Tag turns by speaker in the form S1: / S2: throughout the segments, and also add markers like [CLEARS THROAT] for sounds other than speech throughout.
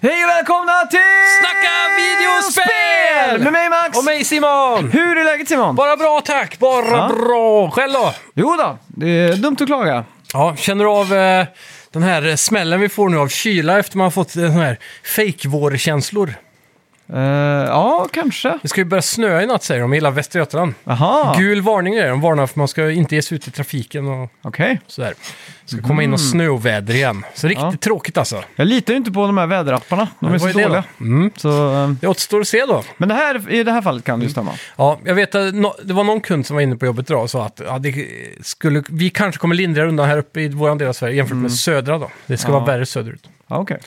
S1: välkomna till
S2: Snacka videospel!
S1: Med mig Max!
S2: Och mig Simon!
S1: Hur är läget Simon?
S2: Bara bra tack, bara
S1: Ja.
S2: bra. Själv då?
S1: Jo då, det är dumt att klaga.
S2: Ja, känner du av eh, den här eh, smällen vi får nu av kyla efter man har fått eh, sån här fake-vårkänslor?
S1: Eh, ja, kanske.
S2: Det ska ju börja snöa i natt säger de i hela Västra Götaland.
S1: Aha,
S2: Gul varning är det. de varnar för att man ska inte ge sig ut i trafiken och
S1: okej.
S2: sådär. Det ska komma in och snöoväder igen. Så riktigt
S1: Ja.
S2: tråkigt alltså.
S1: Jag litar ju inte på de här väderapparna. De är så
S2: vad är det då?
S1: dåliga.
S2: Mm.
S1: Så, eh,
S2: Det återstår att se då.
S1: men det här, i det här fallet kan det ju stämma.
S2: Ja, jag vet att nå- det var någon kund som var inne på jobbet idag och sa att ja, det skulle, vi kanske kommer lindrigare undan här uppe i vår del av Sverige jämfört med södra då. Det ska
S1: Mm. Ja.
S2: vara värre söderut.
S1: Ja, okej.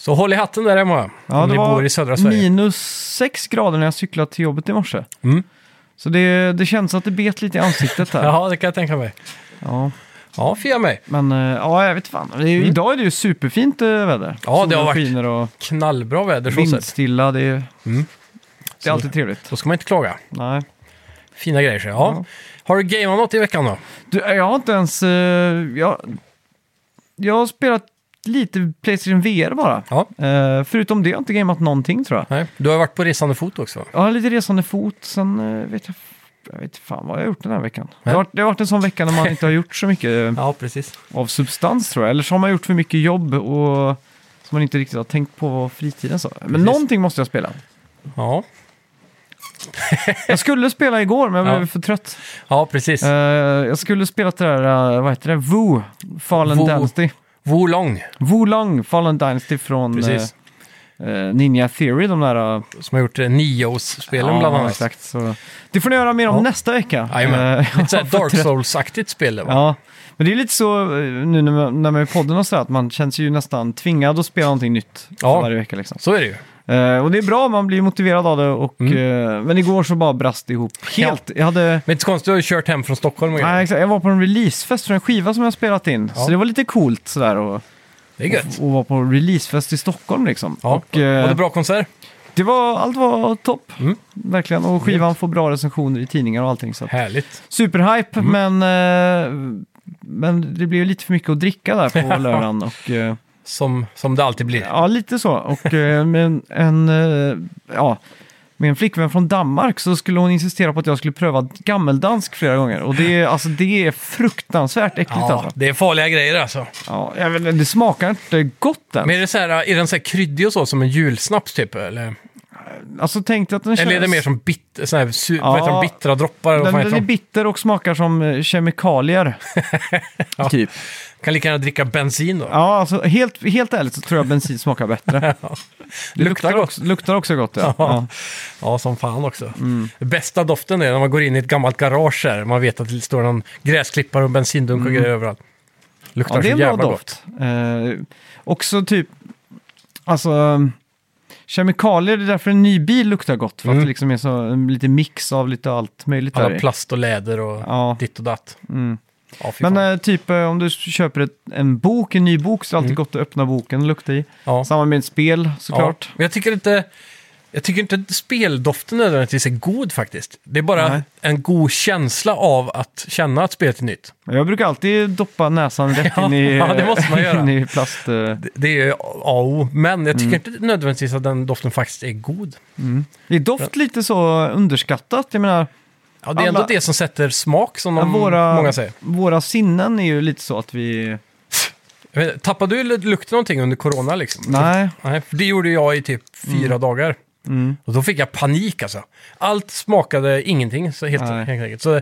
S2: Så håll i hatten där hemma
S1: Ja,
S2: om
S1: det
S2: ni
S1: var
S2: bor i södra Sverige.
S1: minus 6 grader när jag cyklade till jobbet i morse.
S2: Mm.
S1: Så det, det känns att det bet lite i ansiktet här.
S2: [LAUGHS] Ja, det kan jag tänka mig.
S1: Ja.
S2: Ja, fia mig.
S1: Men eh, ja, jag vet fan. Det är, ju- Idag är det ju superfint eh, väder.
S2: Mm. Ja, det har
S1: Solen
S2: varit
S1: skiner och
S2: Knallbra väder så sett.
S1: vindstilla. Det är,
S2: Mm.
S1: det är alltid trevligt.
S2: Då ska man inte klaga.
S1: Nej.
S2: Fina grejer så. Ja.
S1: Ja.
S2: Har du gameat något i veckan då?
S1: Du, jag har inte ens... eh, jag, jag har spelat lite Playstation VR bara.
S2: Ja.
S1: Eh, förutom det har jag inte gameat någonting tror jag.
S2: Nej. Du har ju varit på resande fot också.
S1: Jag har lite resande fot, sen eh, vet jag... Jag vet fan vad jag har gjort den här veckan. Det har, varit- det har varit en sån vecka när man inte har gjort så mycket eh,
S2: Ja, precis.
S1: av substans tror jag. Eller så har man gjort för mycket jobb och som man inte riktigt har tänkt på fritiden. Så. Men
S2: Precis.
S1: någonting måste jag spela.
S2: Ja,
S1: Jag skulle spela igår men jag blev
S2: Ja.
S1: för trött.
S2: ja precis.
S1: Eh, jag skulle spela det där, eh, vad heter det, Wu, Fallen
S2: Wu.
S1: Dynasty.
S2: Wolong,
S1: Wulong, Fallen Dynasty från eh,
S2: precis.
S1: eh, Ninja Theory, de där... eh,
S2: Som har gjort eh, Nios-spelen bland annat.
S1: Exakt, så. Det får ni göra mer om
S2: Ja.
S1: nästa vecka.
S2: Jajamän.
S1: Eh, [LAUGHS]
S2: Lite såhär Dark Souls-aktigt spel det var.
S1: Ja, men det är lite så eh, nu när man, när man är i podden och sådär, att man känns ju nästan tvingad att spela någonting nytt
S2: Ja.
S1: varje vecka. Liksom.
S2: Så är det ju.
S1: Eh, och det är bra, man blir motiverad av det. Och,
S2: Mm.
S1: eh, men igår så bara brast det ihop helt. Jag, hade,
S2: Men inte så konstigt, du har ju kört hem från Stockholm och
S1: nej,
S2: grejer.
S1: exakt, jag var på en releasefest för en skiva som jag spelat in.
S2: Ja.
S1: Så det var lite coolt sådär att
S2: Det är gött.
S1: vara på releasefest i Stockholm liksom.
S2: Ja.
S1: Och, eh,
S2: Var det bra konsert?
S1: det var, allt var topp,
S2: Mm.
S1: verkligen. Och skivan får bra recensioner i tidningar och allting. Så. att-
S2: Härligt.
S1: Superhype,
S2: Mm.
S1: men, eh, men det blev ju lite för mycket att dricka där
S2: [LAUGHS]
S1: på lördagen. Och, eh,
S2: Som, som det alltid blir.
S1: ja, lite så. Och eh, med en, en, eh, ja, med en flickvän från Danmark så skulle hon insistera på att jag skulle pröva gammeldansk flera gånger. Och det, är- alltså, det är fruktansvärt äckligt
S2: Ja,
S1: alltså.
S2: det är farliga grejer alltså.
S1: Ja, jag vet, inte, det smakar inte gott än.
S2: Men är, det så här, är den så här kryddig och så, som en julsnaps typ? Eller,
S1: alltså tänkte att den
S2: eller är det
S1: känns-
S2: mer som bit, så här, su,
S1: Ja.
S2: vad heter de, bittra droppar? eller Vad
S1: den,
S2: fan heter
S1: den är
S2: de?
S1: bitter och smakar som eh, kemikalier.
S2: [LAUGHS] Ja.
S1: Typ.
S2: Kan lika gärna dricka bensin då.
S1: Ja, alltså helt, helt ärligt så tror jag bensin smakar
S2: [LAUGHS]
S1: bättre. Det
S2: Luktar gott.
S1: Också, luktar också gott, ja.
S2: Ja.
S1: ja.
S2: Ja, som fan också.
S1: Mm.
S2: Bästa doften är när man går in i ett gammalt garage här. Man vet att det står någon gräsklippare och bensindunk och grejer överallt. Luktar
S1: Mm. ja det är en
S2: så
S1: bra
S2: jävla gott.
S1: doft. Eh, också typ, alltså, um, kemikalier, det är därför en ny bil luktar gott. För att
S2: Mm.
S1: det liksom är så, en lite mix av lite allt möjligt där
S2: Alla
S1: i.
S2: plast och läder och
S1: Ja.
S2: ditt och datt.
S1: Mm.
S2: Ja, fy
S1: Men
S2: fan.
S1: eh, typ eh, om du köper ett, en bok, en ny bok, så är det alltid gott att öppna boken och lukta i.
S2: Mm. ja.
S1: Samma med ett spel såklart.
S2: Ja, men jag tycker inte... Jag tycker inte att speldoften nödvändigtvis är god faktiskt. Det är bara
S1: Nej.
S2: en god känsla av att känna att spelet är nytt.
S1: Men Jag brukar alltid doppa näsan rätt in i,
S2: [LAUGHS] Ja, det måste man
S1: [LAUGHS]
S2: göra.
S1: in i plast. eh,
S2: Det, det är A och O, men jag
S1: Mm.
S2: tycker inte nödvändigtvis att den doften faktiskt är god.
S1: Är doft lite så underskattat? Jag menar,
S2: Ja, det är
S1: Alla-
S2: ändå det som sätter smak, som de,
S1: våra,
S2: många säger.
S1: våra sinnen är ju lite så att vi...
S2: Jag vet, tappade du lu- lukten någonting under corona liksom?
S1: Nej, Mm.
S2: Nej, för det gjorde jag i typ fyra dagar. Och då fick jag panik alltså. Allt smakade ingenting, så helt,
S1: Nej.
S2: helt enkelt. Så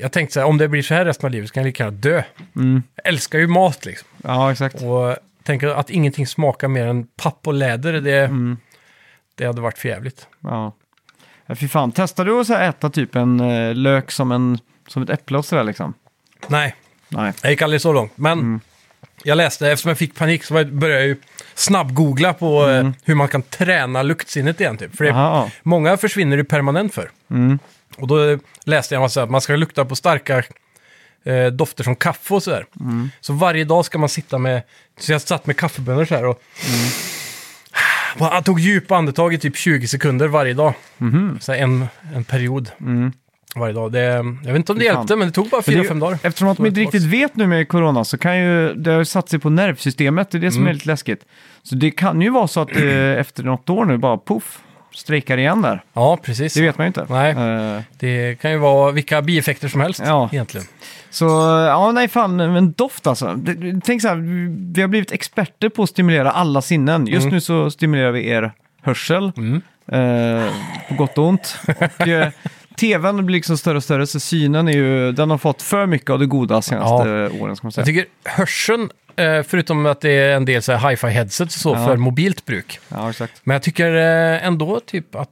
S2: jag tänkte så här, om det blir så här resten av livet så kan jag lika gärna dö. Jag älskar ju mat liksom.
S1: mm. ja exakt.
S2: Och tänker att ingenting smakar mer än papp och läder, det, det hade varit för jävligt.
S1: Mm, Ja. Ja, Fy fan, testade du att så här äta typ en eh, lök som, en, som ett äpple och sådär liksom?
S2: Nej,
S1: Nej.
S2: jag gick aldrig så långt. Men jag läste, eftersom jag fick panik så började jag ju snabbgoogla på eh, hur man kan träna luktsinnet igen. Typ. För det,
S1: Aha,
S2: många försvinner ju permanent för.
S1: Mm.
S2: Och då läste jag en massa att man ska lukta på starka eh, dofter som kaffe och sådär.
S1: Mm.
S2: Så varje dag ska man sitta med, så jag satt med kaffebönor så här och
S1: Mm.
S2: bara,
S1: Mhm.
S2: jag tog djupa andetag i typ 20 sekunder varje dag. Så här en, en period. varje dag. Det, jag vet inte om det
S1: Fy fan.
S2: hjälpte, men det tog bara
S1: För det Mm. är
S2: 4-5
S1: ju-
S2: dagar.
S1: Eftersom att
S2: Så
S1: man
S2: är
S1: inte
S2: det
S1: riktigt vet nu med corona så kan ju det har ju satt sig på nervsystemet. Det är det som är lite läskigt. Så det kan ju vara så att eh, efter något år nu bara poff, strejkar igen där.
S2: Ja, precis.
S1: Det vet man ju inte.
S2: Nej.
S1: Eh,
S2: Det kan ju vara vilka bieffekter som helst
S1: Ja.
S2: egentligen.
S1: så eh, ja, nej fan, men doft alltså. Det- det- Tänk så här, vi- vi har blivit experter på att stimulera alla sinnen. Just nu så stimulerar vi er hörsel, eh, på gott och ont. Och, eh, TVn blir liksom större och större, så synen är ju, den har fått för mycket av det goda senaste åren. Ska man säga.
S2: Jag tycker hörseln, eh, förutom att det är en del så här hi-fi headsets och så
S1: Ja.
S2: för mobilt bruk.
S1: Ja, exakt.
S2: Men jag tycker eh, ändå typ att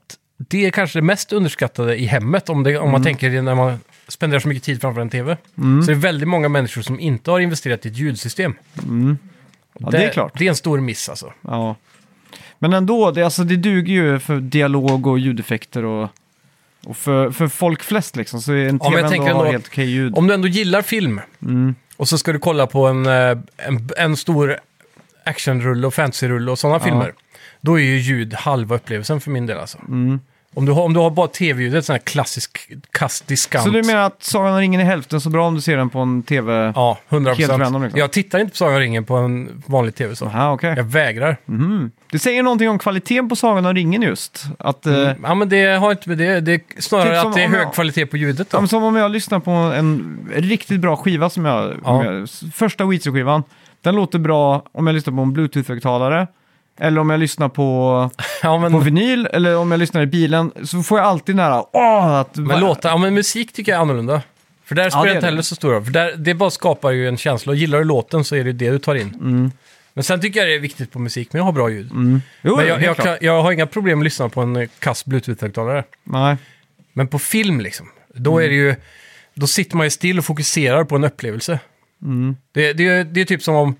S2: det är kanske det mest underskattade i hemmet om, det, om
S1: Mm.
S2: man tänker det när man spenderar så mycket tid framför en tv. Så det är väldigt många människor som inte har investerat i ett ljudsystem.
S1: Ja, det är klart.
S2: Det är en stor miss alltså.
S1: Ja. Men ändå, det, alltså, det duger ju för dialog och ljudeffekter och, och för, för folk flest liksom. Så en
S2: men
S1: tv
S2: jag
S1: ändå
S2: tänker
S1: har
S2: ändå-
S1: helt okej ljud.
S2: Om du ändå gillar film och så ska du kolla på en, eh, en, en stor actionrulle och fantasyrulle och sådana filmer. Då är ju ljud halva upplevelsen för min del alltså. Om, du har, om du har bara tv-ljudet, sån här klassisk kastdiskant.
S1: Så du menar att Sagan om ringen är hälften så bra om du ser den på en tv?
S2: Ja, 100%.
S1: Helt random, liksom.
S2: Jag tittar inte på Sagan om ringen på en vanlig tv så.
S1: Aha, Ah, okej. Mhm.
S2: Jag vägrar.
S1: Eh. Det säger någonting om kvaliteten på Sagan om ringen just. Att, eh,
S2: Mm. Ja, men det har inte med det. Det är snarare
S1: Typ som
S2: att det är
S1: om
S2: hög
S1: jag-
S2: kvalitet på ljudet då.
S1: ja, men som om jag lyssnar på en riktigt bra skiva som jag... Om
S2: Ja.
S1: jag s- första Weezer-skivan. Den låter bra om jag lyssnar på en bluetooth-högtalare. Eller om jag lyssnar på,
S2: ja, men,
S1: på vinyl, eller om jag lyssnar i bilen, så får jag alltid nära åh! Att,
S2: men, låta, ja, men musik tycker jag är annorlunda. För där spelar
S1: det är
S2: det inte
S1: det.
S2: heller så stor roll. För där, det bara skapar ju en känsla. Och gillar du låten så är det ju det du tar in.
S1: Mm.
S2: Men sen tycker jag det är viktigt på musik med att ha bra ljud.
S1: Jo,
S2: Men
S1: jo,
S2: jag,
S1: helt
S2: jag,
S1: klart.
S2: kan, jag har inga problem att lyssna på en eh, kass bluetooth-högtalare.
S1: Nej.
S2: Men på film liksom, då
S1: Mm.
S2: är det ju... Då sitter man ju still och fokuserar på en upplevelse.
S1: Mm.
S2: Det, det, är- det är typ som om,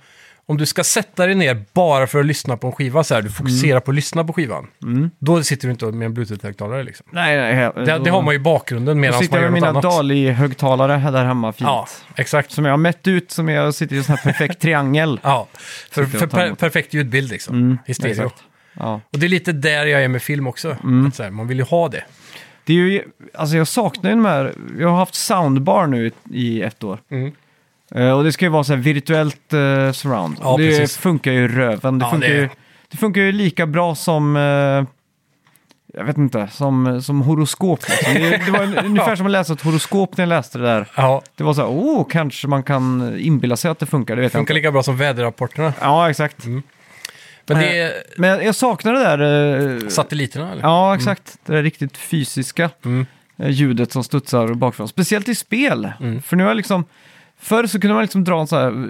S2: om du ska sätta dig ner bara för att lyssna på en skiva så här, du fokuserar
S1: Mm.
S2: på att lyssna på skivan. Då sitter du inte med en bluetooth-högtalare liksom.
S1: Nej, nej. he-
S2: Det,
S1: då-
S2: det har man ju i bakgrunden
S1: Mm. Då
S2: medan
S1: sitter
S2: man
S1: jag
S2: gör
S1: med
S2: något
S1: mina
S2: annat.
S1: Dali-högtalare här där hemma fint.
S2: ja, exakt.
S1: Som jag har mätt ut, som jag sitter i en sån här
S2: [LAUGHS]
S1: perfekt triangel.
S2: Ja, för,
S1: Sitter och
S2: för
S1: tar
S2: per,
S1: emot. Mm,
S2: perfekt ljudbild liksom. I stereo.
S1: exakt. Mm. Ja.
S2: Och det är lite där jag är med film också. Att så här, man vill ju ha det.
S1: Det är ju, alltså jag saknar ju de här, jag har haft soundbar nu i, i ett år.
S2: Mm.
S1: Eh, och det ska ju vara så här virtuellt eh, surround.
S2: Ja,
S1: det
S2: precis.
S1: funkar ju i röven. Det,
S2: Ja,
S1: funkar
S2: det-
S1: Ju, det funkar ju lika bra som, eh, jag vet inte, som, som horoskop. Liksom. Det, det var
S2: [LAUGHS]
S1: ungefär som att läsa ett horoskop när jag läste det där.
S2: Ja,
S1: Det var så här, oh, kanske man kan inbilla sig att det funkar, det vet jag
S2: funkar Mm.
S1: inte.
S2: lika bra som väderrapporterna.
S1: Ja, exakt.
S2: Men det är
S1: Men jag saknar det där... Eh,
S2: satelliterna eller?
S1: ja, exakt. Det där riktigt fysiska
S2: Mm.
S1: eh, ljudet som studsar bakifrån. Speciellt i spel.
S2: Mm.
S1: För nu har jag liksom... Förr så kunde man liksom dra en så här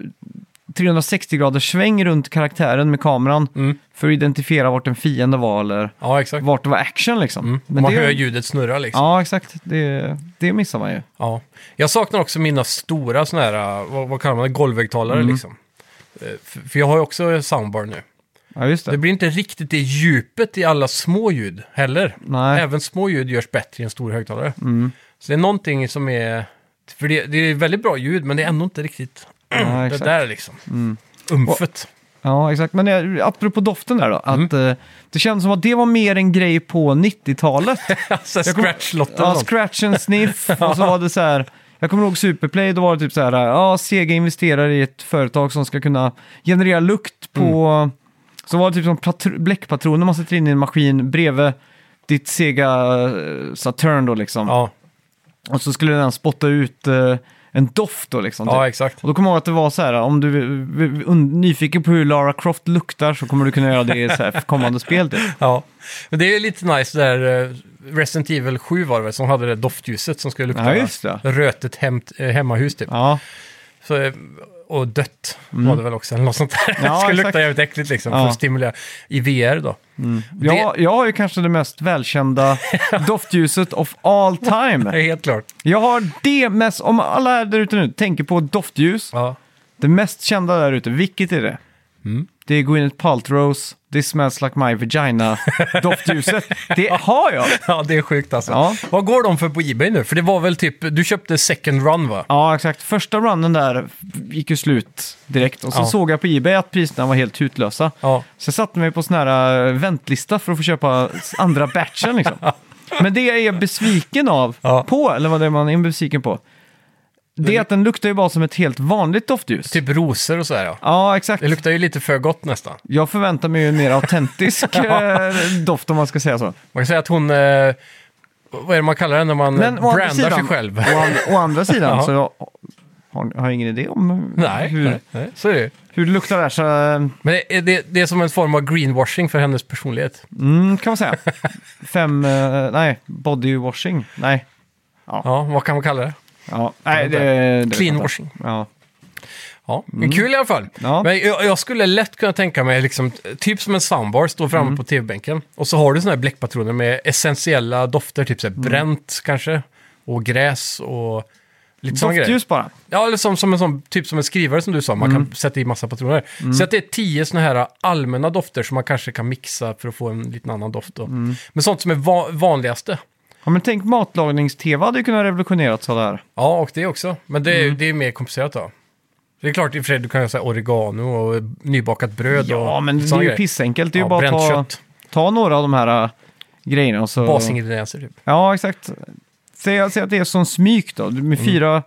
S1: 360 graders sväng runt karaktären med kameran
S2: Mm.
S1: för att identifiera vart en fiende var eller
S2: Ja, exakt.
S1: vart det var action liksom.
S2: Mm. Man
S1: det,
S2: hör ljudet snurra liksom. Ja.
S1: Ja, exakt. Det, det missar man ju.
S2: Jag saknar också mina stora sådana här, eh, vad, vad kallar man det, golvhögtalare
S1: Mm.
S2: liksom. Eh, För, för jag har ju också soundbar nu.
S1: Ja, just det.
S2: Det blir inte riktigt det djupet i alla små ljud heller.
S1: Nej. Mm.
S2: Även små ljud görs bättre i en stor högtalare. Så det är någonting som är... För det, det är väldigt bra ljud, men det är ändå inte riktigt
S1: Ja,
S2: det
S1: exakt. Mm.
S2: där liksom. Umfet.
S1: Ja, exakt. Men jag, apropå doften där då, att
S2: Mm.
S1: eh, det kändes som att det var mer en grej på 90-talet.
S2: [LAUGHS] alltså,
S1: Jag kom-
S2: scratchlotten.
S1: Ja,
S2: och sånt.
S1: scratch and
S2: [LAUGHS]
S1: sniff. och så var det så här, jag kommer ihåg Superplay, då var det typ så här, ja, Sega investerar i ett företag som ska kunna generera lukt på...
S2: Mm.
S1: Så var det typ som patr- bläckpatroner man sätter in i en maskin bredvid ditt Sega eh, Saturn då liksom.
S2: Ja,
S1: Och så skulle den spotta ut eh, en doft då liksom.
S2: ja,
S1: typ.
S2: exakt.
S1: Och då kommer jag ihåg att det var så här, om du eh, är nyfiken på hur Lara Croft luktar så kommer du kunna göra det i så här
S2: [LAUGHS]
S1: för kommande spel. Typ.
S2: Ja, men det är ju lite nice där eh, Resident Evil 7 var det väl, som hade det doftljuset som skulle lukta
S1: Ja, just det.
S2: rötet hem, eh, hemmahus typ.
S1: Ja, Mm.
S2: Så, eh, och dött var det väl också, eller något sånt där. [LAUGHS] det skulle
S1: exakt.
S2: lukta jävligt äckligt liksom,
S1: Ja.
S2: för att stimulera i VR då.
S1: jag, jag har ju kanske det mest
S2: [LAUGHS]
S1: välkända doftljuset of all
S2: Det
S1: time.
S2: är helt klart.
S1: Jag har det mest, om alla här där ute nu tänker på doftljus,
S2: Ja.
S1: det mest kända där ute, vilket är det?
S2: Mm.
S1: Det är Gwyneth Paltrows This Smells Like My Vagina
S2: [LAUGHS]
S1: doftljuset. Det har jag!
S2: ja, det är sjukt alltså.
S1: Ja.
S2: Vad går de för på Ebay nu? För det var väl typ, du köpte second run va?
S1: Ja, exakt. Första runnen där gick ju slut direkt och så
S2: Ja.
S1: såg jag på Ebay att priserna var helt utlösa.
S2: Ja. [LAUGHS]
S1: Så jag satte mig på sån här eh, väntlista för att få köpa s- andra batchen liksom. Men det jag är besviken av
S2: Ja.
S1: på, eller vad det är man är besviken på, det är att den luktar ju bara som ett helt vanligt doftljus.
S2: Typ rosor och sådär ja.
S1: Ja, exakt.
S2: Det luktar ju lite för gott nästan.
S1: Jag förväntar mig ju en mer
S2: [LAUGHS]
S1: autentisk eh, doft om man ska säga så.
S2: Man kan säga att hon... Eh, vad är det man kallar det när man
S1: Men å andra
S2: brandar
S1: sidan,
S2: sig själv? [LAUGHS]
S1: Å, an- å andra sidan
S2: Ja.
S1: så jag har, har jag ingen idé om
S2: Nej,
S1: hur,
S2: nej, nej, så är det ju.
S1: hur det luktar där. Så, eh,
S2: Men det, är- det, det är som en form av greenwashing för hennes personlighet.
S1: mm, kan man
S2: [LAUGHS]
S1: säga. Fem, eh, nej, body washing. Nej,
S2: Ja, vad kan man kalla det?
S1: ja, nej det,
S2: inte.
S1: det vet jag
S2: Clean
S1: inte.
S2: washing.
S1: Ja.
S2: Ja, men kul i alla fall.
S1: Mm. Ja.
S2: Men jag, jag skulle lätt kunna tänka mig, liksom, typ som en soundbar, stå framme
S1: Mm.
S2: på tv-bänken och så har du såna här bläckpatroner med essentiella dofter, typ så här
S1: Mm.
S2: bränt kanske, och gräs och lite sån grej.
S1: Doftljus bara.
S2: Ja, eller som, som en sån, typ som en skrivare som du sa, man
S1: Mm.
S2: kan sätta i massa patroner. Så att det är tio såna här allmänna dofter som man kanske kan mixa för att få en liten annan doft. Då.
S1: Mm.
S2: Men sånt som är va- vanligaste.
S1: Ja, men tänk matlagnings-tv hade ju kunnat revolutionerat så där.
S2: Ja, och det också. Men det, är-
S1: Mm.
S2: det är mer komplicerat då. Det är klart i och för sig, du kan göra så här oregano och pissenbakat bröd
S1: Ja,
S2: och
S1: men det
S2: såna
S1: är ju
S2: grejer.
S1: pissenkelt. Det är ju
S2: Ja,
S1: bara
S2: bränt
S1: att ta,
S2: kött.
S1: ta några av de här äh, grejerna och så...
S2: Basingredienser typ.
S1: Ja, exakt. Säg, säg att det är som smyck då, med
S2: Mm.
S1: fyra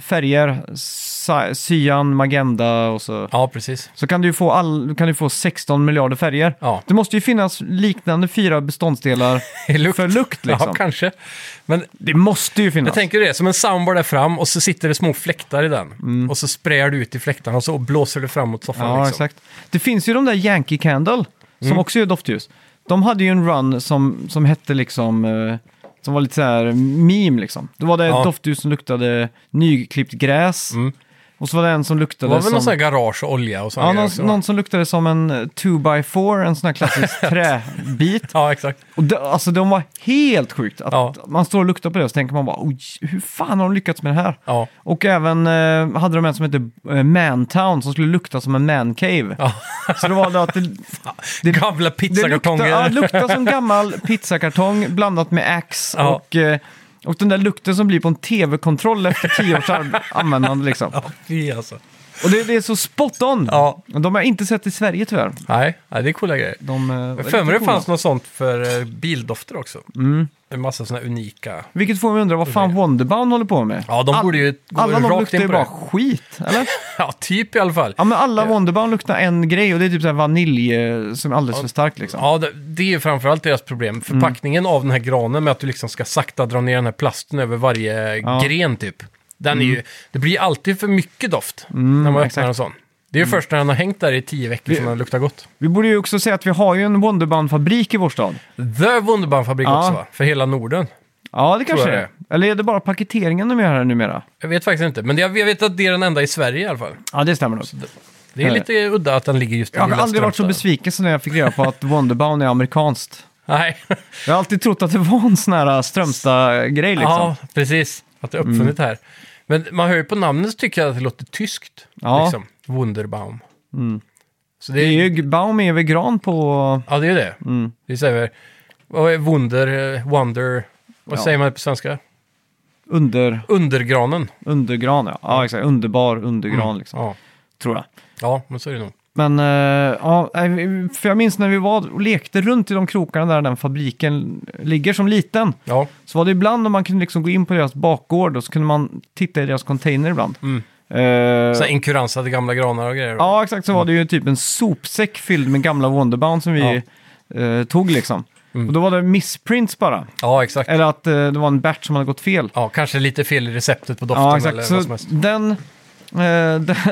S1: färger, sa- cyan, magenta och så.
S2: Ja, precis. [LAUGHS]
S1: Så kan du ju få, all, kan du få 16 miljarder färger.
S2: Ja.
S1: Det måste ju finnas liknande fyra
S2: [LAUGHS]
S1: beståndsdelar
S2: lukt.
S1: för lukt liksom.
S2: Ja, kanske. Men
S1: det måste ju finnas.
S2: jag tänker det, som en soundbar där fram och så sitter det små fläktar i den. Och så sprayar du ut i fläktarna och så blåser du framåt soffan.
S1: Mm. Ja,
S2: liksom. Mm.
S1: exakt. Det finns ju de där Yankee Candle, som också gör doftljus. De hade ju en run som, som hette liksom, eh, som var lite så här meme liksom. Det var det
S2: Ja. Mm.
S1: doftljus som luktade nyklippt gräs. Och så var det en som
S2: Det
S1: luktade
S2: var väl någon
S1: som...
S2: sån här garage och olja och sånt.
S1: Ja, någon, någon som luktade som en eh, 2x4, en sån här
S2: [LAUGHS]
S1: klassisk träbit.
S2: ja, exakt.
S1: Och de, alltså de var helt sjukt. Att
S2: Ja.
S1: Man står och luktar på det och så tänker man bara, Oj, hur fan har de lyckats med det här?
S2: Ja.
S1: Och även eh, hade de en som hette eh, Mantown som skulle lukta som en mancave.
S2: Ja. [LAUGHS]
S1: Så det var det att det, det,
S2: Gamla
S1: det luktade,
S2: pizzakartonger.
S1: ja, lukta som gammal pizzakartong blandat med ax.
S2: Ja.
S1: Och, eh, och den där lukten som blir på en tv-kontroll efter tio års ar-
S2: [LAUGHS]
S1: användande liksom.
S2: Ja, fy alltså.
S1: Och det, det är så spot on.
S2: Ja.
S1: Och De har jag inte sett i Sverige tyvärr.
S2: Nej, nej, det är coola grejer.
S1: De, eh, är
S2: Jag för mig
S1: lite
S2: det
S1: coola. Mm.
S2: fanns något sånt för eh, bildofter också. En massa sådana unika.
S1: Vilket får mig undra vad fan Wonderbound håller på med.
S2: Ja, de borde ju gå
S1: alla de
S2: rakt
S1: luktar
S2: in
S1: ju
S2: på
S1: bara
S2: det.
S1: skit,
S2: [LAUGHS]
S1: eller?
S2: Ja, typ i alla fall.
S1: Ja, men alla Wonderbound luktar en grej och det är typ så här vanilj eh, som är alldeles för stark liksom.
S2: Ja, det, det är framförallt deras
S1: Mm.
S2: problem. Förpackningen av den här granen med att du liksom ska sakta dra ner den här plasten över varje
S1: Ja. Mm.
S2: gren typ. Den är ju, det blir alltid för mycket doft när man öppnar
S1: exakt. Mm.
S2: en sån. Det är ju först när den har hängt där i tio veckor som den luktar gott.
S1: Vi borde ju också säga att vi har ju en Wonderbound-fabrik i vår stad.
S2: The Wunderbaumfabrik
S1: Ja.
S2: också va? För hela Norden.
S1: Ja, det kanske
S2: jag
S1: det är. Eller är det bara paketeringen de gör här numera?
S2: Jag vet faktiskt inte, men jag, jag vet att det är den enda i Sverige i alla fall.
S1: Ja, det stämmer nog.
S2: Det är
S1: Nej.
S2: lite udda att den ligger just i
S1: Jag har
S2: lilla
S1: aldrig varit så
S2: Strömstad.
S1: besviken som när jag fick reda på att Wonderbound är amerikanskt.
S2: Nej, [LAUGHS]
S1: Jag har alltid trott att det var en sån här Strömstad-grej liksom.
S2: ja precis. Att det är uppfunnit här. Men man hör ju på namnet så tycker jag att det låter tyskt.
S1: Ja. Mm.
S2: Liksom. Wunderbaum. Så det
S1: Det
S2: är
S1: är ju, Mm. Baum är ju vegan på...
S2: Ja, det är det. Det säger vad är wonder, eh, wonder, vad
S1: Ja.
S2: säger man på svenska?
S1: Under,
S2: Undergranen.
S1: undergran, ja. ja exakt. Underbar undergran liksom,
S2: Ja.
S1: tror jag.
S2: ja, men så är det nog.
S1: Men eh, ja, nej, för jag minns när vi var och lekte runt i de krokarna där den fabriken ligger som liten.
S2: Ja,
S1: Så var det ibland om man kunde liksom gå in på deras bakgård och så kunde man titta i deras container ibland.
S2: Mm.
S1: Eh,
S2: så här inkuransade gamla granar och grejer.
S1: ja, exakt. Så var det ju typ en sopsäck fylld med gamla Wonderbound som vi eh, tog liksom.
S2: Mm.
S1: Och då var det missprints bara.
S2: ja exakt.
S1: Eller att eh, det var en batch som hade gått fel.
S2: Ja, kanske lite fel i receptet på doften
S1: Ja,
S2: eller
S1: exakt.
S2: vad
S1: Så
S2: som helst.
S1: den, eh, [LAUGHS]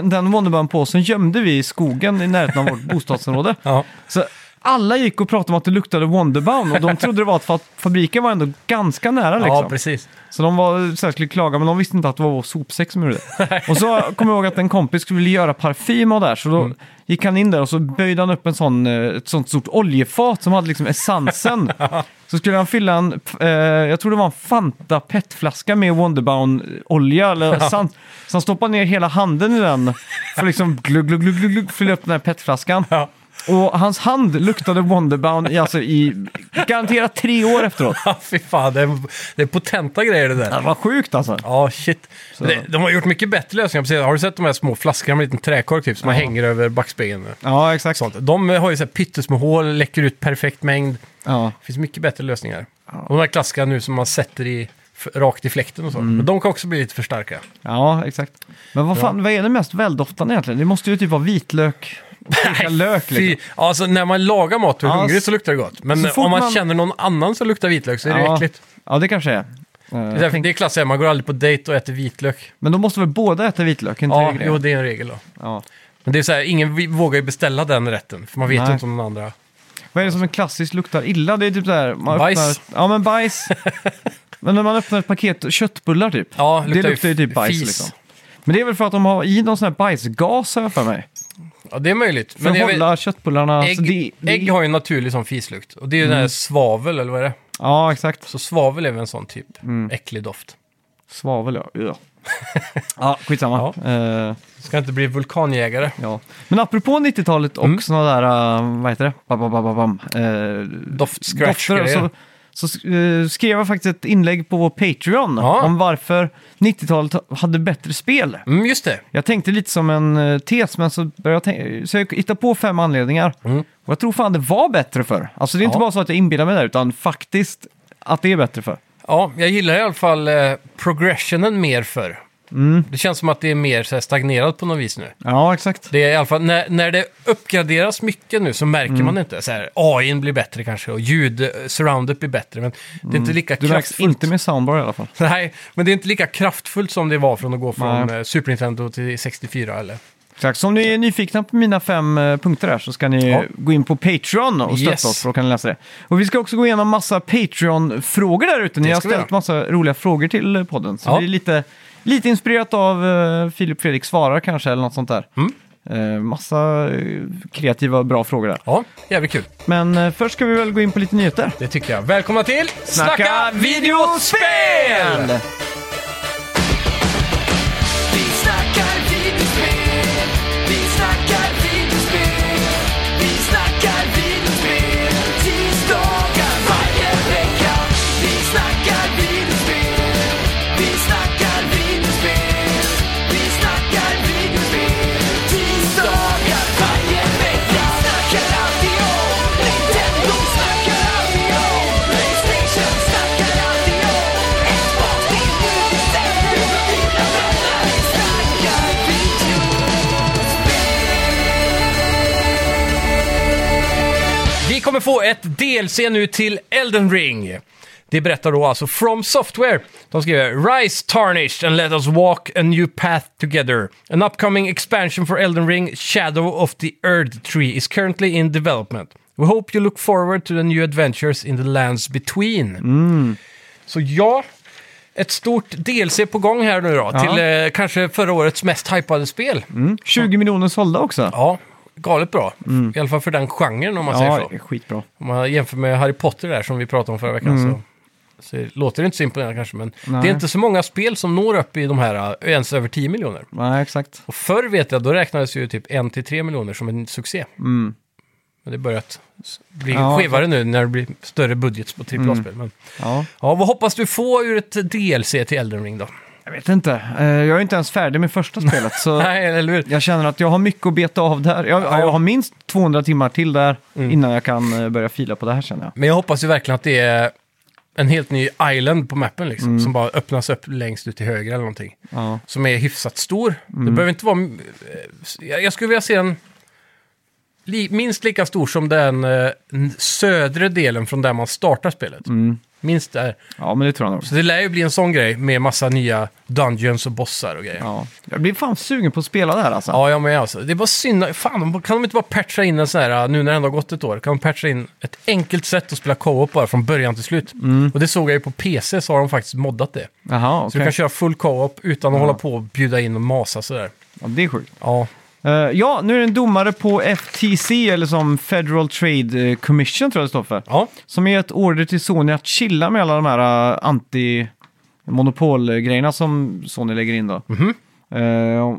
S1: den, den Wonderbound-påsen gömde vi i skogen i närheten av
S2: [LAUGHS]
S1: vårt bostadsområde.
S2: Ja,
S1: Så alla gick och pratade om att det luktade Wonderbound och de trodde det var att fa- fabriken var ändå ganska nära
S2: ja
S1: liksom.
S2: precis.
S1: så de var så här, skulle klaga men de visste inte att det var vår sopsäck som gjorde det. och så kommer jag ihåg att en kompis skulle vilja göra parfym av det här så då
S2: Mm.
S1: gick han in där och så böjde han upp en sån, eh, ett sånt stort oljefat som hade liksom essensen.
S2: [LAUGHS]
S1: så skulle han fylla en, eh, jag tror det var en Fanta petflaska med Wonderbound-olja eller essens. Så han stoppade ner hela handen i den för liksom glugg, glugg, glugg, glugg, glugg, fylla upp den här petflaskan.
S2: Ja. [LAUGHS]
S1: Och hans hand luktade Wonderbound i, alltså, i garanterat tre år efteråt.
S2: Ja, fy fan, det är, det är potenta grejer det där.
S1: Det var sjukt alltså.
S2: Ja, shit. Det, de har gjort mycket bättre lösningar. Precis. Har du sett de här små flaskorna med en liten träkork typ, som man hänger över backspegeln?
S1: Ja, exakt.
S2: Sånt. De har ju så här pyttesmå hål, läcker ut perfekt mängd.
S1: Ja.
S2: Det finns mycket bättre lösningar. Och de här klassiska nu som man sätter i, f- rakt i fläkten och så.
S1: Mm.
S2: Men de kan också bli lite för starka.
S1: Ja, exakt. Men vad fan, vad är det mest väldoftande egentligen? Det måste ju typ vara vitlök och koka lök liksom.
S2: Fy, alltså när man lagar mat och är
S1: Ja,
S2: hungrig
S1: s-
S2: så luktar det gott. Men
S1: så
S2: eh,
S1: fort
S2: om man,
S1: man-
S2: känner någon annan som luktar vitlök så är det
S1: ja.
S2: äckligt.
S1: Ja, det kanske är.
S2: Det är,
S1: Eh,
S2: därför- det är klassiskt, man går aldrig på dejt och äter vitlök.
S1: Men då måste väl båda äta vitlök? Inte
S2: Ja,
S1: det
S2: jo, det är en regel då.
S1: ja.
S2: Men det är så här, ingen vi- vågar ju beställa den rätten, för man vet
S1: Nej.
S2: ju inte om den andra...
S1: Vad är det som en klassiskt luktar illa? Det är typ så här... Man
S2: Bajs.
S1: Öppnar, ja, men
S2: [LAUGHS]
S1: bajs. men när man öppnar ett paket köttbullar typ.
S2: Ja,
S1: det luktar ju typ bajs
S2: fis.
S1: liksom. Men det är väl för att de har i någon sån här bajsgas har jag för mig.
S2: Ja, det är möjligt.
S1: För
S2: Men jag
S1: att
S2: vet-
S1: hålla köttbullarna...
S2: ägg,
S1: så det, det, Mm.
S2: ägg har ju en naturlig sån fislukt. Och det är ju den här svavel, eller vad är det?
S1: Ja, exakt.
S2: Så svavel är väl en sån typ
S1: Mm.
S2: äcklig doft.
S1: Svavel ja.
S2: [LAUGHS]
S1: Ja, ja skitsamma. Eh,
S2: Ska inte bli vulkanjägare.
S1: ja. Men apropå 90-talet och sådana där, eh, vad heter det? Bam, bam, bam, bam, bam. Eh,
S2: Doft, scratch
S1: dofter,
S2: grejer.
S1: så, så eh, skrev jag faktiskt ett inlägg på vår Patreon
S2: Ja.
S1: om varför 90-talet hade bättre spel.
S2: Mm, just det.
S1: Jag tänkte lite som en eh, tes, men så, började jag tänka, så jag hittade på fem anledningar. Och jag tror fan det var bättre för. Alltså det är inte
S2: Ja.
S1: bara så att jag inbillar mig det, utan faktiskt att det är bättre för.
S2: Ja, jag gillar i alla fall eh, progressionen mer för.
S1: Mm.
S2: Det känns som att det är mer så här, stagnerat på något vis nu.
S1: Ja, exakt.
S2: Det är i alla fall, när, när det uppgraderas mycket nu så märker
S1: Mm.
S2: man inte. Så här, AIn blir bättre kanske och ljud, eh, surroundet blir bättre. Men det är inte lika
S1: Mm. Du märks
S2: kraftfullt.
S1: inte med soundbar i alla fall.
S2: [LAUGHS] Nej, men det är inte lika kraftfullt som det var från att gå från
S1: Nej.
S2: eh, Super Nintendo till 64 eller?
S1: Exakt, så om ni är nyfikna på mina fem eh, punkter där så ska ni
S2: Ja.
S1: gå in på Patreon och stötta
S2: Yes.
S1: oss för då kan ni läsa det. Och vi ska också gå igenom massa Patreon-frågor där ute. Ni
S2: Det
S1: har
S2: ska vi
S1: ställt
S2: göra.
S1: massa roliga frågor till eh, podden. Så
S2: Ja.
S1: vi är lite, lite inspirerat av eh, Filip Fredrik svarar kanske eller något sånt där.
S2: Mm.
S1: Eh, massa eh, kreativa bra frågor där.
S2: Ja, jävligt kul.
S1: Men eh, först ska vi väl gå in på lite nyheter.
S2: Det tycker jag. Välkomna till Snacka, videospel!
S3: Vi snackar videospel, vi snackar videospel, vi snackar videospel, tisdagar varje vecka. Vi snackar videospel, vi snackar videospel, vi snackar videospel, tisdagar varje vecka. Snackar alltid om Nintendo, snackar alltid om Playstation, snackar alltid om Xbox, det är nu vi sätter igång. Mina vänner, vi snackar videospel.
S2: Vi kommer få ett DLC nu till Elden Ring. Det berättar då alltså From Software. De skriver Rise tarnished and let us walk a new path together. An upcoming expansion for Elden Ring, Shadow of the Erd Tree, is currently in development. We hope you look forward to the new adventures in the lands between. Så ja, ett stort DLC på gång här nu då, till eh, kanske förra årets mest hypade spel.
S1: Mm. 20 miljoner sålda också.
S2: Ja, galet bra. I alla fall för den genren om man säger så.
S1: det är skitbra.
S2: Om man jämför med Harry Potter där som vi pratade om förra veckan så, så låter det inte så imponerande kanske. Men det är inte så många spel som når upp i de här eh, ens över 10 miljoner.
S1: Nej, exakt.
S2: Och förr vet jag, då räknades ju typ 1-3 miljoner som en succé. Men det börjat s- bli
S1: Ja,
S2: skevare nu när det blir större budget på AAA-spel. Men,
S1: Ja.
S2: ja, vad hoppas du få ur ett DLC till Elden Ring då? [LAUGHS]
S1: Jag vet inte. Eh, Jag är inte ens färdig med första spelet. Så
S2: [LAUGHS] Nej, eller hur?
S1: Jag känner att jag har mycket att beta av där. Jag,
S2: Ja. Mm.
S1: jag har minst 200 timmar till där innan jag kan eh, börja fila på det här känner jag.
S2: Men jag hoppas ju verkligen att det är en helt ny island på mappen liksom, som bara öppnas upp längst ut till höger eller någonting.
S1: Ja.
S2: som är hyfsat stor. Det behöver inte vara... eh, Jag jag skulle vilja se en li, minst lika stor som den eh, n- södra delen från där man startar spelet. Minst där.
S1: ja, men det tror jag nog.
S2: Så det lär ju bli en sån grej med massa nya dungeons och bossar och grejer. Ja.
S1: Ja. Jag blir fan sugen på att spela det här alltså.
S2: Ja, jag med alltså. Det var synd. Fan, de- kan de inte bara patcha in en sån här, eh, nu när det ändå har gått ett år, kan de patcha in ett enkelt sätt att spela co-op bara från början till slut? Och det såg jag ju på PC så har de faktiskt moddat det.
S1: Jaha,
S2: Så
S1: okej.
S2: du kan köra full co-op utan att hålla på och bjuda in och masa sådär.
S1: Ja, det är sjukt.
S2: Ja,
S1: Eh, ja, nu är det en domare på FTC, eller som Federal Trade eh, Commission tror jag det står för.
S2: ja.
S1: Som är ett order till Sony att chilla med alla de här eh, anti-monopolgrejerna som Sony lägger in då.
S2: Mhm.
S1: Eh,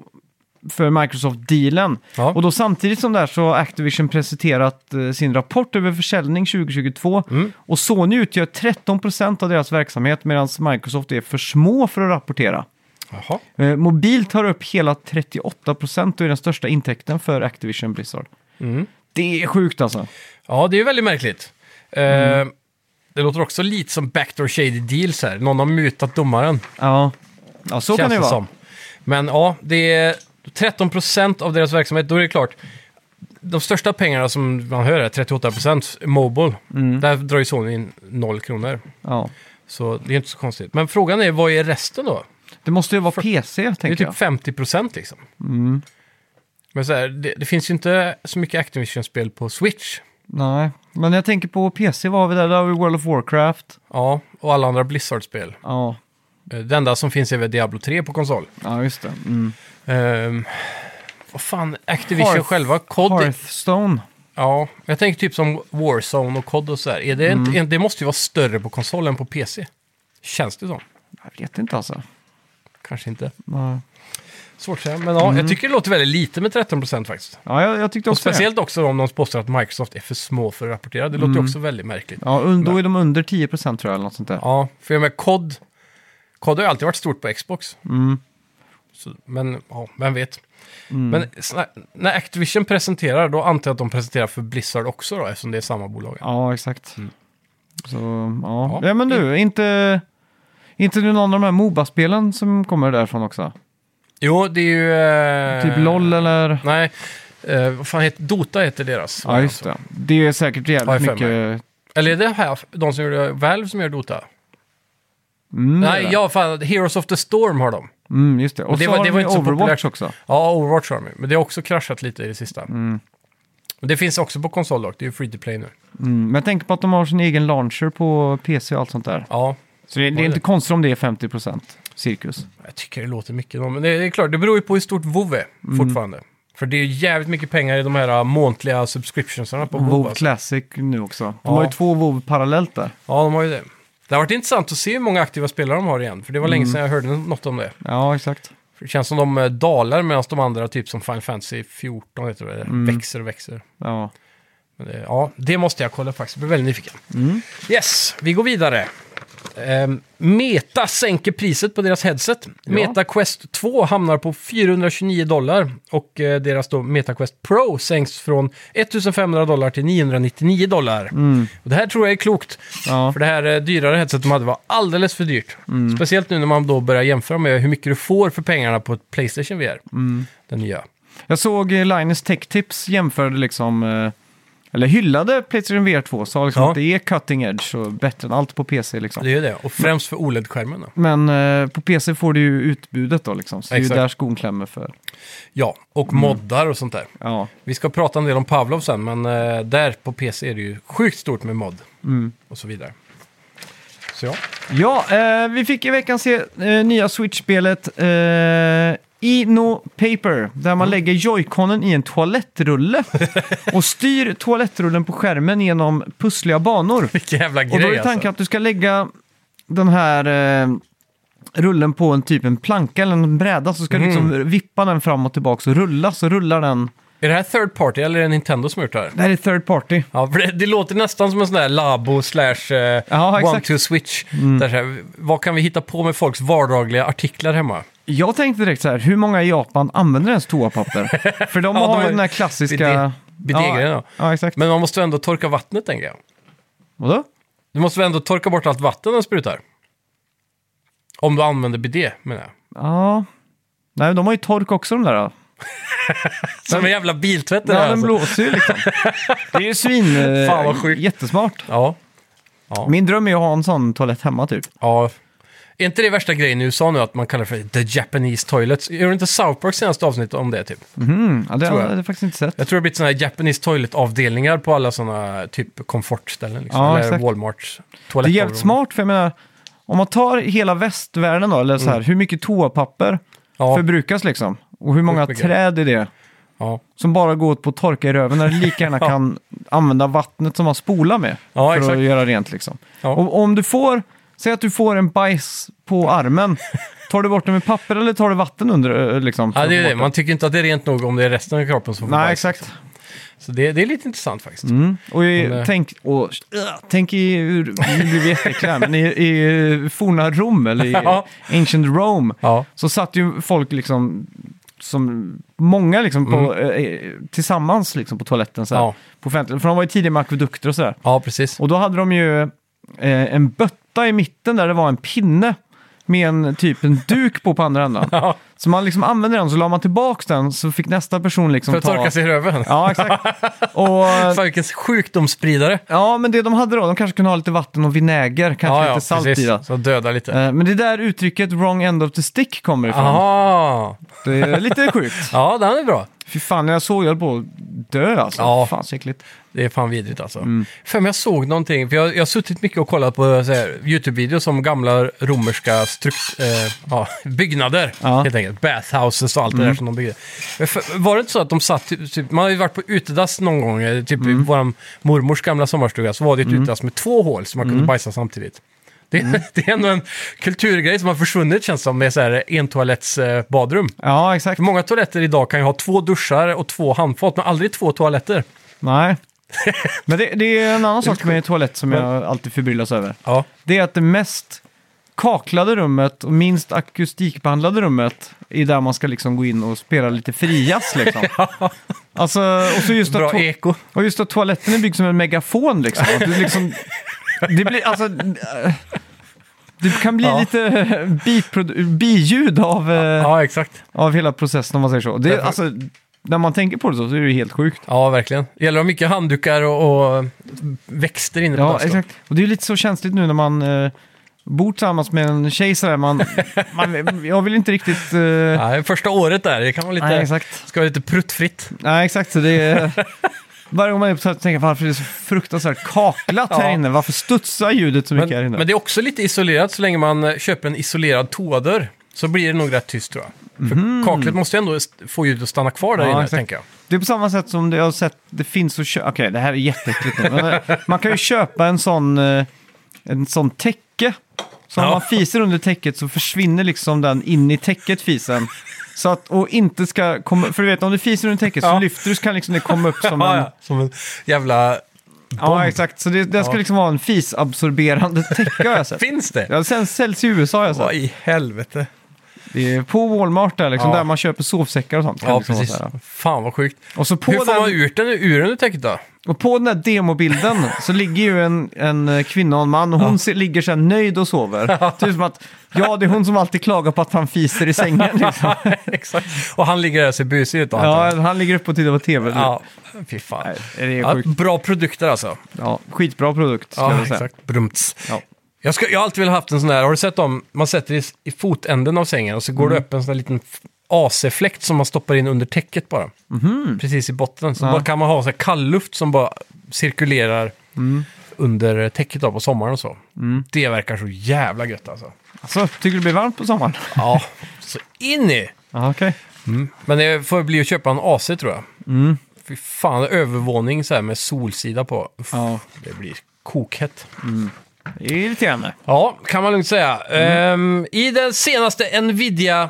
S1: för Microsoft-dealen.
S2: Ja.
S1: Och då samtidigt som det här så har Activision presenterat eh, sin rapport över försäljning 2022.
S2: Mm.
S1: Och Sony utgör 13% av deras verksamhet medan Microsoft är för små för att rapportera.
S2: Jaha.
S1: Eh, mobil tar upp hela 38% och är den största intäkten för Activision
S2: Mm.
S1: Blizzard. Det är sjukt alltså.
S2: Ja, det är ju väldigt märkligt. Eh, Det låter också lite som backdoor shady deals här. Någon har mutat domaren.
S1: Ja, ja så kan det vara.
S2: som. Men ja, det är 13% av deras verksamhet, då är det klart. De största pengarna som man hör är 38% mobile.
S1: Mm.
S2: Där drar ju Sony in 0 kronor.
S1: Ja.
S2: Så det är inte så konstigt. Men frågan är, vad är resten då?
S1: Det måste ju vara PC,
S2: Det är
S1: tänker
S2: typ
S1: jag. Mm.
S2: 50% liksom. Men så här, det, det finns ju inte så mycket Activision-spel på Switch.
S1: Nej, men jag tänker på PC, vad har vi där? Där har vi World of Warcraft.
S2: Ja, och alla andra Blizzard-spel.
S1: Ja,
S2: Eh, Det enda som finns är väl Diablo 3 på konsol.
S1: ja just det. Mm.
S2: Ehm, vad fan, Activision
S1: Hearth-
S2: själva, COD.
S1: Hearthstone.
S2: Ja, jag tänker typ som Warzone och COD och sådär. Är det,
S1: Mm.
S2: inte, det måste ju vara större på konsol än på PC. Känns det som.
S1: Jag vet inte alltså.
S2: Kanske inte.
S1: Nej.
S2: Svårt att säga, men ja, jag tycker det låter väldigt lite med 13% faktiskt.
S1: Ja, jag, Mm. jag tyckte
S2: Och
S1: också det.
S2: speciellt också om de påstår att Microsoft är för små för att rapportera. Det
S1: Mm.
S2: låter ju också väldigt märkligt.
S1: Ja, un- då är de under 10 procent tror jag, eller något sånt där.
S2: Ja, för jag med COD, COD har ju alltid varit stort på Xbox.
S1: Mm.
S2: Så, men ja, vem vet. Men sna- när Activision presenterar, då antar jag att de presenterar för Blizzard också då, eftersom det är samma bolag.
S1: Ja, exakt. Så, ja.
S2: Mm. Ja.
S1: Ja. men du, inte... Inte nu någon av de här Moba-spelen som kommer därifrån också?
S2: Jo, det är ju... eh,
S1: Typ LOL eller?
S2: Nej, eh, vad fan heter Dota heter deras.
S1: Ja, just det. Det är säkert
S2: Ja, jag
S1: jävligt
S2: är för
S1: mycket...
S2: Eller är det här de som gjorde Valve som gör Dota?
S1: Mm,
S2: Nej,
S1: eller?
S2: ja, fan, Heroes of the Storm har de.
S1: Mm, just det. Och
S2: det
S1: så
S2: var-
S1: har
S2: det
S1: det
S2: var inte så
S1: Overwatch
S2: populärt.
S1: också.
S2: Ja, Overwatch har de ju, men det har också kraschat lite i det sista. Men det finns också på konsol dock, det är ju free to play nu.
S1: Mm, men jag tänker på att de har sin egen launcher på PC och allt sånt där.
S2: Ja,
S1: Så det, det är inte konstigt om det är 50% cirkus.
S2: jag tycker det låter mycket. Men det, det är klart, det beror ju på hur stort WoW är E fortfarande. För det är ju jävligt mycket pengar i de här äh, måntliga subscriptionsarna på WoW.
S1: WoW
S2: Alltså.
S1: Classic nu också. De
S2: Ja.
S1: har ju två WoW parallellt där.
S2: Ja, de har ju det. Det har varit intressant att se hur många aktiva spelare de har igen, för det var länge sedan jag hörde något om det.
S1: Ja, exakt.
S2: För det känns som de eh, dalar medan de andra, typ som Final Fantasy 14, heter det, växer och växer.
S1: Ja.
S2: Men det, ja, det måste jag kolla faktiskt. Jag blir väldigt nyfiken. Yes, vi går vidare. Ehm, Meta sänker priset på deras headset. Meta Quest 2 hamnar på 429 dollar och eh, deras då Meta Quest Pro sänks från 1500 dollar till 999 dollar. Och det här tror jag är klokt,
S1: Ja.
S2: för det här eh, dyrare headsetet de hade var alldeles för dyrt. Speciellt nu när man då börjar jämföra med hur mycket du får för pengarna på ett Playstation VR, den nya.
S1: Jag såg eh, Linus Tech Tips jämförde liksom, eh, eller hyllade Playstation VR 2, sa liksom
S2: Ja.
S1: att det är cutting edge och bättre än allt på PC liksom.
S2: Det är ju det, och främst för OLED-skärmen. då.
S1: Men eh, på PC får du ju utbudet då liksom, så det är ju
S2: Exakt.
S1: där skon klämmer för.
S2: Ja, och moddar och sånt där.
S1: Ja,
S2: Vi ska prata en del om Pavlov sen, men eh, där på PC är det ju sjukt stort med mod.
S1: Mm.
S2: Och så vidare. Så ja.
S1: ja eh, vi fick i veckan se eh, nya Switch-spelet eh, Ino Paper, där man lägger joyconen i en [LAUGHS] toalettrulle och styr toalettrullen på skärmen genom pussliga banor.
S2: Vilken jävla grej
S1: Och då är tanken att du ska lägga den här eh, rullen på en typ en planka eller en bräda så ska du liksom vippa den fram och tillbaka och rulla så rullar den.
S2: alltså. Är det här third party eller är det Nintendo som har gjort det här?
S1: Det här är third party.
S2: Ja, för det, det låter nästan som en sån där labo slash
S1: Ja,
S2: eh,
S1: exakt. Mm.
S2: one to switch. Där så här, vad kan vi hitta på med folks vardagliga artiklar hemma?
S1: Jag tänkte direkt så här, hur många i Japan använder ens [LAUGHS] toapapper? För de
S2: Ja, de
S1: har
S2: har
S1: ju den här
S2: ju bidé-
S1: klassiska...
S2: bidégrejen,
S1: ja,
S2: ja.
S1: ja, exakt.
S2: Men man måste ju ändå torka vattnet, tänker jag.
S1: Vadå?
S2: Du måste väl ändå torka bort allt vatten den sprutar? Om du använder bidé, menar jag.
S1: Ja. Nej, de har ju tork också de där. Då.
S2: Som en jävla biltvätt det
S1: Ja,
S2: här,
S1: den
S2: alltså.
S1: blåser ju liksom. [LAUGHS] Det är ju svin... [LAUGHS] eh,
S2: Fan, vad sjukt.
S1: Jättesmart.
S2: Ja.
S1: Min dröm är ju att ha en sån toalett hemma typ.
S2: Ja. Är inte det värsta grejen i USA nu att man kallar det för the Japanese toilets? Gör inte South Park senaste avsnitt om det typ?
S1: Mm, ja, det har
S2: Tror jag.
S1: jag hade faktiskt inte sett.
S2: Jag tror det har blivit sådana här Japanese toilet-avdelningar på alla sådana typ komfortställen. Liksom.
S1: Ja,
S2: Eller
S1: exakt.
S2: Walmarts
S1: Det är
S2: toaletter.
S1: jävligt smart, för jag menar, om man tar hela västvärlden då, eller så här, hur mycket toapapper
S2: Ja,
S1: förbrukas liksom? Och hur många
S2: Sjukt mycket.
S1: träd är det
S2: ja.
S1: som bara går åt på att torka i röven, när du lika
S2: [LAUGHS]
S1: gärna kan använda vattnet som man spolar med
S2: Ja,
S1: för
S2: exakt.
S1: att göra rent liksom.
S2: Ja.
S1: Och om du får, säg att du får en bajs på armen, tar du bort den med papper eller tar du vatten under eh, liksom? för
S2: ja,
S1: att
S2: det är
S1: få
S2: det.
S1: bort
S2: Man tycker inte att det är rent nog om det är resten av kroppen som får
S1: Nej,
S2: bajs. liksom.
S1: exakt.
S2: Så det, det är lite intressant faktiskt.
S1: Mm. Och i,
S2: Men, eh,
S1: tänk, och, äh, tänk i, nu blir vi jätteäckliga, här, men i, i forna Rom, eller i
S2: [LAUGHS] Ja.
S1: ancient Rome,
S2: Ja.
S1: så satt ju folk liksom, som många liksom på, eh, tillsammans liksom på toaletten så här,
S2: Mm. Ja.
S1: på offentlig, för de var ju tidigare med akvedukter och sådär.
S2: ja, precis.
S1: Och då hade de ju eh, en bötta i mitten där det var en pinne med en typ en duk på på andra änden.
S2: [LAUGHS] Ja,
S1: Så man liksom använde den, så la man tillbaks den, så fick nästa person liksom
S2: för att
S1: ta...
S2: torka sig i röven.
S1: Ja,
S2: [LAUGHS]
S1: exakt. Och,
S2: Fan vilken sjukdomsspridare.
S1: ja, men det de hade då, de kanske kunde ha lite vatten och vinäger, kanske lite salt i det.
S2: Så döda lite.
S1: Eh, Men det är där uttrycket wrong end of the stick kommer ifrån.
S2: Aha.
S1: Det är lite sjukt.
S2: Ja, den är bra.
S1: Fy fan, när jag såg jag höll på att dö alltså.
S2: Ja.
S1: Fan så äckligt.
S2: Det är fan vidrigt alltså. För mig, jag såg någonting, för jag, jag har suttit mycket och kollat på så här, YouTube-videos om gamla romerska strukt, eh, ja, [LAUGHS] byggnader,
S1: Ja.
S2: helt enkelt. Bathhouses och allt det där som de byggde. Men för, var det inte så att de satt, typ, man har ju varit på utedass någon gång, eh, typ i vår mormors gamla sommarstuga, så var det ett utedass med två hål som man kunde bajsa samtidigt. Det, [LAUGHS] det är ändå en kulturgrej som har försvunnit känns som med så här entoaletts eh, badrum.
S1: Ja, exakt.
S2: För många toaletter idag kan ju ha två duschar och två handfat, men aldrig två toaletter.
S1: Nej. Men det, det är en annan sak med toalett som jag alltid förbryllas över.
S2: Ja.
S1: Det är att det mest kaklade rummet och minst akustikbehandlade rummet är där man ska liksom gå in och spela lite frias
S2: [LAUGHS]
S1: liksom. Alltså, och, så just att
S2: Bra
S1: to-
S2: eko.
S1: och just att toaletten är byggd som en megafon liksom. Att du liksom det blir alltså... eh, Det kan bli
S2: Ja.
S1: lite biprodu- biljud av, eh,
S2: Ja, exakt.
S1: av hela processen om man säger så. Det, är- alltså, när man tänker på det så, så är det ju helt sjukt.
S2: Ja, verkligen. Gäller det mycket handdukar och, och växter inne på
S1: Ja,
S2: dansgolvet?
S1: exakt. Alltså. Och det är ju lite så känsligt nu när man eh, bor tillsammans med en tjej sådär.
S2: [LAUGHS]
S1: Man, man, jag vill inte riktigt... eh,
S2: Nej, första året där, det kan vara lite...
S1: nej, exakt.
S2: Ska vara lite pruttfritt.
S1: Nej, exakt. Så det är, varje gång man är på toaletten tänker jag varför är det så fruktansvärt kaklat
S2: Ja.
S1: här inne? Varför studsar ljudet så mycket
S2: Men,
S1: här inne?
S2: men det är också lite isolerat så länge man eh, köper en isolerad toadörr. Så blir det nog rätt tyst tror jag. För kaklet måste ju ändå st- få ljudet att stanna kvar där
S1: Mhm. Ja,
S2: inne,
S1: exakt.
S2: tänker jag.
S1: Det är på samma sätt som det, jag har sett, det finns att köpa... Okej, det här är jätteäckligt nu. Men, eh, man kan ju köpa en sån, eh, en sån täcke. Så om
S2: Ja.
S1: man fiser under täcket så försvinner liksom den in i täcket, fisen. Så att, och inte ska komma... För du vet, om du fiser under täcket
S2: Ja.
S1: så lyfter du så kan liksom det komma upp som
S2: [LAUGHS] Ja,
S1: en...
S2: ja. Som en jävla...
S1: Ja, exakt. Så det, det ska
S2: Ja.
S1: liksom vara en fisabsorberande täcke har jag sett.
S2: Finns det?
S1: Ja, sen säljs i USA har jag sett.
S2: Vad i helvete?
S1: Det är på Walmart där liksom,
S2: Ja.
S1: där man köper sovsäckar och sånt. Kan
S2: Ja,
S1: liksom vara
S2: precis.
S1: så här.
S2: Fan vad sjukt.
S1: Och så på
S2: Hur får
S1: den...
S2: man ut den ur den ur
S1: [LAUGHS]
S2: täcket då? [LAUGHS]
S1: Och på den här demobilden så ligger ju en, en eh, kvinna och en man och hon se- ligger så här nöjd och sover. Typ som att, ja det är hon som alltid klagar på att han fiser i [LAUGHS] sängen liksom.
S2: Exakt. Och han ligger där och ser busig ut då, antar
S1: Ja, han ligger uppe och tittar på tv.
S2: jag.
S1: Ja.
S2: ja, fy fan.
S1: Det är
S2: Ja,
S1: sjukt.
S2: bra produkter alltså.
S1: Ja, skitbra produkt skulle
S2: Ja,
S1: jag säga.
S2: exakt. Brumts.
S1: Ja.
S2: Jag, ska, jag har alltid velat haft en sån där, har du sett dem? Man sätter i, i fotänden av sängen och så går det
S1: Mm.
S2: upp en sån där liten f- AC-fläkt som man stoppar in under täcket bara. Precis i botten. Så
S1: Mhm. Ja.
S2: bara kan man ha så här kall luft som bara cirkulerar
S1: Mm.
S2: under täcket då på sommaren och så. Det verkar så jävla gött alltså.
S1: Så, tycker du det blir varmt på sommaren?
S2: Ja, så in i!
S1: Ja, okej.
S2: Men det får bli att köpa en AC tror jag.
S1: Mm.
S2: Fy fan, övervåning så här med solsida på. Uff,
S1: Ja,
S2: Det blir kokhett.
S1: det är irriterande.
S2: Ja, kan man lugnt säga. Ehm, I den senaste Nvidia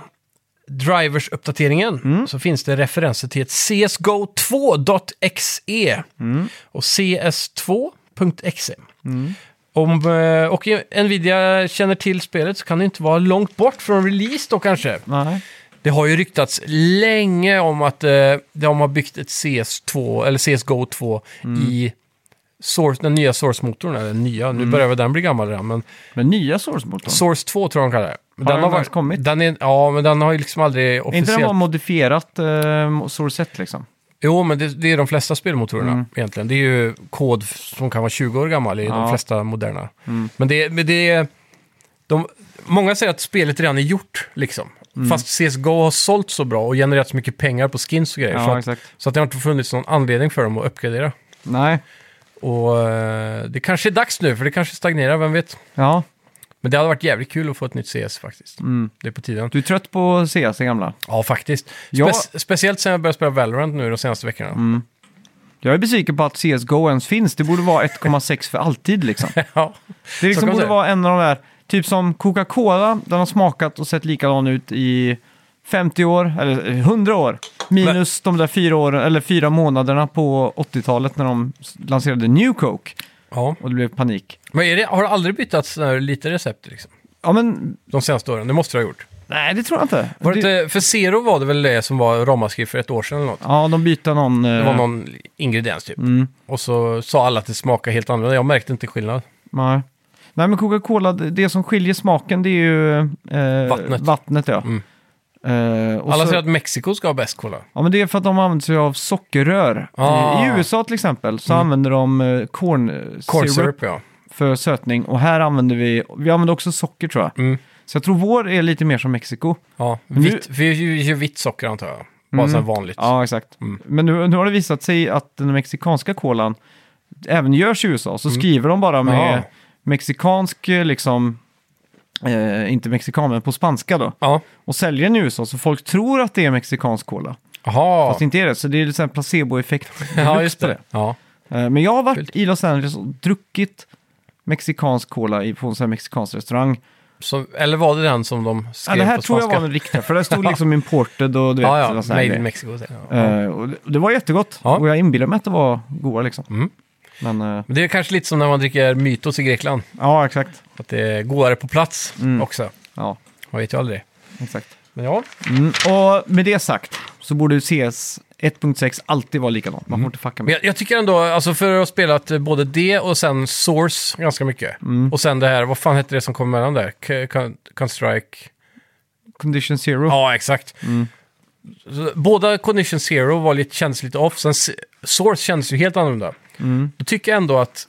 S2: Drivers-uppdateringen
S1: Mm.
S2: så finns det referenser till ett CSGO2.exe E
S1: Mm.
S2: och CS2.exe. E. Om, eh, och Nvidia känner till spelet så kan det inte vara långt bort från release då kanske.
S1: Nej.
S2: Det har ju ryktats länge om att eh, de har byggt ett CS2, eller CSGO 2
S1: Mm.
S2: i source, den nya Source-motorn. Eller nya, nu börjar väl den bli gammal redan, men
S1: Men nya source
S2: Source 2 tror jag de kallar det. Men
S1: Har den
S2: varit-
S1: ens kommit?
S2: Den är, ja, men den har ju liksom aldrig
S1: Är inte den
S2: officiellt...
S1: bara modifierat eh, source 1 liksom?
S2: Jo, men det, det är de flesta spelmotorerna
S1: Mm.
S2: egentligen. Det är ju kod f- som kan vara 20 år gammal i de
S1: Ja. Mm.
S2: flesta moderna. Men det, men det är... De, många säger att spelet redan är gjort, liksom.
S1: Mm.
S2: Fast CSGO har sålt så bra och genererat så mycket pengar på skins och grejer. så,
S1: Ja,
S2: att,
S1: exakt.
S2: så att det har inte funnits någon anledning för dem att uppgradera.
S1: Nej.
S2: Och eh, det kanske är dags nu, för det kanske stagnerar, vem vet.
S1: Ja,
S2: Men det hade varit jävligt kul att få ett nytt CS faktiskt.
S1: Mm.
S2: Det är på tiden.
S1: du är trött på CS, det gamla?
S2: Ja, faktiskt.
S1: Ja. Mm.
S2: Spe- speciellt sen jag började spela Valorant nu de senaste veckorna.
S1: Jag är besviken på att CSGO ens finns. Det borde vara 1,6 för alltid liksom.
S2: [LAUGHS]
S1: Det
S2: Ja. Så kan
S1: liksom
S2: man
S1: borde
S2: säga.
S1: vara en av de där, typ som Coca-Cola, den har smakat och sett likadan ut i 50 år, eller 100 år. Minus de där fyra, åren, eller fyra månaderna på 80-talet när de s- lanserade New Coke
S2: ja.
S1: och det blev panik.
S2: Men är det, har det aldrig bytts sådana här lite recept liksom?
S1: Ja men,
S2: de senaste åren? Det måste det ha gjort.
S1: nej det tror jag inte.
S2: Var det,
S1: Det-
S2: inte- för Zero var det väl det som var ramaskri för ett år sedan eller något?
S1: Ja, de bytte någon... eh,
S2: Det var
S1: Mm.
S2: någon ingrediens typ. Och så sa alla att det smakade helt annorlunda. Jag märkte inte skillnad.
S1: Nej. Nej, men Coca-Cola, det det som skiljer smaken det är ju eh,
S2: Vattnet.
S1: vattnet ja.
S2: Mm.
S1: Eh, och
S2: Alla
S1: så,
S2: säger att Mexiko ska ha bäst cola.
S1: ja, men det är för att de använder sig av sockerrör. Eh,
S2: Ah. Mm.
S1: I, I USA till exempel så använder de eh, corn,
S2: Corn
S1: syrup
S2: syrup, ja.
S1: för sötning och här använder vi, vi använder också socker tror jag.
S2: Mm.
S1: Så jag tror vår är lite mer som Mexiko.
S2: ja.
S1: Nu- Mm.
S2: Vitt, vi gör ju vitt socker antar jag. Bara så här vanligt.
S1: Ja, exakt.
S2: Mm.
S1: Men nu, nu har det visat sig att den mexikanska kolan även görs i USA,
S2: Mm.
S1: så skriver de bara med
S2: Ja.
S1: mexikansk, eh, liksom, eh, inte mexikan, men på spanska då.
S2: Ja.
S1: Och säljer den i USA, så folk tror att det är mexikansk kola.
S2: Jaha.
S1: Fast det inte är det, så det är lite en placeboeffekt.
S2: [LAUGHS] Ja, just det. Ja.
S1: Eh, Men jag har varit i Los Angeles och druckit mexikansk cola i- på en sån här mexikansk restaurang.
S2: Så, eller var det den som de
S1: Ja,
S2: skrev
S1: det här
S2: på
S1: tror jag
S2: spanska?
S1: var den riktiga, för där
S2: [LAUGHS]
S1: stod liksom imported och du vet.
S2: Ja, ja.
S1: sådana sådana
S2: Made
S1: grejer.
S2: in Mexico. säger jag.
S1: Eh, och det- det var jättegott
S2: Ja. Mm.
S1: och jag inbillar mig att det var goda liksom. Men eh,
S2: Men det är kanske lite som när man dricker mytos i Grekland.
S1: ja, exakt.
S2: Att det är godare på plats
S1: Mm.
S2: också.
S1: Ja,
S2: Man vet ju aldrig.
S1: exakt.
S2: Men ja,
S1: Mm, och med det sagt så borde CS 1.6 alltid vara likadant. Man får inte fucka
S2: men
S1: med.
S2: jag, jag tycker ändå, alltså för att ha spelat eh, både det och sen Source ganska mycket. Och sen det här, vad fan hette det som kom mellan där? K- Con- Constrike?
S1: Condition Zero.
S2: Ja, exakt. Så Båda Condition Zero var lite, kändes lite off, sen S- Source kändes ju helt annorlunda. Då tycker jag ändå att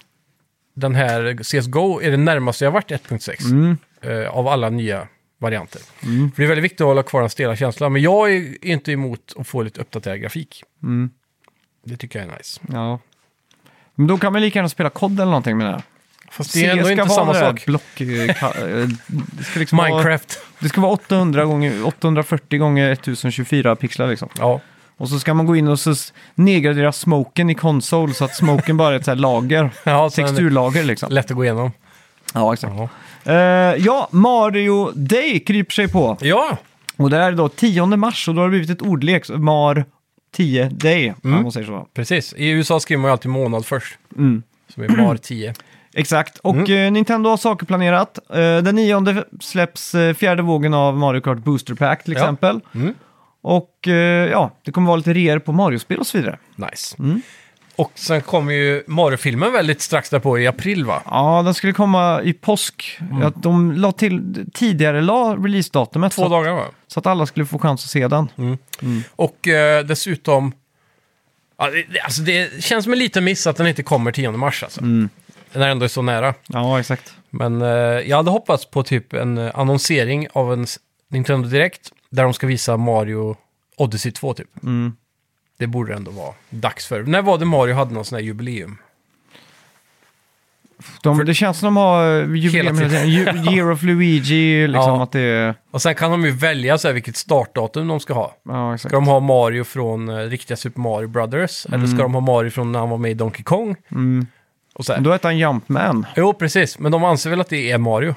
S2: den här CSGO är det närmaste jag varit 1.6 eh, av alla nya varianter. För det är väldigt viktigt att hålla kvar den stela känslan, men jag är inte emot att få lite uppdaterad grafik. Det tycker jag är nice.
S1: Ja. Men då kan man lika gärna spela COD eller någonting med det här.
S2: Fast det är ändå inte
S1: vara
S2: samma
S1: det där
S2: sak.
S1: Block, eh, ka- eh, det, ska liksom vara,
S2: [LAUGHS] Minecraft.
S1: det ska vara 800 gånger, 840 gånger 1024 pixlar liksom.
S2: Ja,
S1: Och så ska man gå in och så s- nedgradera smoken i konsol så att smoken bara är ett så här
S2: [LAUGHS]
S1: lager.
S2: ja sen är det
S1: Texturlager liksom.
S2: lätt att gå igenom.
S1: Ja, exakt.
S2: Ja,
S1: Eh, ja, Mario Day kryper sig på.
S2: ja.
S1: Och det här är då 10 mars och då har det blivit ett ordlek. så Mar 10 Day, om
S2: Mm.
S1: man säger så.
S2: precis. I USA skriver man ju alltid månad först.
S1: Mm.
S2: Som
S1: [CLEARS THROAT]
S2: är MAR 10.
S1: Exakt, och
S2: Mm.
S1: eh, Nintendo har saker planerat. Eh, den 9 släpps eh, fjärde vågen av Mario Kart Booster Pack till
S2: Ja.
S1: exempel.
S2: Mm.
S1: Och eh, ja, det kommer vara lite reor på Mario-spel och så vidare.
S2: Nice.
S1: Mm.
S2: Och sen kommer ju Mario-filmen väldigt strax därpå i april va?
S1: Ja, den skulle komma i påsk. Att de la till, tidigare la releasedatumet
S2: Mm. Två
S1: så, att-
S2: dagar Mm. va?
S1: så att alla skulle få chans att se den.
S2: Och eh, dessutom... Ja, det- det- Alltså det känns som en liten miss att den inte kommer 10 mars alltså.
S1: Mm.
S2: Den är ändå så nära.
S1: Ja, exakt.
S2: Men eh, jag hade hoppats på typ en eh, annonsering av en s- Nintendo Direkt där de ska visa Mario Odyssey 2 typ.
S1: Mm.
S2: Det borde det ändå vara dags för. När var det Mario hade någon sån här jubileum?
S1: De, det känns som de har eh, jubileum,
S2: Hela
S1: hela
S2: tiden.
S1: tiden. Ju-
S2: [LAUGHS]
S1: Year of Luigi, liksom
S2: Ja.
S1: att det är...
S2: Och sen kan de ju välja så här vilket startdatum de ska ha.
S1: Ja, exakt.
S2: Ska de ha Mario från eh, riktiga Super Mario Brothers? Eller ska de ha Mario från när han var med i Donkey Kong?
S1: Mm.
S2: Och så här.
S1: Då heter han Jumpman.
S2: Jo, precis. Men de anser väl att det är Mario?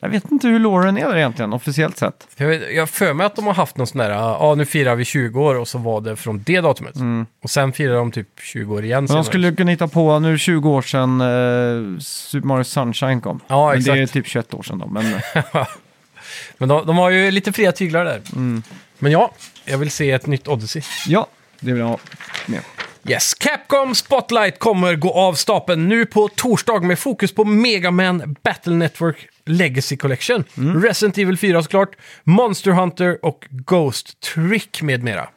S1: Jag vet inte hur Lauren är där egentligen, officiellt sett.
S2: För Jag vet- jag har för mig att de har haft någon sån där, ja ah, nu firar vi 20 år och så var det från det datumet. Och sen firar de typ 20 år igen.
S1: Mm. Men de
S2: senare.
S1: skulle kunna hitta på, nu är det 20 år sedan eh, Super Mario Sunshine kom.
S2: Ja,
S1: men det är
S2: exakt.
S1: typ 21 år sedan då. Men, eh,
S2: [LAUGHS] Men de, de har ju lite fria tyglar där.
S1: Mm.
S2: Men ja, jag vill se ett nytt Odyssey.
S1: ja, det vill jag ha
S2: [LAUGHS]
S1: med.
S2: Yes, Capcom Spotlight kommer gå av stapeln nu på torsdag med fokus på Mega Man Battle Network Legacy Collection. Resident Evil 4 såklart, Monster Hunter och Ghost Trick med mera.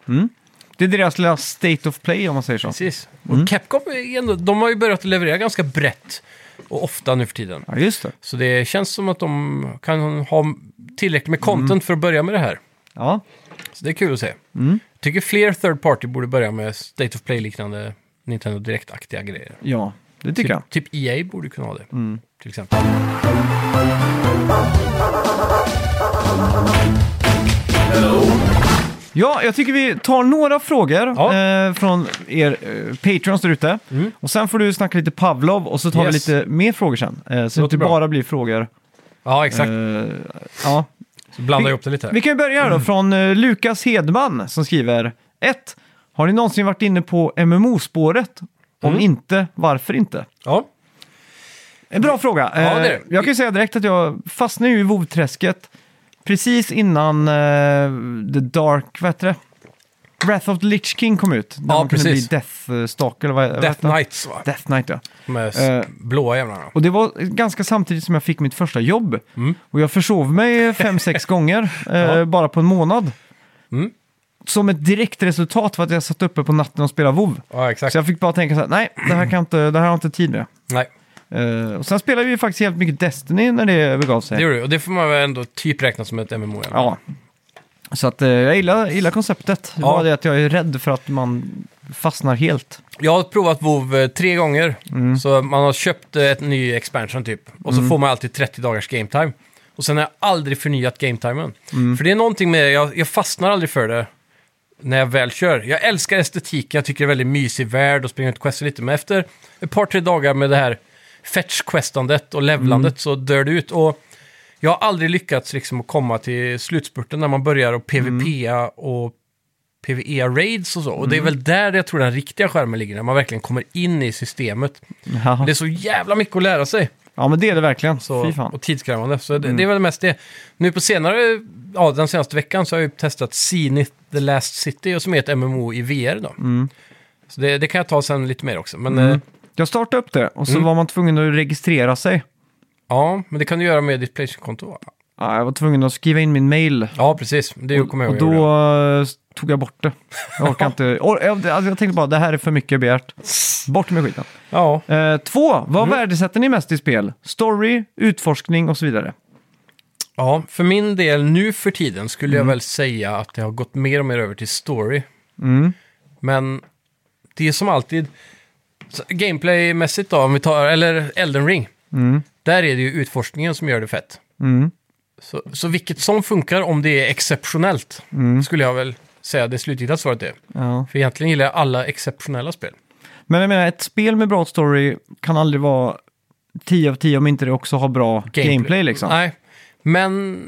S1: Det är deras lilla State of Play om man säger så.
S2: Precis. Och Capcom är ändå, de har ju börjat leverera ganska brett och ofta nu för tiden.
S1: Ja, just det.
S2: Så det känns som att de kan ha tillräckligt med content för att börja med det här.
S1: Ja,
S2: Så det är kul att se. Jag tycker fler third party borde börja med State of Play-liknande Nintendo Direct-aktiga grejer.
S1: ja det tycker jag. Mm.
S2: Typ, typ EA borde kunna ha det, till exempel.
S1: Ja, jag tycker vi tar några frågor
S2: Ja. Mm.
S1: eh, från er eh, patrons där ute. Och sen får du snacka lite Pavlov och så tar
S2: Yes.
S1: vi lite mer frågor sen. Eh, så det
S2: Låter
S1: inte
S2: bra.
S1: bara blir frågor.
S2: Ja, exakt.
S1: Eh, ja.
S2: Så blanda
S1: vi-
S2: ihop det lite.
S1: Vi kan ju börja här
S2: Mm.
S1: då från eh, Lukas Hedman som skriver 1. Har ni någonsin varit inne på MMO-spåret? Om
S2: Mm.
S1: inte, varför inte?
S2: ja.
S1: En bra fråga.
S2: det är
S1: Eh,
S2: det.
S1: Jag kan ju säga direkt att jag fastnade ju i WoW-träsket precis innan eh, The Dark, vad heter det? Wrath of the Lich King kom ut. Där
S2: Ja,
S1: man kunde
S2: precis.
S1: bli Death eh, Stalker eller vad vad
S2: Death
S1: hette det?
S2: Knights va?
S1: Death Knight, ja.
S2: De här s-
S1: Eh.
S2: blåa jävlarna.
S1: Och det var ganska samtidigt som jag fick mitt första jobb. Och jag försov mig
S2: [LAUGHS]
S1: fem, sex gånger eh,
S2: Mm. Ja.
S1: bara på en månad.
S2: Mm.
S1: Som ett direkt resultat för att jag satt uppe på natten och spelade WoW.
S2: Ja, exakt.
S1: Så jag fick bara tänka så här, nej, det här, kan jag inte, det här har jag inte tid med.
S2: Nej,
S1: Eh, och sen spelade vi ju faktiskt helt mycket Destiny när det begav sig.
S2: det gjorde du. Och det får man väl ändå typ räkna som ett MMO. Ja.
S1: Ja. Så att eh, jag gillar, gillar konceptet. Det
S2: Ja.
S1: var det att jag är rädd för att man fastnar helt.
S2: Jag har provat WoW eh, tre gånger. Så man har köpt eh, ett ny expansion typ. Och så får man alltid 30 dagars game time. Och sen har jag aldrig förnyat game timen. För det är någonting med det, jag, jag fastnar aldrig för det när jag väl kör. Jag älskar estetiken, jag tycker det är väldigt mysig värld och springer ut quest lite. Men efter ett par, tre dagar med det här fetch-questandet och levlandet så dör det ut. Och jag har aldrig lyckats liksom att komma till slutspurten när man börjar och PVPa och PVE-raids och så. Och det är
S1: Mm.
S2: väl där jag tror den riktiga skärmen ligger, när man verkligen kommer in i systemet.
S1: Ja,
S2: Det är så jävla mycket att lära sig
S1: ja men det är det verkligen.
S2: så,
S1: Fy fan. Mm.
S2: och tidskrävande. Så det, det är väl mest det. Nu på senare, ja, den senaste veckan så har jag ju testat Zenith The Last City, och som är ett MMO i VR då.
S1: Mm.
S2: Så det, det kan jag ta sen lite mer också. Men, eh,
S1: Jag startade upp det och så
S2: Mm.
S1: var man tvungen att registrera sig.
S2: ja, men det kan du göra med ditt Playstation-konto va?
S1: Ja, jag var tvungen att skriva in min mail.
S2: Ja, precis. Det kommer jag
S1: Och
S2: ihåg. jag
S1: då
S2: gjorde.
S1: eh, tog jag bort det. Jag orkar inte. Or- jag- Alltså, jag tänkte bara, det här är för mycket begärt. Bort med skiten.
S2: Ja,
S1: Eh, två, vad
S2: Mm.
S1: värdesätter ni mest i spel? Story, utforskning och så vidare.
S2: ja, för min del nu för tiden skulle
S1: Mm.
S2: jag väl säga att det har gått mer och mer över till story.
S1: Mm.
S2: Men det är som alltid, så- gameplaymässigt då, om vi tar, eller Elden Ring, där är det ju utforskningen som gör det fett.
S1: Mm.
S2: Så, så vilket som funkar om det är exceptionellt,
S1: Mm.
S2: skulle jag väl säga det slutgiltiga svaret är.
S1: Ja.
S2: För egentligen gillar jag alla exceptionella spel.
S1: Men jag menar, ett spel med bra story kan aldrig vara 10 av 10 om inte det också har bra gameplay, liksom.
S2: Nej, men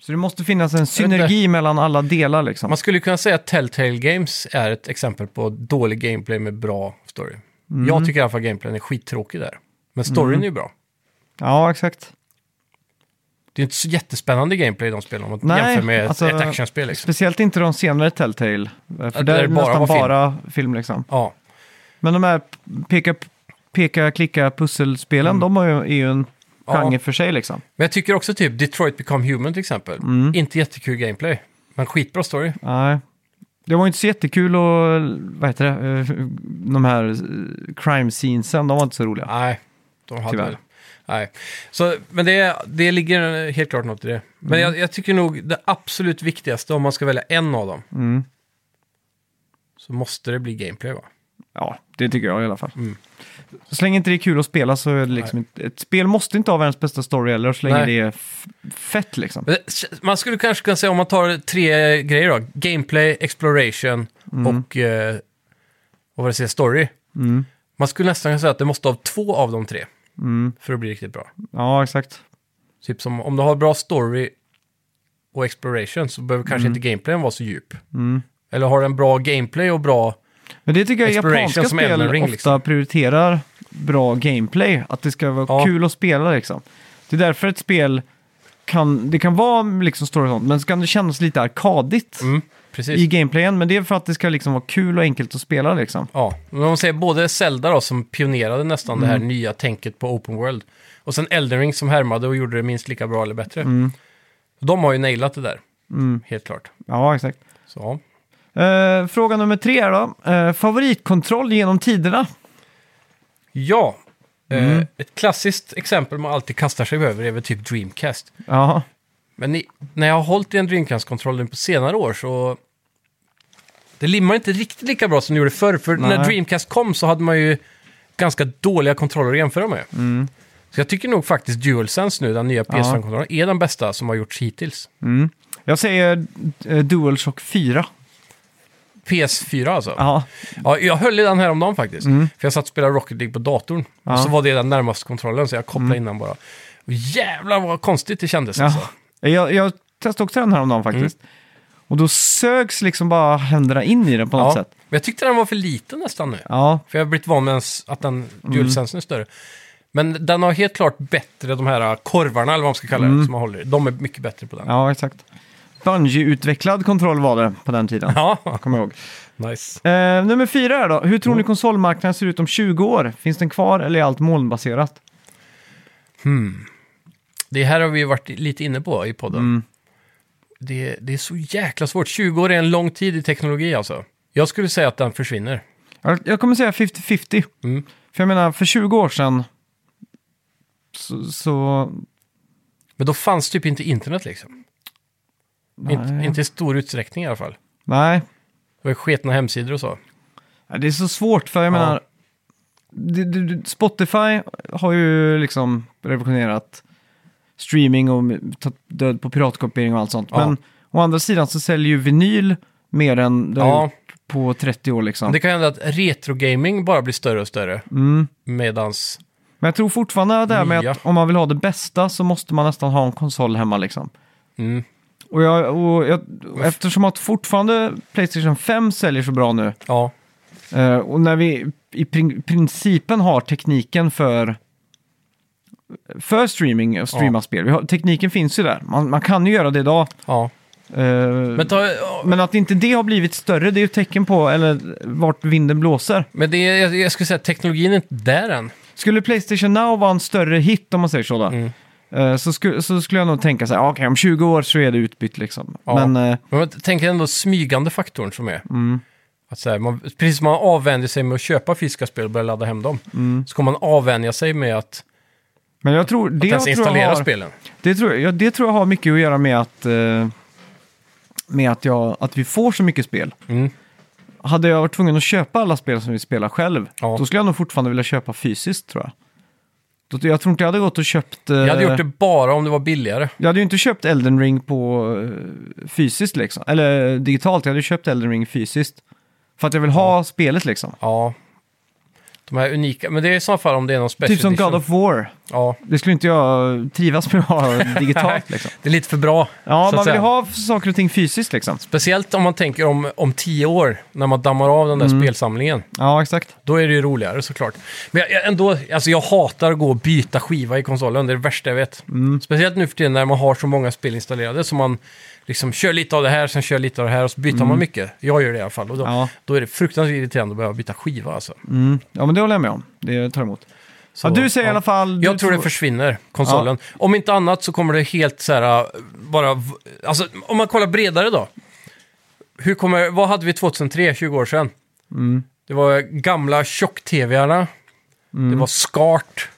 S1: Så det måste finnas en
S2: vet inte.
S1: synergi mellan alla delar liksom.
S2: man skulle kunna säga att Telltale Games är ett exempel på dålig gameplay med bra story.
S1: Mm.
S2: Jag tycker i alla fall gameplayen är skittråkig där. Men storyn är ju bra.
S1: Ja, exakt.
S2: Det är inte så jättespännande gameplay i de spelen om man
S1: Nej,
S2: jämför med ett-
S1: alltså-
S2: ett actionspel. Liksom.
S1: Speciellt inte de senare Telltale. eh, För
S2: Att
S1: där
S2: det
S1: är det
S2: bara
S1: nästan
S2: var film.
S1: bara film. liksom.
S2: Ja,
S1: Men de här peka, peka klicka, pusselspelen, de har ju, är ju en
S2: Mm. Ja.
S1: genre för sig liksom.
S2: men jag tycker också typ Detroit Become Human till exempel.
S1: Mm.
S2: Inte jättekul gameplay, men skitbra story.
S1: Nej. Det var ju inte så jättekul och, vad heter det, eh, de här eh, crime scenesen, de var inte så roliga.
S2: Nej, de hade
S1: Tyvärr.
S2: väl. Nej. Så, men det, det ligger helt klart något i det. Men
S1: Mm.
S2: jag, jag tycker nog det absolut viktigaste om man ska välja en av dem.
S1: Mm.
S2: Så måste det bli gameplay va?
S1: Ja, det tycker jag i alla fall.
S2: Mm.
S1: Så länge inte det är kul att spela så är det liksom inte, ett spel måste inte ha världens bästa story heller, så länge
S2: Nej.
S1: det är f- fett liksom.
S2: Men det- Man skulle kanske kunna säga om man tar tre grejer då. Gameplay, exploration och eh, vad var det säger, story. Man skulle nästan kunna säga att det måste ha två av de tre. För att bli riktigt bra.
S1: Ja, exakt.
S2: Typ som om du har bra story och exploration så behöver kanske inte gameplayen vara så djup. Eller har du en bra gameplay och bra...
S1: Men det tycker jag
S2: Exploration
S1: japanska
S2: som Elden
S1: spel
S2: Ring,
S1: ofta
S2: liksom.
S1: prioriterar bra gameplay. Att det ska vara
S2: Ja.
S1: kul att spela liksom. Det är därför ett spel kan, det kan vara liksom story och sånt, men så kan det kännas lite arkadigt
S2: Mm, precis.
S1: i gameplayen. Men det är för att det ska liksom vara kul och enkelt att spela liksom.
S2: Ja, men om man säger både Zelda då som pionerade nästan det här nya tänket på Open World. Och sen Elden Ring som härmade och gjorde det minst lika bra eller bättre. De har ju nailat det där, helt klart.
S1: Ja, exakt.
S2: Så ja.
S1: Eh, fråga nummer tre är då. Eh, favoritkontroll genom tiderna?
S2: ja. Eh, ett klassiskt exempel man alltid kastar sig över är väl typ Dreamcast.
S1: Ja.
S2: Men i, när jag har hållit i en Dreamcast-kontroll nu på senare år så... Det limmar inte riktigt lika bra som det gjorde förr. För
S1: Nej.
S2: när Dreamcast kom så hade man ju ganska dåliga kontroller att jämföra med.
S1: Mm.
S2: Så jag tycker nog faktiskt DualSense nu, den nya PS5-kontrollen, är den bästa som har gjorts hittills.
S1: Jag säger eh, DualShock 4.
S2: PS4 alltså.
S1: Ja. Mm.
S2: Ja, jag höll i den häromdagen faktiskt. För jag satt och spelade Rocket League på datorn. Och så var det den närmaste kontrollen, så jag kopplade in den bara. Och jävlar vad konstigt det kändes.
S1: Mm. ja.
S2: Alltså.
S1: Jag, jag testade också den häromdagen
S2: Mm.
S1: faktiskt. Och då sögs liksom bara händerna in i den på något
S2: Ja. Men
S1: sätt.
S2: jag tyckte den var för liten nästan nu.
S1: Ja,
S2: För jag har blivit van med ens- att den
S1: Mm.
S2: DualSense är större. Men den har äh,
S1: Mm.
S2: helt klart bättre de här korvarna, eller vad man ska kalla det, som man håller i. De är mycket bättre på den.
S1: ja exakt. Bungee-utvecklad kontroll var det på den
S2: [LAUGHS]
S1: tiden.
S2: Ja,
S1: Kommer jag ihåg.
S2: nice.
S1: Eh, nummer fyra är då. Hur tror ni
S2: Mm.
S1: konsolmarknaden ser ut om 20 år? Finns den kvar eller är allt molnbaserat?
S2: Det här har vi ju varit lite inne på i podden.
S1: Mm.
S2: Det, det är så jäkla svårt. 20 år är en lång tid i teknologi alltså. Jag skulle säga att den försvinner.
S1: Jag, jag kommer säga 50-50.
S2: Mm.
S1: För jag menar, för 20 år sedan så... så
S2: Men då fanns typ inte internet liksom. Inte, inte i stor utsträckning i alla fall.
S1: nej,
S2: Det var sketna hemsidor och så.
S1: Ja, det är så svårt för jag
S2: Ja.
S1: menar... det- det- det- Spotify har ju liksom revolutionerat streaming och tagit död på piratkopiering och allt sånt.
S2: Ja.
S1: Men å andra sidan så säljer ju vinyl mer än det har
S2: Ja,
S1: gjort på 30 år liksom.
S2: det kan hända att retrogaming bara blir större och större.
S1: Mm.
S2: Medans...
S1: Men jag tror fortfarande det här med
S2: Nya.
S1: att om man vill ha det bästa så måste man nästan ha en konsol hemma liksom.
S2: Mm.
S1: Och, jag, och jag, eftersom att fortfarande Playstation 5 säljer så bra nu
S2: Ja,
S1: eh, och när vi i prin- principen har tekniken för, för streaming och streama spel. Vi har, tekniken finns ju där. Man, man kan ju göra det idag.
S2: ja.
S1: Eh, men,
S2: Men, ta, ja,
S1: att inte det har blivit större det är ju ett tecken på eller, vart vinden blåser.
S2: men det är, jag, jag skulle säga att teknologin är inte där än.
S1: Skulle Playstation Now vara en större hit om man säger så då?
S2: Mm.
S1: eh, Så, sku, så skulle jag nog tänka så här, "Ah, okej om 20 år så är det utbytt liksom.
S2: Ja.
S1: Men eh,
S2: Men jag tänker ändå smygande faktorn som är.
S1: Mm.
S2: Att så här, man, precis som man avvänjer sig med att köpa fysiska spel och börja ladda hem dem. Så kommer man avvänja sig med att,
S1: Men jag tror Mm. det,
S2: att ens
S1: jag tror
S2: installera
S1: jag har,
S2: spelen.
S1: det, tror jag, ja, det tror jag har mycket att göra med att, eh, med att, jag, att vi får så mycket spel.
S2: Mm.
S1: Hade jag varit tvungen att köpa alla spel som vi spelar själv,
S2: Ja.
S1: då skulle jag nog fortfarande vilja köpa fysiskt tror jag. Då, jag tror inte jag hade gått och köpt... eh,
S2: Jag hade gjort det bara om det var billigare.
S1: jag hade ju inte köpt Elden Ring på eh, fysiskt liksom, eller eh, digitalt, jag hade ju köpt Elden Ring fysiskt. För att jag vill ha spelet liksom.
S2: Ja. De här unika, men det är i så fall om det är någon special
S1: Typ som
S2: edition.
S1: God of War.
S2: Ja,
S1: Det skulle inte jag trivas med att
S2: [LAUGHS]
S1: ha digitalt liksom.
S2: det är lite för bra.
S1: Ja,
S2: så att
S1: man vill ju
S2: säga.
S1: ha saker och ting fysiskt liksom.
S2: Speciellt om man tänker om, om tio år, när man dammar av den där
S1: Mm.
S2: spelsamlingen.
S1: Ja, exakt.
S2: Då är det ju roligare såklart. Men jag, jag, ändå, alltså jag hatar att gå och byta skiva i konsolen, det är det värsta jag vet.
S1: Mm.
S2: Speciellt nu för tiden när man har så många spel installerade, så man liksom kör lite av det här, sen kör lite av det här och så byter man mycket. Jag gör det i alla fall. Och då,
S1: Mm. Ja.
S2: då är det fruktansvärt irriterande att behöva byta skiva alltså.
S1: Mm. Ja, men det håller jag med om. Det tar emot.
S2: Så,
S1: ja, du säger i
S2: ja.
S1: alla fall... du
S2: Jag tror det försvinner, konsolen. Om inte annat så kommer det helt så här, äh, bara... v- Alltså, om man kollar bredare då. Hur kommer, vad hade vi 2003, 20 år sedan? Det var gamla tjock-tv-arna. Det var skart.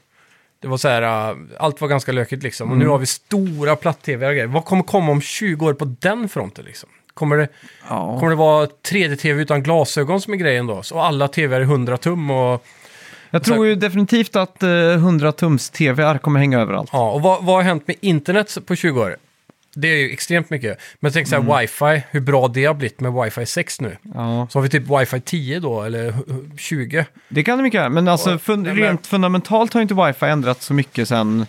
S2: Det var så här, äh, allt var ganska lökigt liksom. Och nu har vi stora platt-tv och grejer. Vad kommer komma om 20 år på den fronten liksom? Kommer det,
S1: Ja.
S2: kommer det vara 3D-tv utan glasögon som är grejen då? Så alla tv är 100 tum och...
S1: Jag tror ju definitivt att 100-tums-tvr kommer hänga överallt.
S2: Ja, och vad, vad har hänt med internet på 20 år? Det är ju extremt mycket. Men tänk så här,
S1: Mm.
S2: wifi, hur bra det har blivit med wifi 6 nu.
S1: Ja.
S2: Så har vi typ wifi 10 då, eller hu- hu- 20.
S1: Det kan det mycket vara, men alltså
S2: Ja,
S1: fun-
S2: men-
S1: rent fundamentalt har ju inte wifi ändrats så mycket sedan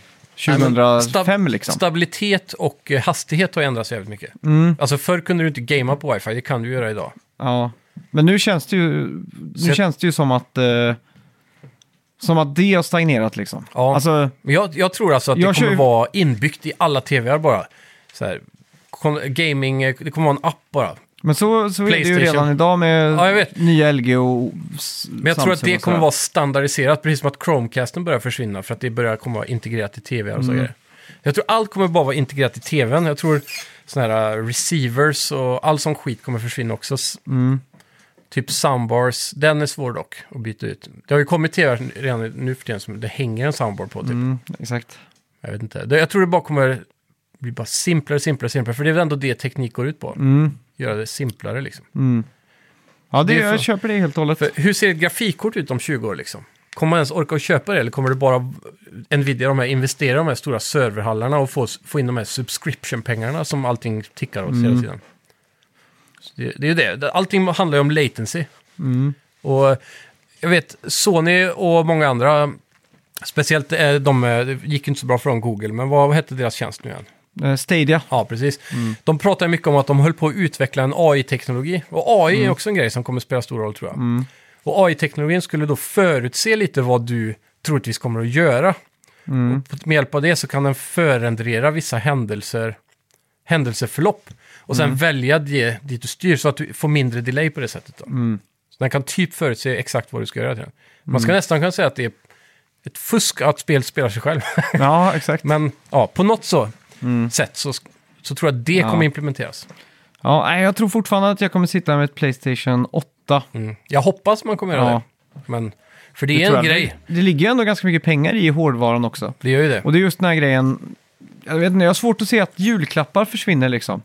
S2: Nej, men
S1: 2005
S2: stab-
S1: liksom.
S2: Stabilitet och eh, hastighet har ändrats jävligt mycket.
S1: Mm.
S2: Alltså förr kunde du inte gamea på wifi, det kan du göra idag.
S1: Ja, men nu känns det ju, nu
S2: Så jag-
S1: känns det ju som att eh, som att det har stagnerat liksom.
S2: Ja.
S1: Alltså,
S2: Men jag, jag tror alltså att
S1: Jag
S2: det kommer
S1: kör ju-
S2: vara inbyggt i alla tv-ar bara. Så här, kon- gaming, eh, det kommer vara en app bara.
S1: men så, så är det ju
S2: PlayStation.
S1: redan idag med
S2: Ja, jag vet.
S1: nya LG och s-
S2: Men jag tror att
S1: Samsung
S2: det
S1: och
S2: kommer
S1: sådär.
S2: vara standardiserat, precis som att Chromecasten börjar försvinna för att det börjar komma vara integrerat i tv och så grejer. Jag tror allt kommer bara vara integrerat i tvn. Jag tror sådana här äh, receivers och all sån skit kommer försvinna också. S-
S1: Mm,
S2: Typ soundbars, den är svår dock att byta ut. Det har ju kommit tv redan nu för tiden som det hänger en soundboard på typ.
S1: Mm, exakt.
S2: Jag vet inte. Det- Jag tror det bara kommer bli bara simplare, simplare, simplare. För det är väl ändå det teknik går ut på.
S1: Mm.
S2: Göra det simplare liksom.
S1: Ja, det,
S2: Det är
S1: jag
S2: så-
S1: köper det helt och hållet.
S2: För hur ser ett grafikkort ut om 20 år liksom? Kommer man ens orka att köpa det eller kommer det bara Nvidia de här, investera i de här stora serverhallarna och få, få in de här subscription-pengarna som allting tickar åt hela tiden? Så det, det är ju det. Allting handlar ju om latency. Och jag vet, Sony och många andra, speciellt eh, de, eh, det gick ju inte så bra för dem, Google, men vad, vad hette deras tjänst nu igen?
S1: Eh,
S2: [LAUGHS]
S1: Stadia.
S2: Ja, precis. De pratar mycket om att de höll på att utveckla en AI-teknologi. Och AI är också en grej som kommer spela stor roll, tror jag. Och AI-teknologin skulle då förutse lite vad du troligtvis kommer att göra. Och på- med hjälp av det så kan den förändrara vissa händelser, händelseförlopp. Och sen välja det dit du styr så att du får mindre delay på det sättet. Då. Så den kan typ förutse exakt vad du ska göra. Till den. Man ska nästan kunna säga att det är ett fusk att spelet spelar sig själv. [LAUGHS]
S1: Ja, exakt.
S2: Men ja, på något så
S1: Mm.
S2: sätt så, så tror jag att det kommer implementeras.
S1: Ja, nej, jag tror fortfarande att jag kommer sitta med ett Playstation 8.
S2: Mm. Jag hoppas man kommer göra
S1: Ja.
S2: det. Men, för det, är
S1: tror
S2: en
S1: jag.
S2: grej.
S1: Det, det ligger ju ändå ganska mycket pengar i hårdvaran också.
S2: Det gör ju det.
S1: Och det är just den här grejen, jag vet inte, jag har svårt att se att julklappar försvinner liksom.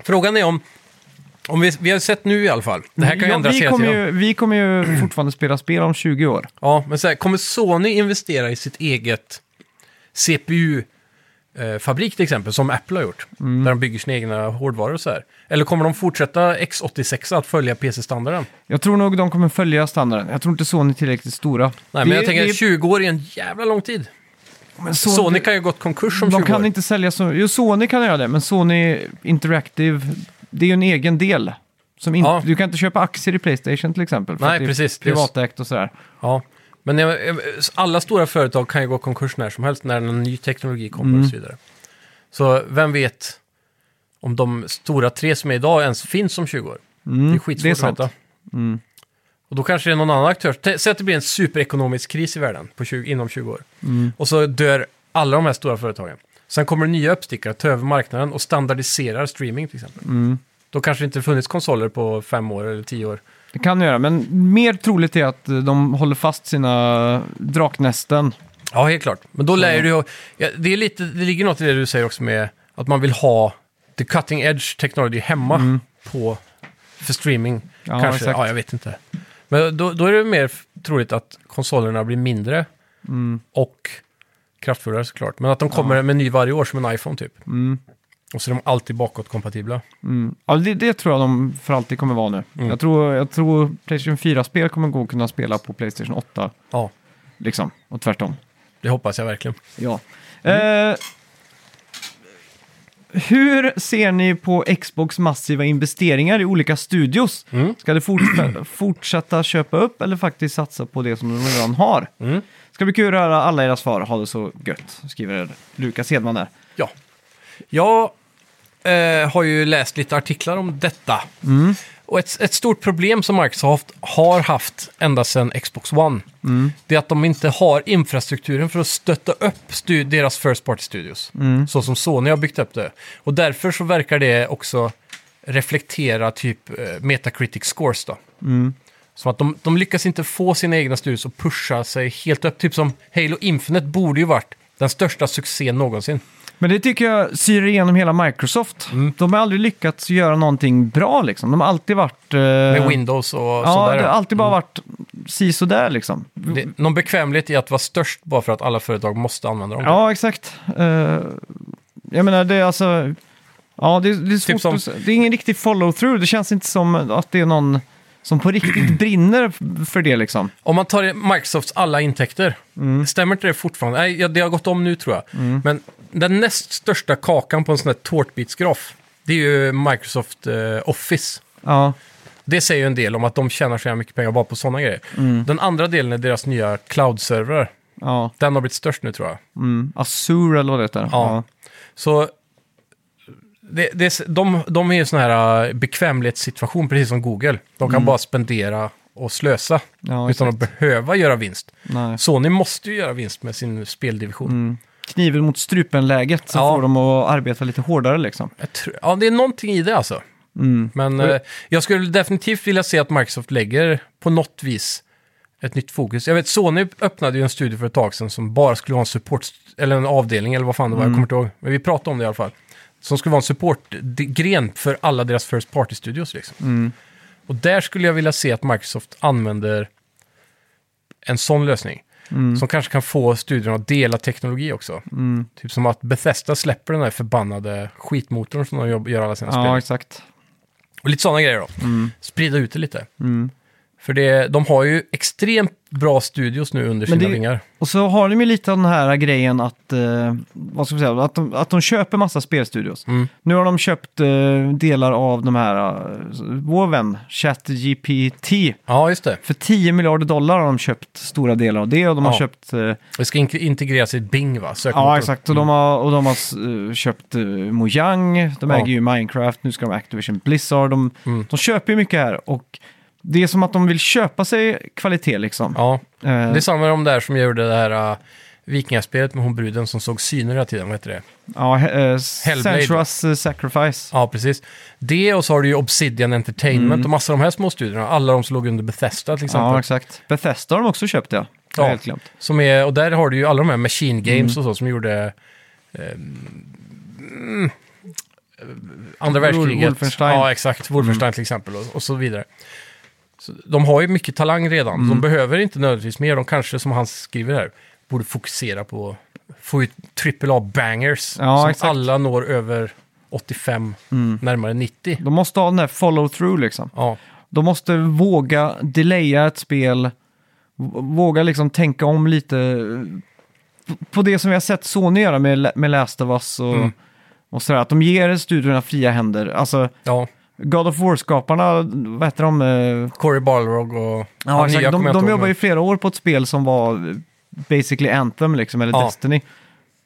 S2: Frågan är om... om vi, vi har sett nu i alla fall. Det här kan ju
S1: Ja,
S2: ändras
S1: vi
S2: hela
S1: kommer
S2: tiden.
S1: ju, vi kommer ju [CLEARS THROAT] fortfarande spela spel om 20 år.
S2: Ja, men så här, kommer Sony investera i sitt eget CPU-fabrik eh, till exempel, som Apple har gjort?
S1: Mm.
S2: Där de bygger sina egna hårdvaror och så här. Eller kommer de fortsätta X86 att följa PC-standarden?
S1: Jag tror nog de kommer följa standarden. Jag tror inte Sony är tillräckligt stora.
S2: Nej,
S1: Det-
S2: men jag tänker
S1: det-
S2: att 20 år är en jävla lång tid.
S1: men Sony,
S2: Sony kan ju gått konkurs om
S1: de
S2: 20
S1: kan
S2: år.
S1: inte sälja så... Jo, Sony kan göra det, men Sony Interactive, det är ju en egen del. Som in,
S2: Ja.
S1: Du kan inte köpa aktier i Playstation till exempel. för
S2: Nej,
S1: att det är
S2: precis. Det är-
S1: Privatägt och sådär.
S2: Ja. Men jag- jag- alla stora företag kan ju gå konkurs när som helst, när en ny teknologi kommer och så vidare. Så vem vet om de stora tre som är idag ens finns om 20 år? Mm, det är Mm.
S1: det är
S2: skitsvårt
S1: sant.
S2: att veta. Och då kanske det är någon annan aktör. Tä- Säg att det blir en superekonomisk kris i världen på 20, inom 20 år. Och så dör alla de här stora företagen. Sen kommer det nya uppstickare, tar över marknaden och standardiserar streaming till exempel. Då kanske det inte funnits konsoler på fem år eller tio år.
S1: Det kan göra, men mer troligt är att de håller fast sina draknästen.
S2: Ja, helt klart. Men då lär du ju... Ja, det, är lite, det ligger något i det du säger också med att man vill ha the cutting edge technology hemma på, för streaming.
S1: Mm. Ja,
S2: kanske.
S1: exakt.
S2: Ja, jag vet inte. Men då, då är det mer f- troligt att konsolerna blir mindre
S1: Mm.
S2: och kraftfullare såklart. Men att de kommer med ny varje år som en iPhone typ. Och så är de alltid bakåtkompatibla.
S1: Mm. Ja, det, det tror jag de för alltid kommer vara nu. Jag, tror, jag tror Playstation 4-spel kommer gå att kunna spela på Playstation 8,
S2: Ja,
S1: liksom. Och tvärtom.
S2: det hoppas jag verkligen.
S1: Ja. Eh, hur ser ni på Xbox massiva investeringar i olika studios? Ska det fortfä- fortsätta köpa upp eller faktiskt satsa på det som de redan har? Ska bli kul att höra alla era svar. Ha det så gött, skriver Lukas Hedman där.
S2: Ja. Jag eh, har ju läst lite artiklar om detta. Och ett, ett stort problem som Microsoft har haft ända sedan Xbox One, det är att de inte har infrastrukturen för att stötta upp stu- deras First Party Studios. Så som Sony har byggt upp det. Och därför så verkar det också reflektera typ eh, Metacritic Scores då. Som att de, de lyckas inte få sina egna studios att pusha sig helt upp. Typ som Halo Infinite borde ju varit den största succén någonsin.
S1: Men det tycker jag syr igenom hela Microsoft.
S2: Mm.
S1: De har aldrig lyckats göra någonting bra liksom. De har alltid varit... eh,
S2: Med Windows och
S1: Ja,
S2: sådär. Mm.
S1: det har alltid bara varit si sådär liksom.
S2: Det, någon bekvämlighet i att vara störst bara för att alla företag måste använda dem.
S1: Ja, exakt. Eh, jag menar, det är alltså... Ja, det, det är svårt
S2: Typ som-
S1: att, s- Det är ingen riktig follow-through. Det känns inte som att det är någon som på riktigt [CLEARS THROAT] brinner f- för det liksom.
S2: Om man tar Microsofts alla intäkter,
S1: Mm.
S2: stämmer inte det fortfarande? Nej, ja, det har gått om nu tror jag. Men den näst största kakan på en sån här tårtbitsgraf, det är ju Microsoft eh, Office.
S1: Ja,
S2: Det säger ju en del om att de tjänar så jävla mycket pengar bara på sådana grejer.
S1: Mm.
S2: Den andra delen är deras nya cloud-servrar.
S1: ja.
S2: Den har blivit störst nu tror jag.
S1: Mm. Azure eller vad det heter.
S2: Ja. Så det, det, de, de är ju sån här äh, bekvämlighetssituation, precis som Google. De kan bara spendera och slösa
S1: Ja,
S2: utan att behöva göra vinst.
S1: Nej.
S2: Sony måste ju göra vinst med sin speldivision.
S1: Kniven mot strupen-läget som
S2: Ja.
S1: får dem att arbeta lite hårdare liksom.
S2: Jag tror, ja, det är någonting i det alltså. Men eh, jag skulle definitivt vilja se att Microsoft lägger på något vis ett nytt fokus. Jag vet, Sony öppnade ju en studio för ett tag sedan som bara skulle vara en support, eller en avdelning eller vad fan det var, jag kommer inte ihåg. Men vi pratade om det i alla fall. Som skulle vara en supportgren för alla deras First Party-studios liksom. Och där skulle jag vilja se att Microsoft använder en sån lösning. Som kanske kan få studion att dela teknologi också.
S1: Mm.
S2: Typ som att Bethesda släpper den här förbannade skitmotorn som de jobb- gör alla sina
S1: Ja, Mm.
S2: spel.
S1: exakt. Mm.
S2: Och lite sådana grejer då. Sprida ut det lite. För det, de har ju extremt bra studios nu under
S1: Men
S2: sina
S1: det-
S2: vingar.
S1: Och så har de ju lite av den här grejen att, eh, vad ska vi säga, att de, att de köper massa spelstudios.
S2: Mm.
S1: Nu har de köpt eh, delar av de här, eh, vår vän, ChatGPT.
S2: Ja, just det.
S1: För 10 miljarder dollar har de köpt stora delar av det och de har
S2: Ja.
S1: köpt... Eh,
S2: Det ska in- integreras i Bing, va? Mm. Sökmotorn.
S1: ja, exakt. Och de har, och de har eh, köpt eh, Mojang, de
S2: Ja.
S1: äger ju Minecraft, nu ska de ha Activision Blizzard. De,
S2: Mm.
S1: de köper ju mycket här och det är som att de vill köpa sig kvalitet liksom.
S2: Ja,
S1: Eh,
S2: det är samma med de där som gjorde det här uh, vikingaspelet med hon bruden som såg syner hela tiden, vad heter det?
S1: Ja, he- eh,
S2: Hellblade.
S1: Sensuous eh, Sacrifice.
S2: Ja, precis. Det och så har du ju Obsidian Entertainment och massa av de här små studiorna, alla de som låg under Bethesda till exempel.
S1: Mm. Ja, exakt. Bethesda har de också köpt, ja. Jag har
S2: Ja.
S1: helt glömt.
S2: Som är, och där har du ju alla de här Machine Games
S1: Mm.
S2: och så som gjorde eh, mm, andra världskriget.
S1: Wolfenstein. Mm.
S2: Ja, exakt. Wolfenstein till exempel och, och så vidare. Så de har ju mycket talang redan.
S1: Mm.
S2: De behöver inte nödvändigtvis mer. De kanske, som han skriver här, borde fokusera på att få ut AAA-bangers
S1: Ja,
S2: som
S1: exakt. Mm.
S2: alla når över 85, närmare 90.
S1: De måste ha den där follow-through liksom.
S2: Ja,
S1: De måste våga delaya ett spel, v- våga liksom tänka om lite p- på det som vi har sett Sony göra med, La- med Last of Us och,
S2: Mm.
S1: och sådär. Att de ger studiorna fria händer. Alltså,
S2: ja.
S1: God of War-skaparna, vad heter de? eh,
S2: Corey Balrog och...
S1: Ja,
S2: nya
S1: exakt. De,
S2: kommer jag
S1: de
S2: inte ihåg,
S1: jobbar
S2: men-
S1: ju flera år på ett spel som var eh, basically Anthem, liksom, eller
S2: Ja.
S1: Destiny.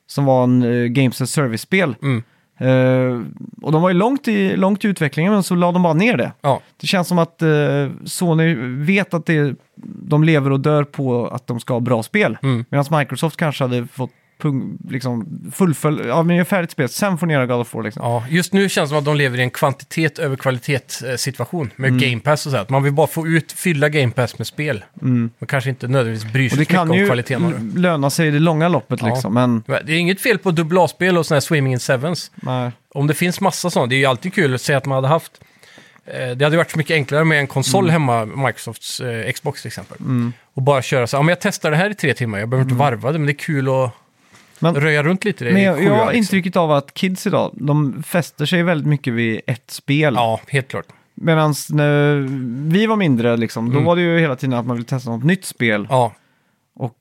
S1: Som var en eh, Games as Service-spel.
S2: Mm.
S1: Eh, och de var ju långt i, långt i utvecklingen, men så la de bara ner det.
S2: Ja,
S1: Det känns som att eh, Sony vet att det, de lever och dör på att de ska ha bra spel.
S2: Mm.
S1: Medan Microsoft kanske hade fått pung, liksom, fullfölja, ja men gör färdigt spel, sen får ni göra God of War liksom.
S2: Ja, just nu känns det som att de lever i en kvantitet över kvalitet-situation med
S1: Mm.
S2: Game Pass och så. Här. Att man vill bara få ut, fylla Game Pass med spel. Man kanske inte nödvändigtvis bryr
S1: och Mm. det
S2: sig så mycket
S1: kan
S2: om
S1: ju
S2: kvaliteten. av det.
S1: l- löna sig i det långa loppet
S2: Ja.
S1: liksom, men
S2: Men Det är inget fel på dubbla-spel och sådana här Swimming in Sevens.
S1: nej.
S2: Om det finns massa sådana, det är ju alltid kul att säga att man hade haft... Eh, det hade varit så mycket enklare med en konsol
S1: Mm.
S2: hemma, Microsofts eh, Xbox till exempel. Och bara köra så här, ja, men jag testar det här i tre timmar, jag behöver inte varva det, men det är kul att
S1: Mm. Men-
S2: röja runt lite i det
S1: Men
S2: i
S1: jag,
S2: sjuan,
S1: jag har
S2: liksom.
S1: intrycket av att kids idag, de fäster sig väldigt mycket vid ett spel.
S2: Ja, helt klart.
S1: Medan när vi var mindre, liksom,
S2: Mm.
S1: då var det ju hela tiden att man ville testa något nytt spel.
S2: Ja,
S1: Och,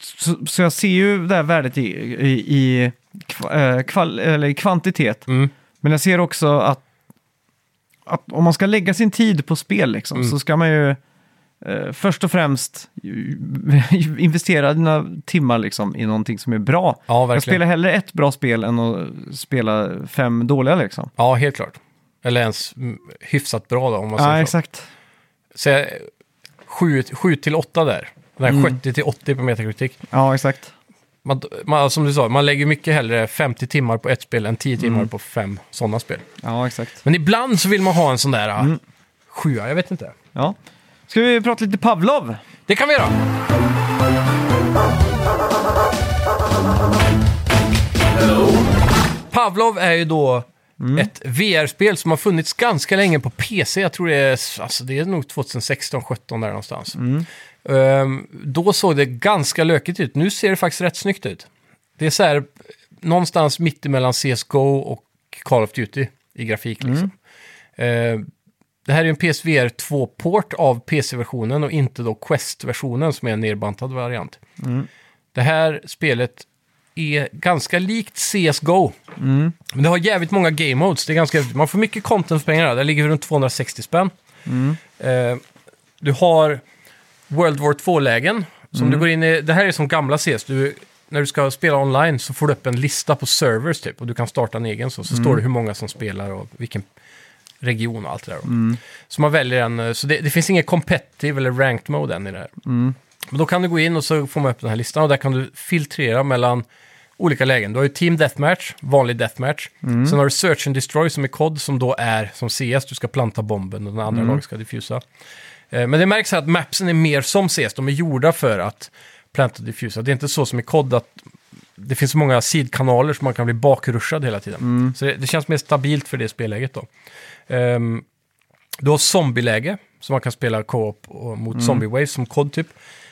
S1: så, så jag ser ju det här värdet i, i, i, kva- eh, kval, eller i kvantitet.
S2: Mm.
S1: Men jag ser också att, att om man ska lägga sin tid på spel liksom,
S2: Mm.
S1: så ska man ju eh, först och främst [LAUGHS] ju- investera dina timmar liksom, i någonting som är bra.
S2: ja
S1: jag
S2: verkligen.
S1: spelar hellre ett bra spel än att spela fem dåliga liksom.
S2: Ja, helt klart. Eller ens mm, hyfsat bra då, om man säger
S1: Ja,
S2: så.
S1: exakt.
S2: Så jag, 7, till 8 där. Den här
S1: Mm.
S2: 70 till 80 på Metacritic.
S1: Ja, exakt.
S2: Man, man, som du sa, man lägger mycket hellre 50 timmar på ett spel än 10
S1: Mm.
S2: timmar på fem sådana spel.
S1: Ja, exakt.
S2: Men ibland så vill man ha en sån där mm. sjua, jag vet inte.
S1: Ja. Ska vi prata lite Pavlov?
S2: Det kan vi göra! Pavlov är ju då ett VR-spel som har funnits ganska länge på PC. Jag tror det är, alltså det är nog 2016-17 där någonstans. Ehm, då såg det ganska lökigt ut. Nu ser det faktiskt rätt snyggt ut. Det är så här någonstans mittemellan CSGO och Call of Duty i grafik liksom. Ehm, det här är ju en PSVR 2-port av PC-versionen och inte då Quest-versionen som är en nerbantad variant. Det här spelet är ganska likt CSGO. Men det har jävligt många game modes. Det är ganska häftigt. Man får mycket content för pengarna. Det ligger runt 260 spänn. Eh, du har World War 2-lägen. Som du går in i. Det här är som gamla CS. Du, när du ska spela online så får du upp en lista på servers typ. Och du kan starta en egen så. Så står det hur många som spelar och vilken region och allt det där. då. Så man väljer en. eh, Så det, det finns inget competitive eller ranked mode än i det här. Men då kan du gå in och så får man upp den här listan och där kan du filtrera mellan olika lägen. Du har ju Team Deathmatch, vanlig Deathmatch. Sen har du Search and Destroy som är kod som då är som CS, du ska planta bomben och den andra laget ska diffusa. Eh, Men det märks här att mapsen är mer som CS, de är gjorda för att planta och diffusa. Det är inte så som i kod att det finns så många sidkanaler som man kan bli bakrushad hela tiden. Så det, det känns mer stabilt för det spelläget då. Ehm, du har zombieläge, Så man kan spela co-op och, mot
S1: Mm.
S2: zombie waves som kod typ.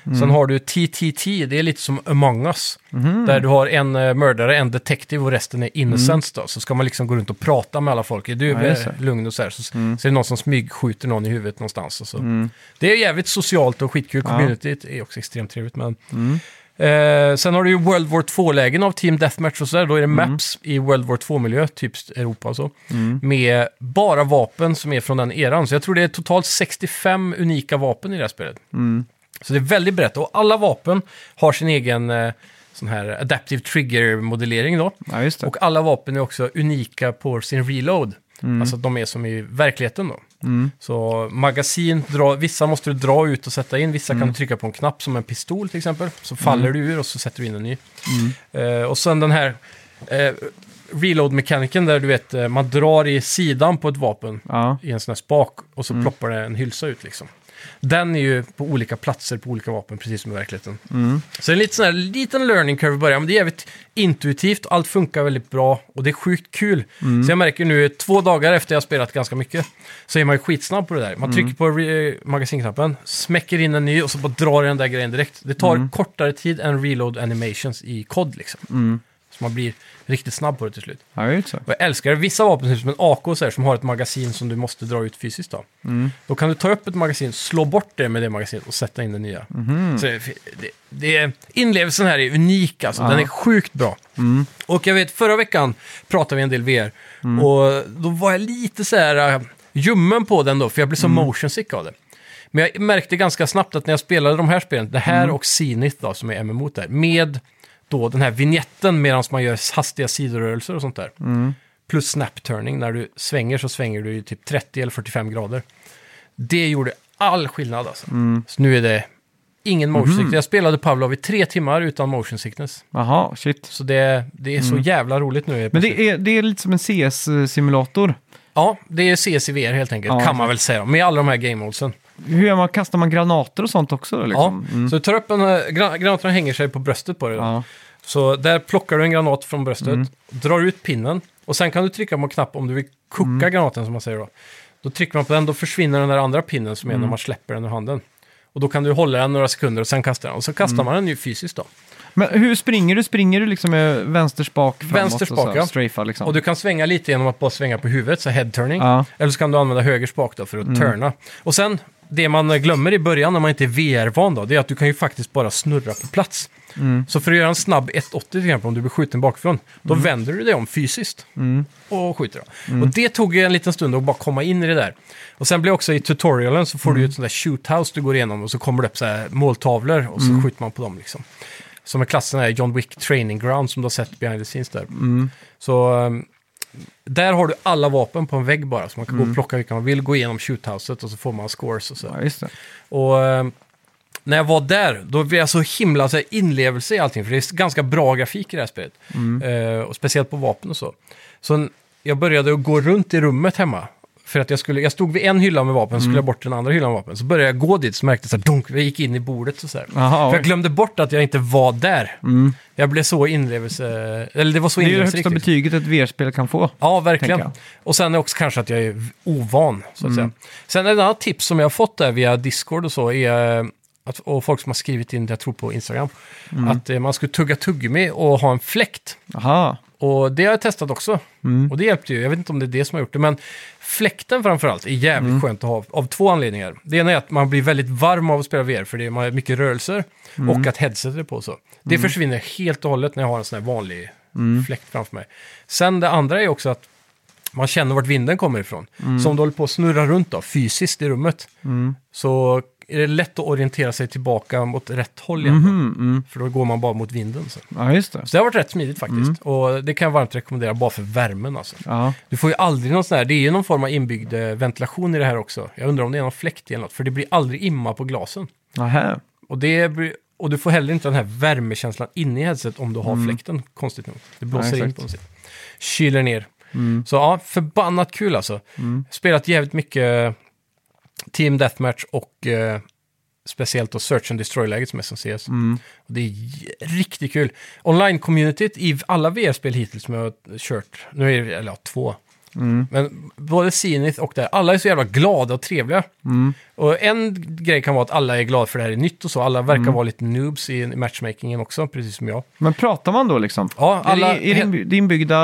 S2: Sen har du TTT, det är lite som Among Us.
S1: Mm-hmm.
S2: Där du har en eh, mördare, en detektiv och resten är innocents då. Så ska man liksom gå runt och prata med alla folk. Är du
S1: Mm. Ja, just det. Mm.
S2: eh, lugn och så här? Så, så är det någon som smygskjuter någon i huvudet någonstans. Och så. Det är jävligt socialt och skitkul. Communityt är också extremt trevligt. Men...
S1: Mm.
S2: Eh, sen har du ju World War 2-lägen av Team Deathmatch och sådär. Då är det
S1: Mm.
S2: maps i World War 2-miljö, typ Europa och så. Med bara vapen som är från den eran. Så jag tror det är totalt 65 unika vapen i det här spelet.
S1: Mm.
S2: Så det är väldigt brett. Och alla vapen har sin egen eh, sån här adaptive trigger-modellering då.
S1: Ja, just det.
S2: Och alla vapen är också unika på sin reload.
S1: Mm.
S2: Alltså att de är som i verkligheten då. Så magasin, dra, vissa måste du dra ut och sätta in,
S1: Mm.
S2: vissa kan du trycka på en knapp som en pistol till exempel. Så faller du ur och så sätter du in en ny.
S1: Mm.
S2: Eh, och sen den här eh, reload-mekaniken där du vet, eh, man drar i sidan på ett vapen
S1: Ja.
S2: i en sån här spak och så ploppar det en hylsa ut liksom. Den är ju på olika platser på olika vapen, precis som i verkligheten. Så det är en liten, sån här, liten learning curve i början, men det är jävligt intuitivt, allt funkar väldigt bra och det är sjukt kul. Så jag märker nu, två dagar efter jag spelat ganska mycket, så är man ju skitsnabb på det där. Man trycker på re- eh, magasinknappen, smäcker in en ny och så bara drar den där grejen direkt. Det tar kortare tid än reload animations i kod liksom. Så man blir riktigt snabb på det till slut.
S1: Ja, just det.
S2: Och jag älskar vissa vapen, typ som en AK så här, som har ett magasin som du måste dra ut fysiskt. Då. då kan du ta upp ett magasin, slå bort det med det magasinet och sätta in det nya. Så det, det, det, inlevelsen här är unik, alltså. den är sjukt bra. Och jag vet, förra veckan pratade vi en del VR och då var jag lite så här äh, ljummen på den då, för jag blev så motion sick av det. Men jag märkte ganska snabbt att när jag spelade de här spelen, det här och Zenith då, som är MMO där, med då den här vignetten medan man gör hastiga sidorörelser och sånt där. Plus snap-turning, när du svänger så svänger du i typ 30 eller 45 grader. Det gjorde all skillnad alltså. Så nu är det ingen motion
S1: Mhm.
S2: sickness. Jag spelade Pavlov i tre timmar utan motion sickness.
S1: Jaha, shit.
S2: Så det, det är så jävla roligt nu.
S1: Mm. Men det är, det är lite som en CS-simulator.
S2: Ja, det är CSIVR helt enkelt,
S1: Ja,
S2: kan man väl säga. Med alla de här game modesen.
S1: Hur gör man? Kastar man granater och sånt också? då, Liksom?
S2: Ja, så du tar upp en, eh, gran- granaterna hänger sig på bröstet på dig. då.
S1: Ja.
S2: Så där plockar du en granat från bröstet, drar ut pinnen och sen kan du trycka på en knapp om du vill koka granaten som man säger då. Då trycker man på den, då försvinner den där andra pinnen som är när man släpper den ur handen. Och då kan du hålla den några sekunder och sen kasta den. Och så kastar man den ju fysiskt då.
S1: Men hur springer du? Springer du liksom med vänsterspak framåt?
S2: Vänsterspak,
S1: och så här,
S2: ja.
S1: Strafar liksom?
S2: Och du kan svänga lite genom att bara svänga på huvudet, så head turning.
S1: Ja. Mm.
S2: Eller så kan du använda höger spak då för att turna. Och sen, det man glömmer i början när man inte är VR-van då, det är att du kan ju faktiskt bara snurra på plats.
S1: Mm.
S2: Så för att göra en snabb 180 till exempel, om du blir skjuten bakifrån, då vänder du dig om fysiskt
S1: Mm.
S2: och skjuter. Då. Och det tog en liten stund att bara komma in i det där. Och sen blir också i tutorialen så får
S1: Mm.
S2: du ju ett sånt där shoothouse du går igenom och så kommer det upp så här måltavlor och så
S1: Mm.
S2: skjuter man på dem liksom. Som är klassen är John Wick Training Ground som du har sett behind the scenes där. Så um, där har du alla vapen på en vägg bara, så man kan gå och plocka vilka man vill, gå igenom shoothouset och så får man scores och så.
S1: Ja, just det.
S2: Och um, när jag var där, då blev jag så himla så här, inlevelse i allting, för det är ganska bra grafik i det här spelet. Eh, och speciellt på vapen och så. Så n- jag började att gå runt i rummet hemma. För att jag, skulle, jag stod vid en hylla med vapen, så skulle jag bort till den andra hyllan med vapen. Så började jag gå dit, så märkte jag så här, dunk, jag gick in i bordet och så här.
S1: Jaha,
S2: För
S1: oj.
S2: jag glömde bort att jag inte var där. Jag blev så inlevelse... Eller det var så
S1: Mm. det är ju det
S2: inlevelserikt.
S1: högsta
S2: liksom.
S1: betyget ett VR-spel kan få.
S2: Ja,
S1: tänker
S2: verkligen.
S1: jag. Mm.
S2: Och sen är också kanske att jag är ovan, så att säga. Sen ett annat tips som jag har fått där via Discord och så är eh, att, och folk som har skrivit in, jag tror på Instagram,
S1: Mm.
S2: att eh, man skulle tugga tuggummi och ha en fläkt.
S1: Aha.
S2: Och det har jag testat också. Och det hjälpte ju. Jag vet inte om det är det som har gjort det, men fläkten framförallt är jävligt skönt att ha av två anledningar. Det ena är att man blir väldigt varm av att spela VR, för det är man har mycket rörelser, och att headsetet är på och så. Det försvinner helt och hållet när jag har en sån här vanlig fläkt framför mig. Sen det andra är också att man känner vart vinden kommer ifrån. Så om du håller på att snurra runt då, fysiskt i rummet, så är det lätt att orientera sig tillbaka mot rätt håll igen. då. För då går man bara mot vinden. Så.
S1: Ja, just det.
S2: Så det har varit rätt smidigt faktiskt. Och det kan jag varmt rekommendera bara för värmen alltså.
S1: Ja.
S2: Du får ju aldrig någon sån här, det är ju någon form av inbyggd eh, ventilation i det här också. Jag undrar om det är någon fläkt eller något, för det blir aldrig imma på glasen.
S1: Aha.
S2: Och, det blir, och du får heller inte den här värmekänslan inne i headset om du har fläkten, konstigt nog. Det blåser
S1: Ja,
S2: in
S1: exakt.
S2: på något sätt. Kyler ner.
S1: Mm.
S2: Så ja, förbannat kul alltså. Spelat jävligt mycket eh, Team Deathmatch och eh, speciellt då Search and Destroy-läget som SNCS. Och det är j- riktigt kul. Online-communityt i alla VR-spel hittills som jag har kört, nu är det, eller ja, två, Men både Zenith och där, alla är så jävla glada och trevliga. Och en grej kan vara att alla är glada för det här är nytt och så. Alla verkar vara lite noobs i i matchmakingen också, precis som jag.
S1: Men pratar man då liksom?
S2: Ja, alla-
S1: Är det, är det inby- det inbyggda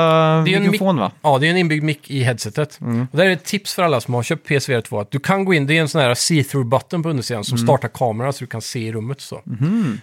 S2: Det är ju en
S1: mikrofon
S2: mic-
S1: va?
S2: Ja, det är en inbyggd mick i headsetet. Och där är ett tips för alla som har köpt PSVR 2. Att du kan gå in, det är en sån här see-through button på undersidan som startar kameran så du kan se i rummet. Så.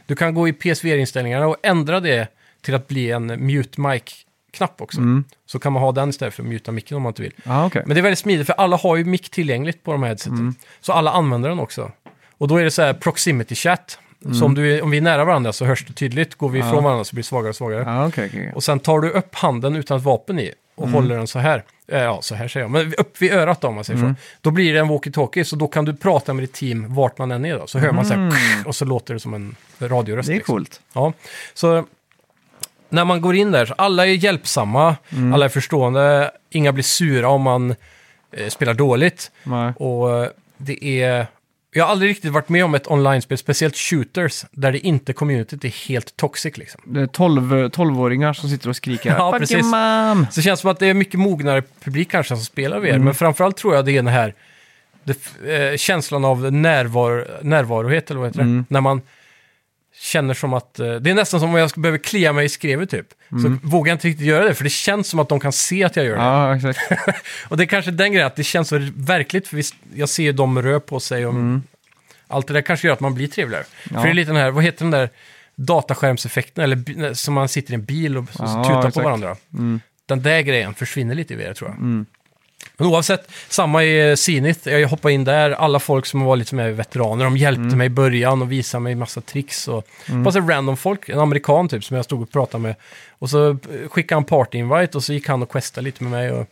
S2: Du kan gå i PSVR-inställningarna och ändra det till att bli en mute mic-knapp också. Så kan man ha den istället för att muta micken om man inte vill.
S1: Ja, okej.
S2: Men det är väldigt smidigt för alla har ju mick tillgängligt på de här headseten. Så alla använder den också. Och då är det så här proximity chat. Så om, du är, om vi är nära varandra så hörs det tydligt. Går vi ifrån varandra så blir det svagare och svagare.
S1: Ja, okej, okej, okej.
S2: Och sen tar du upp handen utan ett vapen i och
S1: Mm.
S2: håller den så här. Eh, Ja, så här säger jag. Men upp vid örat då, om man säger
S1: Mm.
S2: så. Då blir det en walkie-talkie, så då kan du prata med ditt team vart man än är då. Så hör man så här, och så låter det som en radioröst.
S1: Mm. Det är
S2: liksom.
S1: coolt.
S2: Ja, så när man går in där, så alla är hjälpsamma,
S1: Mm.
S2: alla är förstående, inga blir sura om man eh, spelar dåligt.
S1: Nej.
S2: Och eh, det är... Jag har aldrig riktigt varit med om ett online-spel, speciellt shooters, där det inte communityt är helt toxic liksom.
S1: Det är 12 tolvåringar som sitter och skriker
S2: Ja,
S1: "Fuck
S2: precis.
S1: your mom!
S2: Så det känns som att det är mycket mognare publik kanske som spelar VR, men framförallt tror jag det är den här det, f- eh, känslan av närvar, närvarohet, eller vad heter det? När man känner som att, eh, det är nästan som om jag skulle behöva klia mig i skrevet typ. Så vågar jag inte riktigt göra det, för det känns som att de kan se att jag gör det.
S1: Ja, exakt.
S2: Och det är kanske den grejen, att det känns så verkligt, för visst, jag ser ju dem rö på sig och allt det där kanske gör att man blir trevligare.
S1: Mm. Ja.
S2: För det är lite den här, vad heter den där dataskärmseffekten, eller bi- som man sitter i en bil och så
S1: Ja,
S2: tutar på
S1: exakt. Mm.
S2: varandra. Den där grejen försvinner lite i VR tror jag. Men oavsett, samma i eh, Zenith, jag hoppade in där, alla folk som var lite som är veteraner, de hjälpte
S1: Mm.
S2: mig i början och visade mig massa tricks. Och bara så random folk, en amerikan typ som jag stod och pratade med. Och så eh, skickade han party-invite och så gick han och questade lite med mig. Och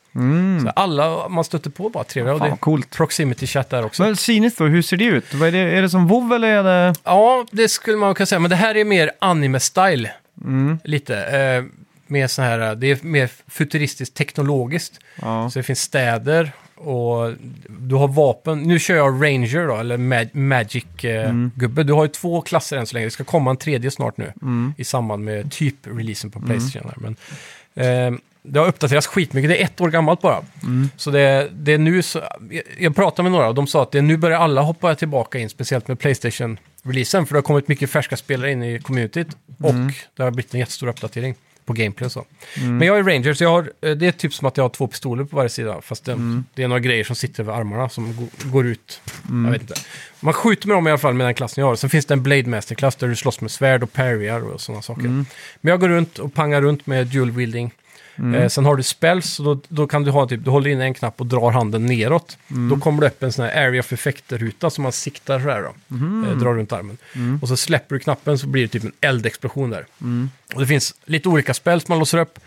S2: så alla man stötte på bara trevliga.
S1: Mm. Fan,
S2: och det,
S1: coolt.
S2: Proximity chat där också.
S1: Men Sinist då, hur ser det ut? Vad är, det, är det som WoW eller är det...
S2: Ja, det skulle man kunna säga, men det här är mer anime-style.
S1: Mm.
S2: Lite. Eh, mer så här, eh, det är mer futuristiskt teknologiskt.
S1: Ja.
S2: Så det finns städer och du har vapen. Nu kör jag Ranger då, eller mag- Magic-gubbe. Du har ju två klasser än så länge. Det ska komma en tredje snart nu i samband med typ releasen på Playstation. här. Men, eh, det har uppdaterats skitmycket, det är ett år gammalt bara. Så det, det är nu, så, jag, jag pratade med några och de sa att det, är nu börjar alla hoppa tillbaka in, speciellt med Playstation-releasen, för det har kommit mycket färska spelare in i communityt och det har blivit en jättestor uppdatering på gameplay och så. Men jag är Ranger, så jag har, eh, det är typ som att jag har två pistoler på varje sida, fast det, det är några grejer som sitter över armarna som go- går ut. Jag vet inte. Man skjuter med dem i alla fall med den klassen jag har. Sen finns det en Blade Master-klass där du slåss med svärd och parryar och sådana saker. Men jag går runt och pangar runt med dual wielding. Eh, sen har du spells, och då, då kan du ha typ, du håller in en knapp och drar handen neråt. Då kommer det upp en sån här area of effect-ruta som man siktar så här då. Eh, drar runt armen. Och så släpper du knappen så blir det typ en eldexplosion där. Och det finns lite olika spells man låser upp.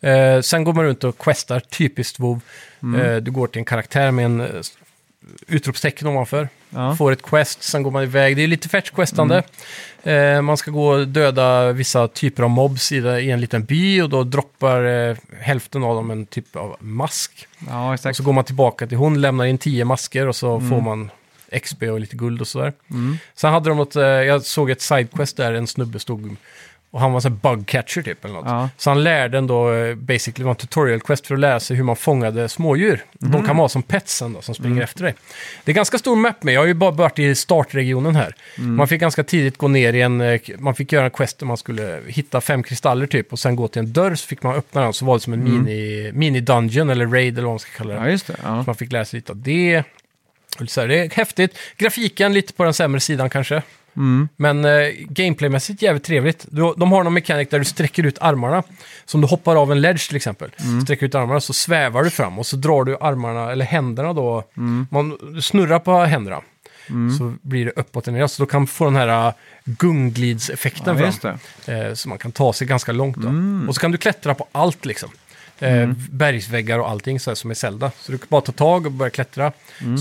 S2: Eh, sen går man runt och questar, typiskt WoW. Eh, du går till en karaktär med en eh, utropstecken ovanför.
S1: Ja.
S2: Får ett quest, sen går man iväg. Det är lite fetch questande. Eh, man ska gå och döda vissa typer av mobs i, det- i en liten by och då droppar eh, hälften av dem en typ av mask.
S1: Ja,
S2: Och
S1: exakt.
S2: så går man tillbaka till hon, lämnar in tio masker och
S1: Mm.
S2: så får man XP och lite guld och sådär. Sen hade de något, eh, jag såg ett sidequest där en snubbe stod och han var så här bug catcher typ eller något.
S1: Ja.
S2: Så han lärde en då, eh, basically, det var en tutorial quest för att lära sig hur man fångade smådjur. De kan man ha som pets sen då, som springer efter dig. Det är ganska stor map med, jag har ju bara varit i startregionen här. Man fick ganska tidigt gå ner i en, eh, k- man fick göra en quest där man skulle hitta fem kristaller typ och sen gå till en dörr så fick man öppna den så var det som en mini, mini-dungeon eller raid eller vad man ska kalla det.
S1: Ja, just det. Ja.
S2: Så man fick lära sig lite av det. Och lite Så här, det är häftigt. Grafiken lite på den sämre sidan kanske.
S1: Mm.
S2: Men eh, gameplaymässigt jävligt trevligt. Du, de har någon mekanik där du sträcker ut armarna. Som du hoppar av en ledge till exempel.
S1: Mm.
S2: Sträcker ut armarna så svävar du fram och så drar du armarna, eller händerna då.
S1: Mm.
S2: Man du snurrar på händerna. Så blir det uppåt och neråt. Så då kan man få den här äh, gungglidseffekten
S1: Ja,
S2: fram.
S1: just det.
S2: Eh, så man kan ta sig ganska långt. Då. Och så kan du klättra på allt liksom. Eh, Bergsväggar och allting så här, som i Zelda. Så du kan bara ta tag och börja klättra.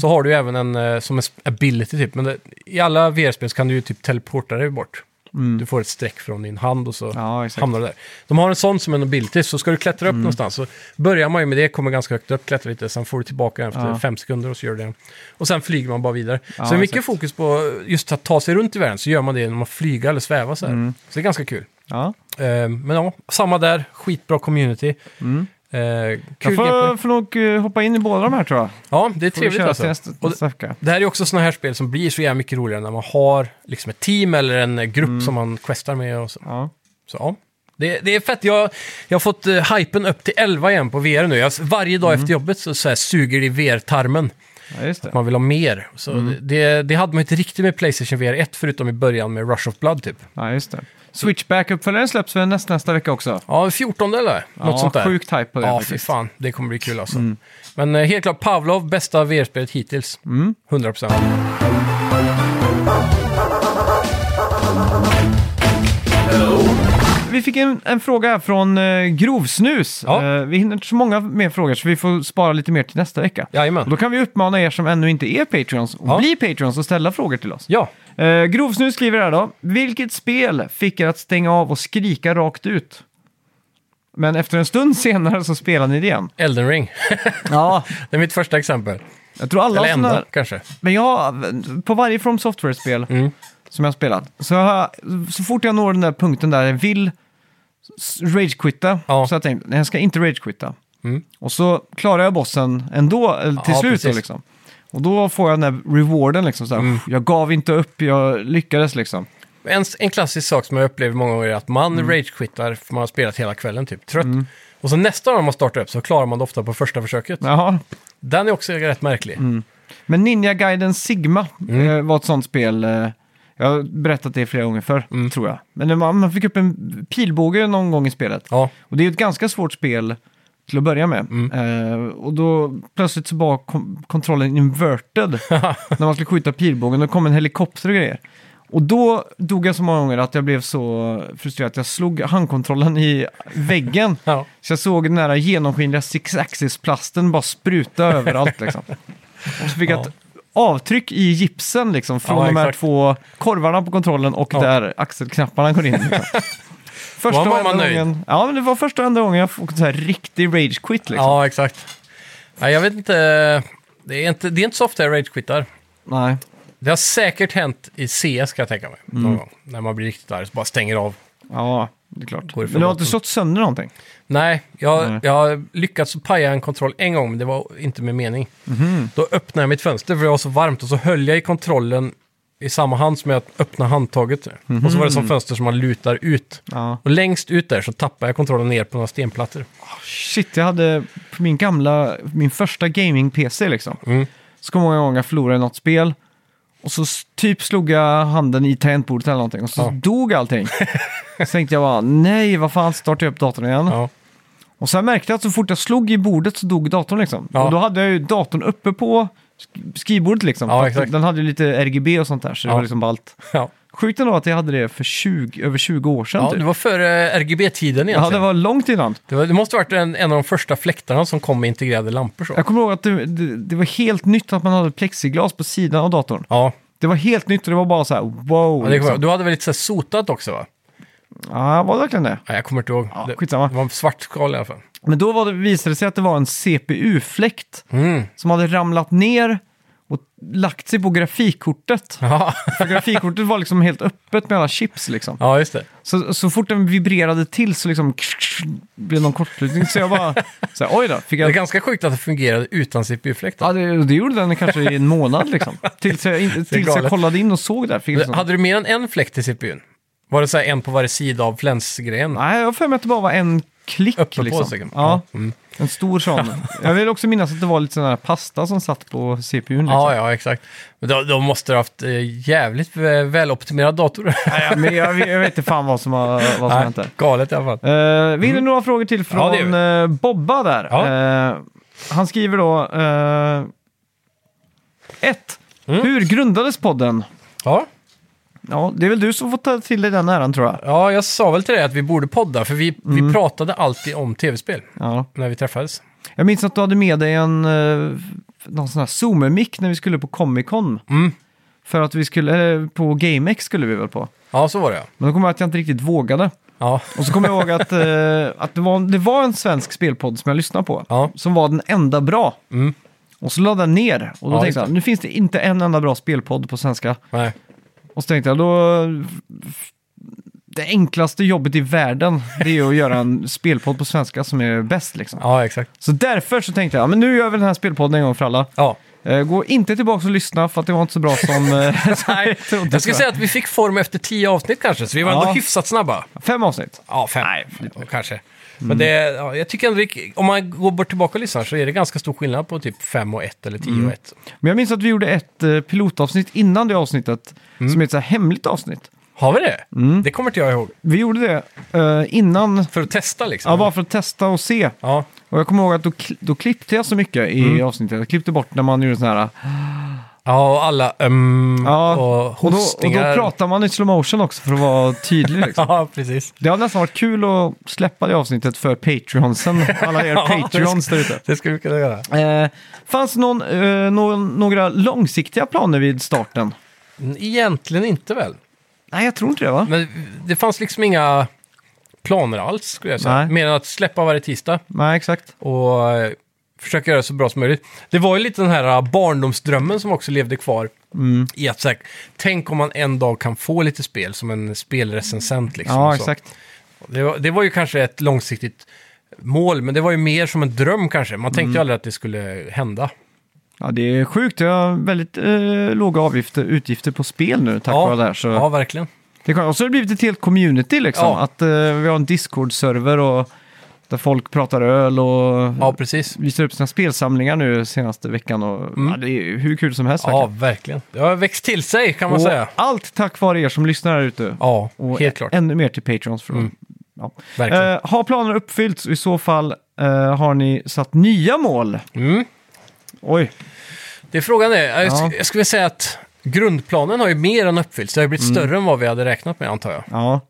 S2: Så har du ju även en eh, som en sp- ability typ. Men det, i alla VR-spel så kan du ju typ teleporta dig bort. Du får ett streck från din hand och så
S1: Ja, exakt.
S2: hamnar du där. De har en sån som en ability, så ska du klättra upp
S1: Mm.
S2: någonstans så börjar man ju med det, kommer ganska högt upp, klättrar lite, sen får du tillbaka den efter
S1: Ja.
S2: fem sekunder och så gör du det. Och sen flyger man bara vidare.
S1: Ja,
S2: så det är mycket
S1: exakt.
S2: fokus på just att ta sig runt i världen, så gör man det genom att flyga eller sväva
S1: Mm.
S2: så här. Så det är ganska kul. Ehm,
S1: Ja.
S2: Eh, Men ja, samma där, skitbra community. Eh,
S1: Mm. Jag
S2: kul
S1: får,
S2: gameplay.
S1: får nog eh, köra in i båda de här tror jag.
S2: Ja, det är
S1: Får vi
S2: trevligt
S1: köra
S2: alltså.
S1: till nästa,
S2: Och det-
S1: nästa vecka.
S2: Det här är också sådana här spel som blir så jävla mycket roligare när man har liksom ett team eller en grupp
S1: Mm.
S2: som man questar med. Och så.
S1: Ja.
S2: Så, ja. det, det är fett. Jag, jag har fått uh, hypen upp till 11 igen på VR nu. Jag, varje dag
S1: Mm.
S2: efter jobbet så, så här, suger det i VR-tarmen.
S1: ja, just det.
S2: Man vill ha mer. Så
S1: Mm.
S2: det, det hade man inte riktigt med Playstation VR 1 förutom i början med Rush of Blood typ.
S1: Ja, just det. Switchback-uppföljaren släpps väl nästa, nästa vecka också?
S2: Ja, 14 eller något
S1: ja,
S2: sånt där.
S1: Sjukt hype på det
S2: ja, fy
S1: faktiskt. Mm.
S2: fan. Det kommer bli kul alltså. Men eh, helt klart Pavlov, bästa VR-spelet hittills.
S1: Mm.
S2: 100%.
S1: Vi fick en, en fråga här från eh, Grovsnus.
S2: Ja.
S1: Eh, vi hinner inte så många mer frågor så vi får spara lite mer till nästa vecka. Och
S2: Jajamän.
S1: då kan vi uppmana er som ännu inte är Patreons att
S2: Ja.
S1: bli Patreons och ställa frågor till oss.
S2: Ja,
S1: Eh, Grovsnus skriver här då. Vilket spel fick er att stänga av och skrika rakt ut? Men efter en stund senare så spelar ni det igen.
S2: Elden Ring. [LAUGHS]
S1: Ja.
S2: Det är mitt första exempel.
S1: Jag tror alla
S2: Eller
S1: såna
S2: enda
S1: här,
S2: kanske.
S1: Men jag, på varje From Software-spel
S2: Mm.
S1: som jag har spelat, så, har jag- så fort jag når den där punkten där jag vill s- ragequitta,
S2: Ja.
S1: så jag tänkte, nej jag ska inte ragequitta.
S2: Mm.
S1: Och så klarar jag bossen ändå, eller till
S2: Ja,
S1: slut då
S2: precis.
S1: liksom. Och då får jag den där rewarden liksom, så här,
S2: Mm.
S1: jag gav inte upp, jag lyckades liksom.
S2: En, en klassisk sak som jag upplever många gånger är att man ragequittar för man har spelat hela kvällen typ, trött. Och så nästa gång man startar upp så klarar man det ofta på första försöket.
S1: Jaha.
S2: Den är också rätt märklig.
S1: Men Ninja Gaiden Sigma eh, var ett sånt spel, eh, jag har berättat det flera gånger förr, tror jag. Men när man, man fick upp en pilbåge någon gång i spelet.
S2: Ja,
S1: Och det är ju ett ganska svårt spel till att börja med. Eh, och då plötsligt så var kom- kontrollen inverted när man skulle skjuta pilbågen. Då kom en helikopter och grejer. Och då dog jag så många gånger att jag blev så frustrerad att jag slog handkontrollen i väggen.
S2: ja.
S1: Så jag såg den här genomskinliga six axis-plasten bara
S2: [LAUGHS]
S1: spruta överallt liksom. Och så fick jag
S2: Ja.
S1: ett avtryck i gipsen liksom från
S2: Ja,
S1: de här
S2: exakt.
S1: två korvarna på kontrollen och
S2: Ja.
S1: där axelknapparna går in. Liksom. Första
S2: [LAUGHS] Var
S1: och
S2: man
S1: enda
S2: nöjd?
S1: gången, ja, men det var första och enda gången jag fick så här riktig rage quit liksom.
S2: ja exakt. Nej, jag vet inte. Det är inte, det är inte så ofta jag ragequittar.
S1: Nej.
S2: Det har säkert hänt i CS kan jag tänka mig. Någon gång. När man blir riktigt arg så bara stänger av.
S1: ja, det är klart.
S2: Går det för
S1: Men du har inte
S2: botten?
S1: slått sönder någonting?
S2: Nej, jag,
S1: Nej.
S2: jag har lyckats paja en kontroll en gång, men det var inte med mening.
S1: Mhm.
S2: Då öppnade jag mitt fönster för det var så varmt och så höll jag i kontrollen i samma hand som jag öppnade handtaget.
S1: Mhm.
S2: Och så var det som fönster som man lutar ut.
S1: Ja.
S2: Och längst ut där så tappade jag kontrollen ner på några stenplattor.
S1: Shit, jag hade på min gamla, min första gaming-PC liksom.
S2: Mm.
S1: Så kommer jag ihåg jag förlorade något spel. Och så s- typ slog jag handen i tangentbordet eller någonting och så
S2: Ja.
S1: dog
S2: [LAUGHS]
S1: allting. så tänkte jag bara, nej vad fan, startar jag upp datorn igen.
S2: Ja,
S1: Och sen märkte jag att så fort jag slog i bordet så dog datorn liksom.
S2: Ja.
S1: Och då hade jag ju datorn uppe på sk- skrivbordet liksom.
S2: Ja,
S1: För att
S2: exakt.
S1: Den hade ju lite RGB och sånt där, så det
S2: Ja.
S1: var liksom ballt.
S2: ja.
S1: Sjukt ändå att jag hade det för 20, över 20 år sedan
S2: ja
S1: typ.
S2: det var före RGB-tiden egentligen.
S1: ja, det var långt innan.
S2: det, var, det måste ha varit en, en av de första fläktarna som kom med integrerade lampor. Så.
S1: Jag kommer ihåg att det, det, det var helt nytt att man hade plexiglas på sidan av datorn.
S2: Ja,
S1: Det var helt nytt och det var bara så här wow.
S2: ja det kommer jag.
S1: liksom.
S2: Du hade väl lite så här sotat också va?
S1: ja, var det verkligen det?
S2: Nej, jag kommer inte ihåg.
S1: Ja,
S2: det, det
S1: skitsamma.
S2: var en svart skal i alla fall.
S1: Men då var det, visade det sig att det var en CPU-fläkt
S2: Mm. [LAUGHS]
S1: som hade ramlat ner och lagt sig på grafikkortet.
S2: Ja.
S1: För grafikkortet var liksom helt öppet med alla chips liksom.
S2: ja, just det.
S1: Så, så fort den vibrerade till så liksom blev någon kortslutning. Så jag bara, så här, oj då. Fick
S2: Det är
S1: jag,
S2: ganska sjukt att det fungerade utan CPU-fläkt.
S1: ja, det, det gjorde den kanske i en månad liksom. Tills jag, in, tills jag
S2: galet.
S1: kollade in och såg där. Fick jag liksom,
S2: Hade du mer än en fläkt i CPUn? Var det så här en på varje sida av flänsgrejen?
S1: Nej, jag har för mig att det bara var en klick.
S2: Uppe på
S1: liksom.
S2: säkert.
S1: Ja,
S2: Mm.
S1: en stor
S2: [LAUGHS]
S1: sån. jag vill också minnas att det var lite sån här pasta som satt på CPUn. Liksom.
S2: Ja, ja, exakt. Men då, då måste du ha haft eh, jävligt vä- väloptimerad dator.
S1: Nej, ja, liksom. Men jag, jag vet inte fan vad som har vad som hänt där.
S2: [LAUGHS] galet i alla fall.
S1: Eh, vi hinner några frågor till
S2: Mm. Ja, det
S1: från eh, Bobba där.
S2: Ja.
S1: Eh, han skriver då... 1.
S2: Mm.
S1: Hur grundades podden?
S2: Ja.
S1: Ja, det är väl du som får ta till dig den äran tror jag.
S2: ja, jag sa väl till dig att vi borde podda, för vi,
S1: Mm.
S2: vi pratade alltid om tv-spel
S1: Ja.
S2: när vi träffades.
S1: Jag minns att du hade med dig en eh, någon sån här Zoomer-mick när vi skulle på Comic Con.
S2: Mm.
S1: För att vi skulle, eh, på GameX skulle vi väl på.
S2: Ja, så var det ja.
S1: Men då kommer jag att jag inte riktigt vågade.
S2: Ja,
S1: Och så kommer jag ihåg
S2: [LAUGHS]
S1: att, eh, att det, var, det var en svensk spelpodd som jag lyssnade på.
S2: Ja.
S1: Som var den enda bra.
S2: Mm.
S1: Och så lade jag ner. Och då
S2: Ja, just
S1: tänkte jag, nu finns det inte en enda bra spelpodd på svenska.
S2: nej.
S1: Och så tänkte jag, då det enklaste jobbet i världen, det är ju att göra en spelpodd på svenska som är bäst liksom.
S2: Ja, exakt.
S1: Så därför så tänkte jag, ja, men nu gör jag väl den här spelpodden en gång för alla. [LAUGHS]
S2: Ja.
S1: Eh, gå inte tillbaka och lyssna för att det var inte så bra
S2: [LAUGHS]
S1: som, eh, som [LAUGHS] jag trodde.
S2: Jag ska
S1: tror
S2: säga att vi fick form efter tio avsnitt kanske, så vi var
S1: Ja.
S2: ändå hyfsat snabba.
S1: Fem avsnitt.
S2: Ja, fem.
S1: Nej,
S2: Ja, kanske. Men det, ja, jag tycker ändå, det- om man går bort tillbaka och lyssnar så är det ganska stor skillnad på typ 5 och 1 eller 10 och 1.
S1: Men jag minns att vi gjorde ett eh, pilotavsnitt innan det avsnittet
S2: Mm.
S1: som är ett så här hemligt avsnitt.
S2: Har vi det?
S1: Mm.
S2: Det kommer inte jag ihåg.
S1: Vi gjorde det eh, innan,
S2: För att testa liksom.
S1: ja, bara för att testa och se.
S2: Ja.
S1: Och jag kommer ihåg att då, kli- då klippte jag så mycket i
S2: Mm.
S1: avsnittet. Jag klippte bort när man gjorde sådana här...
S2: ja, och alla um,
S1: Ja,
S2: och
S1: och, då, och då
S2: hostningar.
S1: pratar man i slow motion också för att vara tydlig. Liksom.
S2: [LAUGHS] Ja, precis.
S1: Det hade nästan varit kul att släppa det avsnittet för
S2: [LAUGHS]
S1: Patreonsen. Alla er
S2: Ja, det
S1: Patreons där ute.
S2: Det skulle vi kunna göra.
S1: Eh, fanns någon, eh, någon, några långsiktiga planer vid starten?
S2: Egentligen inte väl.
S1: Nej, jag tror inte det va?
S2: Men det fanns liksom inga planer alls, skulle jag säga.
S1: Nej.
S2: Mer än att släppa varje tisdag.
S1: Nej, exakt.
S2: och eh, försöka göra det så bra som möjligt. Det var ju lite den här eh, barndomsdrömmen som också levde kvar.
S1: Mm.
S2: I att så här, tänk om man en dag kan få lite spel som en spelrecensent. Liksom,
S1: Ja,
S2: och så.
S1: exakt.
S2: Det, var, det var ju kanske ett långsiktigt mål, men det var ju mer som en dröm kanske. Man
S1: Mm.
S2: tänkte ju aldrig att det skulle hända.
S1: Ja, det är sjukt. Jag har väldigt eh, låga avgifter, utgifter på spel nu tack
S2: ja,
S1: vare det här. Så
S2: ja, verkligen.
S1: det är skönt. och så har det blivit ett helt community liksom.
S2: Ja.
S1: Att eh, vi har en Discord-server och där folk pratar öl och
S2: Ja, precis.
S1: visar upp sina spelsamlingar nu senaste veckan. Och, ja, det är ju hur kul som helst.
S2: Mm. Ja,
S1: verkligen.
S2: verkligen. Det har växt till sig kan man
S1: och
S2: säga.
S1: allt tack vare er som lyssnar här ute.
S2: Ja,
S1: och
S2: helt klart. Mm.
S1: ännu mer till Patreons. För ja.
S2: Verkligen.
S1: Eh, har planerna uppfyllts? I så fall eh, har ni satt nya mål?
S2: Mm.
S1: Oj,
S2: Det är frågan är, jag,
S1: Ja.
S2: sk- jag skulle säga att grundplanen har ju mer än uppfyllts. Det har ju
S1: Mm.
S2: blivit större än vad vi hade räknat med antar jag.
S1: ja.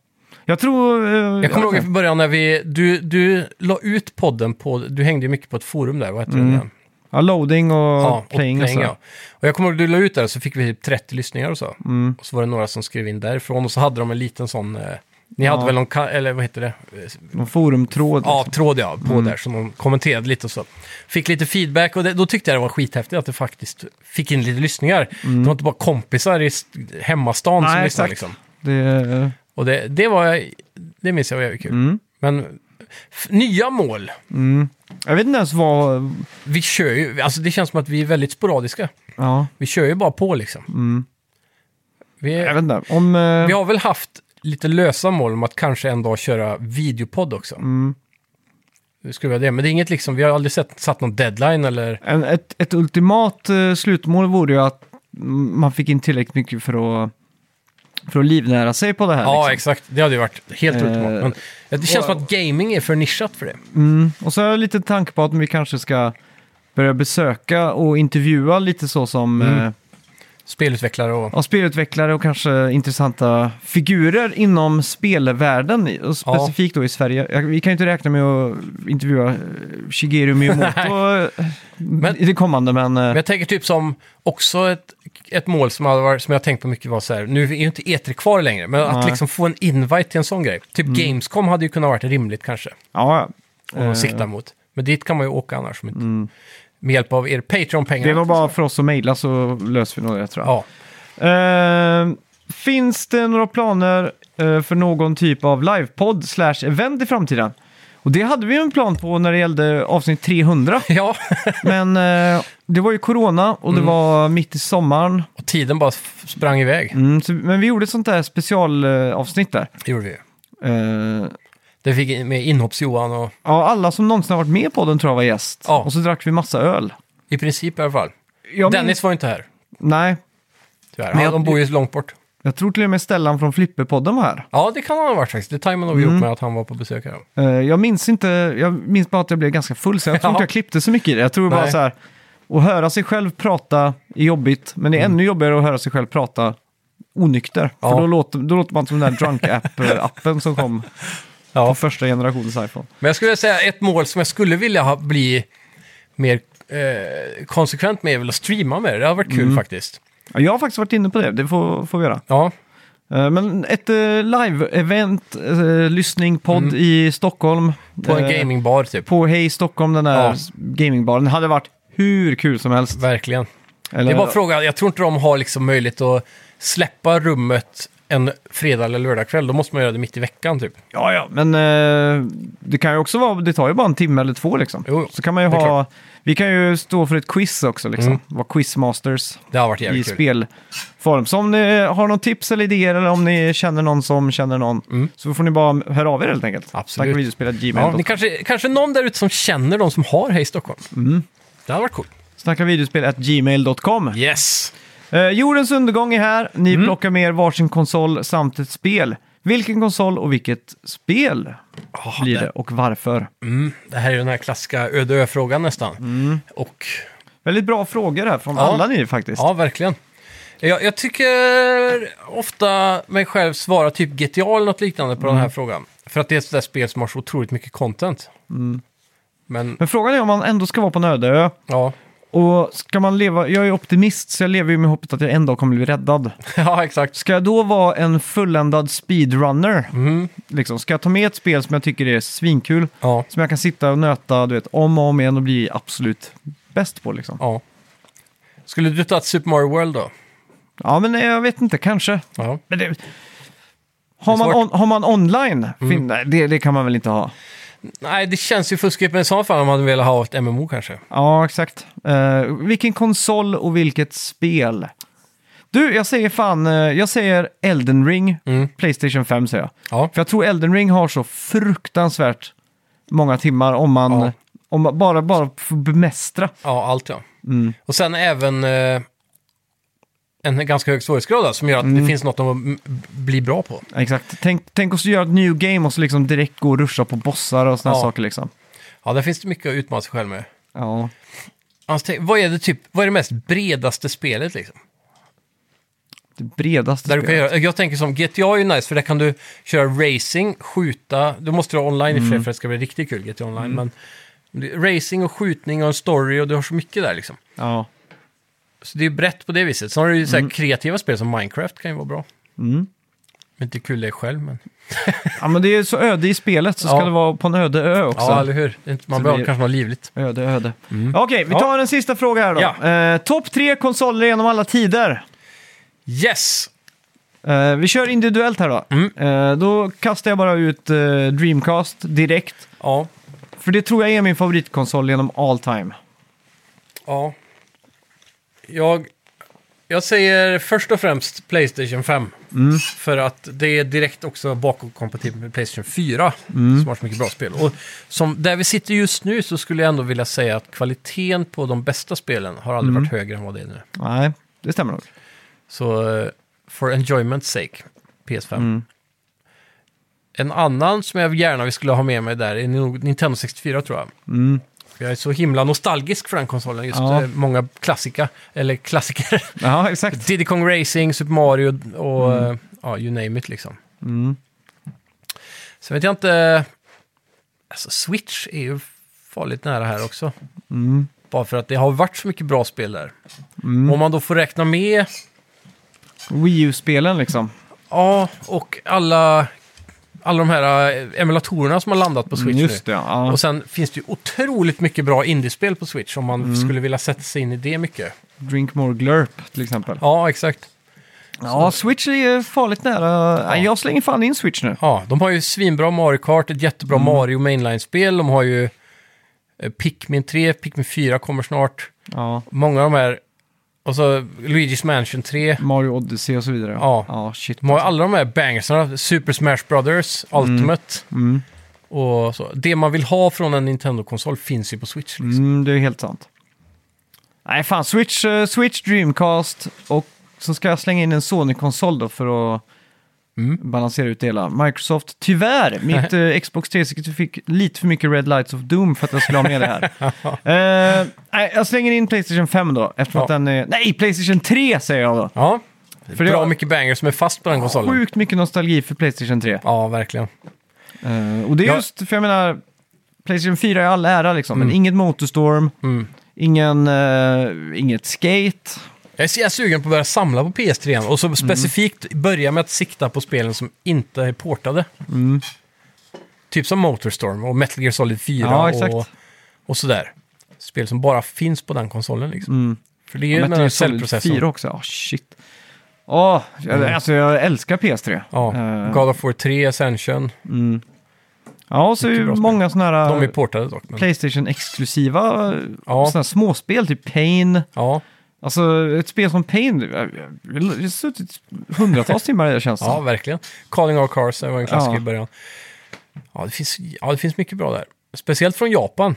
S1: Jag tror... eh,
S2: Jag kommer ihåg
S1: vet
S2: i början när vi, du, du la ut podden på, du hängde ju mycket på ett forum där, vad heter det igen?
S1: Mm. Ja, loading och
S2: Ja, och
S1: playing alltså. och så.
S2: ja. Och jag kommer ihåg du la ut där så fick vi typ 30 lyssningar och så.
S1: Mm.
S2: Och så var det några som skrev in därifrån och så hade de en liten sån, eh, ni hade
S1: Ja.
S2: väl någon, ka- eller vad heter det? Eh,
S1: Någon forumtråd.
S2: Ja,
S1: liksom.
S2: tråd ja, på där som de kommenterade lite och så. Fick lite feedback och det, då tyckte jag det var skithäftigt att det faktiskt fick in lite lyssningar. Det var inte bara kompisar i s- hemmastan som
S1: Mm. Nej,
S2: lyssnade
S1: exakt.
S2: liksom.
S1: Det, eh,
S2: Och det, det var, det minns jag var jävligt kul.
S1: Mm.
S2: Men f- nya mål,
S1: jag vet inte ens vad...
S2: vi kör ju, alltså det känns som att vi är väldigt sporadiska.
S1: Ja,
S2: Vi kör ju bara på liksom.
S1: Mm. jag
S2: Vi,
S1: vet inte. Om, eh,
S2: vi har väl haft lite lösa mål om att kanske en dag köra videopodd också.
S1: mm.
S2: Det skulle vara det, men det är inget liksom, vi har aldrig sett, satt någon deadline eller...
S1: en, ett, ett ultimat eh, slutmål vore ju att mm, man fick in tillräckligt mycket för att, för att livnära sig på det här.
S2: Ja,
S1: liksom.
S2: exakt. Det hade ju varit helt
S1: Eh,
S2: ultimat. Men det känns som att gaming är för nischat för det.
S1: Mm. Och så har jag lite tanke på att vi kanske ska börja besöka och intervjua lite så som
S2: Mm.
S1: eh,
S2: Spelutvecklare och...
S1: ja, spelutvecklare och kanske intressanta figurer inom spelvärlden. i- Och
S2: Ja.
S1: specifikt då i Sverige. Jag, vi kan ju inte räkna med att intervjua eh, Shigeru Miyamoto eh, i det kommande, men... eh,
S2: Men jag tänker typ som också ett, ett mål som, hade varit, som jag har tänkt på mycket var så här, nu är ju inte E3 kvar längre, men att
S1: Nej.
S2: liksom få en invite till en sån grej. Typ Gamescom hade ju kunnat varit rimligt kanske,
S1: ja,
S2: att
S1: Eh. Mm.
S2: sikta mot. Men dit kan man ju åka annars med, med hjälp av er Patreon-pengar.
S1: det var bara för oss att mejla så löser vi nog det, tror jag.
S2: Ja. [LAUGHS]
S1: Eh, finns det några planer eh, för någon typ av livepodd slash event i framtiden? Och det hade vi ju en plan på när det gällde avsnitt
S2: [LAUGHS]
S1: 300.
S2: ja,
S1: Men eh, det var ju corona och det
S2: Mm.
S1: var mitt i sommaren.
S2: och tiden bara f- sprang iväg.
S1: Mm, så, men vi gjorde ett sånt där specialavsnitt där.
S2: Det gjorde vi ju.
S1: Eh,
S2: Det fick in- med inhopps-Johan och
S1: ja, alla som någonsin har varit med på den tror jag var gäst.
S2: Ja.
S1: Och så drack vi massa öl.
S2: i princip i alla fall.
S1: Jag minns-
S2: Dennis var ju inte här,
S1: Nej,
S2: tyvärr.
S1: Men
S2: Men
S1: jag-
S2: de bor ju långt bort.
S1: jag tror till och med Stellan från Flipperpodden var här.
S2: Ja, det kan han ha varit faktiskt. Det tajmade nog
S1: Mm.
S2: ihop med att han var på besök här.
S1: Eh, jag minns inte, jag minns bara att jag blev ganska full så jag tror
S2: Ja.
S1: inte jag klippte så mycket i det. Jag tror bara
S2: Nej.
S1: så här, att höra sig själv prata är jobbigt, men det är ännu jobbigare att höra sig själv prata onykter.
S2: Mm. Ja.
S1: För då låter, då låter man som den där drunk app eh, appen som kom
S2: Ja.
S1: på första generationens iPhone.
S2: Men jag skulle vilja säga ett mål som jag skulle vilja ha, bli mer eh, konsekvent med är väl att streama med. Det har varit kul
S1: Mm.
S2: faktiskt.
S1: Ja, Jag har faktiskt varit inne på det, det får, får vi göra.
S2: Ja,
S1: Eh, Men ett eh, live-event, eh, lyssning, podd i Stockholm.
S2: Mm. på en
S1: eh,
S2: gamingbar typ.
S1: På Hej Stockholm, den där
S2: Ja.
S1: gamingbaren, hade varit hur kul som helst.
S2: Verkligen.
S1: Eller,
S2: Det är bara frågan, jag tror inte de har liksom möjlighet att släppa rummet en fredag eller lördagkväll, då måste man göra det mitt i veckan typ.
S1: Ja, ja, men eh, det kan ju också vara, det tar ju bara en timme eller två liksom.
S2: Jo, jo,
S1: så kan man ju
S2: det är Mm.
S1: ha, vi kan ju stå för ett quiz också liksom, vara quizmasters
S2: Det har varit
S1: i
S2: jävligt kul.
S1: spelform. Så om ni har någon tips eller idéer eller om ni känner någon som känner någon så får ni bara höra av er helt enkelt.
S2: Mm. Absolut.
S1: Snackavideospel.gmail.
S2: Ja, ni kanske, kanske någon där ute som känner de som har Hej Stockholm.
S1: Mm.
S2: Det hade varit coolt.
S1: Snackavideospel.gmail.com.
S2: Yes!
S1: Eh, jordens undergång är här. Ni
S2: Mm.
S1: plockar med er varsin konsol samt ett spel. Vilken konsol och vilket spel blir det och varför?
S2: Mm, Det här är den här klassiska öde ö-frågan nästan. Och
S1: Väldigt bra frågor här från
S2: Ja.
S1: alla ni faktiskt.
S2: ja, verkligen. Jag, jag tycker ofta mig själv svara typ GTA eller något liknande på den här frågan. För att det är ett sådär spel som har så otroligt mycket content. Men
S1: Men frågan är om man ändå ska vara på en öde ö.
S2: ja, [LAUGHS]
S1: Och ska man leva, jag är optimist så jag lever ju med hoppet att jag en dag kommer bli räddad.
S2: ja exakt.
S1: Ska jag då vara en fulländad speedrunner?
S2: Mm.
S1: Liksom, ska jag ta med ett spel som jag tycker är svinkul?
S2: Ja,
S1: Som jag kan sitta och nöta du vet, om och om igen och bli absolut bäst på liksom.
S2: ja. Skulle du ta ett Super Mario World då?
S1: Ja men eh, jag vet inte, kanske.
S2: Ja.
S1: Men det... Har,
S2: Det är
S1: man on,
S2: svårt. Mm.
S1: har man online? Fin... Nej, det, det kan man väl inte ha?
S2: Nej, det känns ju fuskigt, men i så fall om man hade velat ha ett MMO kanske.
S1: Ja, exakt. Eh, vilken konsol och vilket spel? Du, jag säger fan, eh, jag säger Elden Ring,
S2: Mm.
S1: Playstation 5 säger jag.
S2: Ja.
S1: För jag tror Elden Ring har så fruktansvärt många timmar om man,
S2: Ja.
S1: om man bara, bara får bemästra.
S2: Ja, allt ja. Och sen även eh, en ganska hög svårighetsgrad där, som gör att det finns något att m- bli bra på.
S1: Exakt. Tänk, tänk oss göra ett new game och så liksom direkt gå och ruscha på bossar och sådana
S2: Ja.
S1: saker liksom.
S2: Ja, där finns det mycket att utmana sig själv med.
S1: Ja.
S2: Alltså, tänk, vad, är det typ, vad är det mest bredaste spelet liksom?
S1: Det bredaste
S2: Där du kan
S1: spelet.
S2: göra, jag tänker som GTA är ju nice, för där kan du köra racing, skjuta, du måste ha online i och för sig för att det ska bli riktigt kul, GTA online, men det- racing och skjutning och en story och du har så mycket där liksom.
S1: Ja.
S2: Så det är brett på det viset. Sen har du ju så här kreativa spel som Minecraft kan ju vara bra.
S1: Mm.
S2: Men inte kul det själv, men...
S1: ja, men det är så öde i spelet så
S2: Ja.
S1: ska det vara på en öde ö också.
S2: Ja, eller hur? Det är inte- Man
S1: Så
S2: behöver
S1: blir-
S2: kanske något livligt.
S1: Öde, öde. Okej, vi
S2: Ja.
S1: tar en sista fråga här då.
S2: Ja.
S1: Eh, Topp tre konsoler genom alla tider.
S2: Yes!
S1: Eh, vi kör individuellt här då.
S2: Mm.
S1: Eh, då kastar jag bara ut eh, Dreamcast direkt.
S2: Ja,
S1: För det tror jag är min favoritkonsol genom all time.
S2: ja. Jag, jag säger först och främst Playstation 5. För att det är direkt också bakåtkompatibelt med Playstation 4. Som har så mycket bra spel. Och som där vi sitter just nu så skulle jag ändå vilja säga att kvaliteten på de bästa spelen har aldrig varit högre än vad det är nu.
S1: Nej, det stämmer nog.
S2: Så eh, for enjoyment's sake, PS5.
S1: Mm.
S2: En annan som jag gärna skulle ha med mig där är nog Nintendo 64 tror jag. Jag är så himla nostalgisk för den konsolen, just
S1: Mm. Ja.
S2: eh, många klassika, eller klassiker. [LAUGHS]
S1: Ja, exakt.
S2: Diddy Kong Racing, Super Mario och eh, ja, you name it liksom.
S1: Mm.
S2: Sen vet jag inte, alltså Switch är ju farligt nära här också.
S1: Mm.
S2: Bara för att det har varit så mycket bra spel där.
S1: Mm.
S2: Om man då får räkna med
S1: Wii U-spelen liksom.
S2: Ja, och alla, alla de här eh, emulatorerna som har landat på Switch
S1: Mm, Just
S2: nu.
S1: det, ja.
S2: Och sen finns det ju otroligt mycket bra indiespel på Switch om man
S1: Mm.
S2: skulle vilja sätta sig in i det mycket.
S1: Drink More Glurp till exempel.
S2: Ja, exakt.
S1: Ja, Switch är farligt nära. Nej, Jag slänger fan in Switch nu.
S2: Ja, de har ju svinbra Mario Kart, ett jättebra
S1: Mm.
S2: Mario Mainline-spel. De har ju eh, Pikmin 3, Pikmin 4 kommer snart.
S1: Ja.
S2: Många av de här, och så Luigi's Mansion 3.
S1: Mario Odyssey och så vidare.
S2: Ja.
S1: ja shit.
S2: De har ju alla de här bangersarna, Super Smash Brothers, Ultimate
S1: Mm.
S2: och så. Det man vill ha från en Nintendo-konsol finns ju på Switch. Liksom.
S1: Mm, det är helt sant. Nej, fan. Switch, eh, Switch Dreamcast och så ska jag slänga in en Sony-konsol då för att balansera ut det hela. Microsoft, tyvärr, mitt eh, Xbox 360 fick lite för mycket Red Lights of Doom för att jag skulle ha med det här. Eh, nej, jag slänger in Playstation 5 då, eftersom
S2: Ja.
S1: att den är... Nej, Playstation 3 säger jag då!
S2: Ja,
S1: För det
S2: bra
S1: var-
S2: mycket banger som är fast på den konsolen.
S1: Sjukt mycket nostalgi för Playstation 3.
S2: Ja, verkligen.
S1: Eh, och det är
S2: Ja.
S1: just, för jag menar, Playstation 4 är all ära liksom, men inget Motorstorm,
S2: Mm.
S1: ingen, eh, inget Skate.
S2: Jag är så jävla sugen på att börja samla på PS3 igen, och
S1: Mm.
S2: så specifikt börja med att sikta på spelen som inte är portade.
S1: Mm.
S2: Typ som Motorstorm och Metal Gear Solid 4
S1: Ja, exakt.
S2: och, och sådär. Spel som bara finns på den konsolen liksom. För det är ju
S1: Ja,
S2: den
S1: Mm. Metal
S2: här
S1: Gear Solid
S2: cellprocessen.
S1: 4 också, ja shit. Åh, jag, alltså jag älskar PS3.
S2: Mm. Ja.
S1: Eh,
S2: God of War 3, Ascension.
S1: ja så är ju
S2: bra spel.
S1: många sådana här
S2: De är
S1: eh,
S2: portade dock. Men...
S1: Playstation-exklusiva
S2: Ja.
S1: ja. sådana här småspel, typ Pain.
S2: Ja.
S1: Alltså ett spel som Pain, jag jag- jag har suttit hundratals timmar i det känns det
S2: ja,
S1: som.
S2: verkligen. Calling All Cars, det var en klassiker
S1: Ja.
S2: i början. Ja det, finns, ja, det finns mycket bra där. Speciellt från Japan.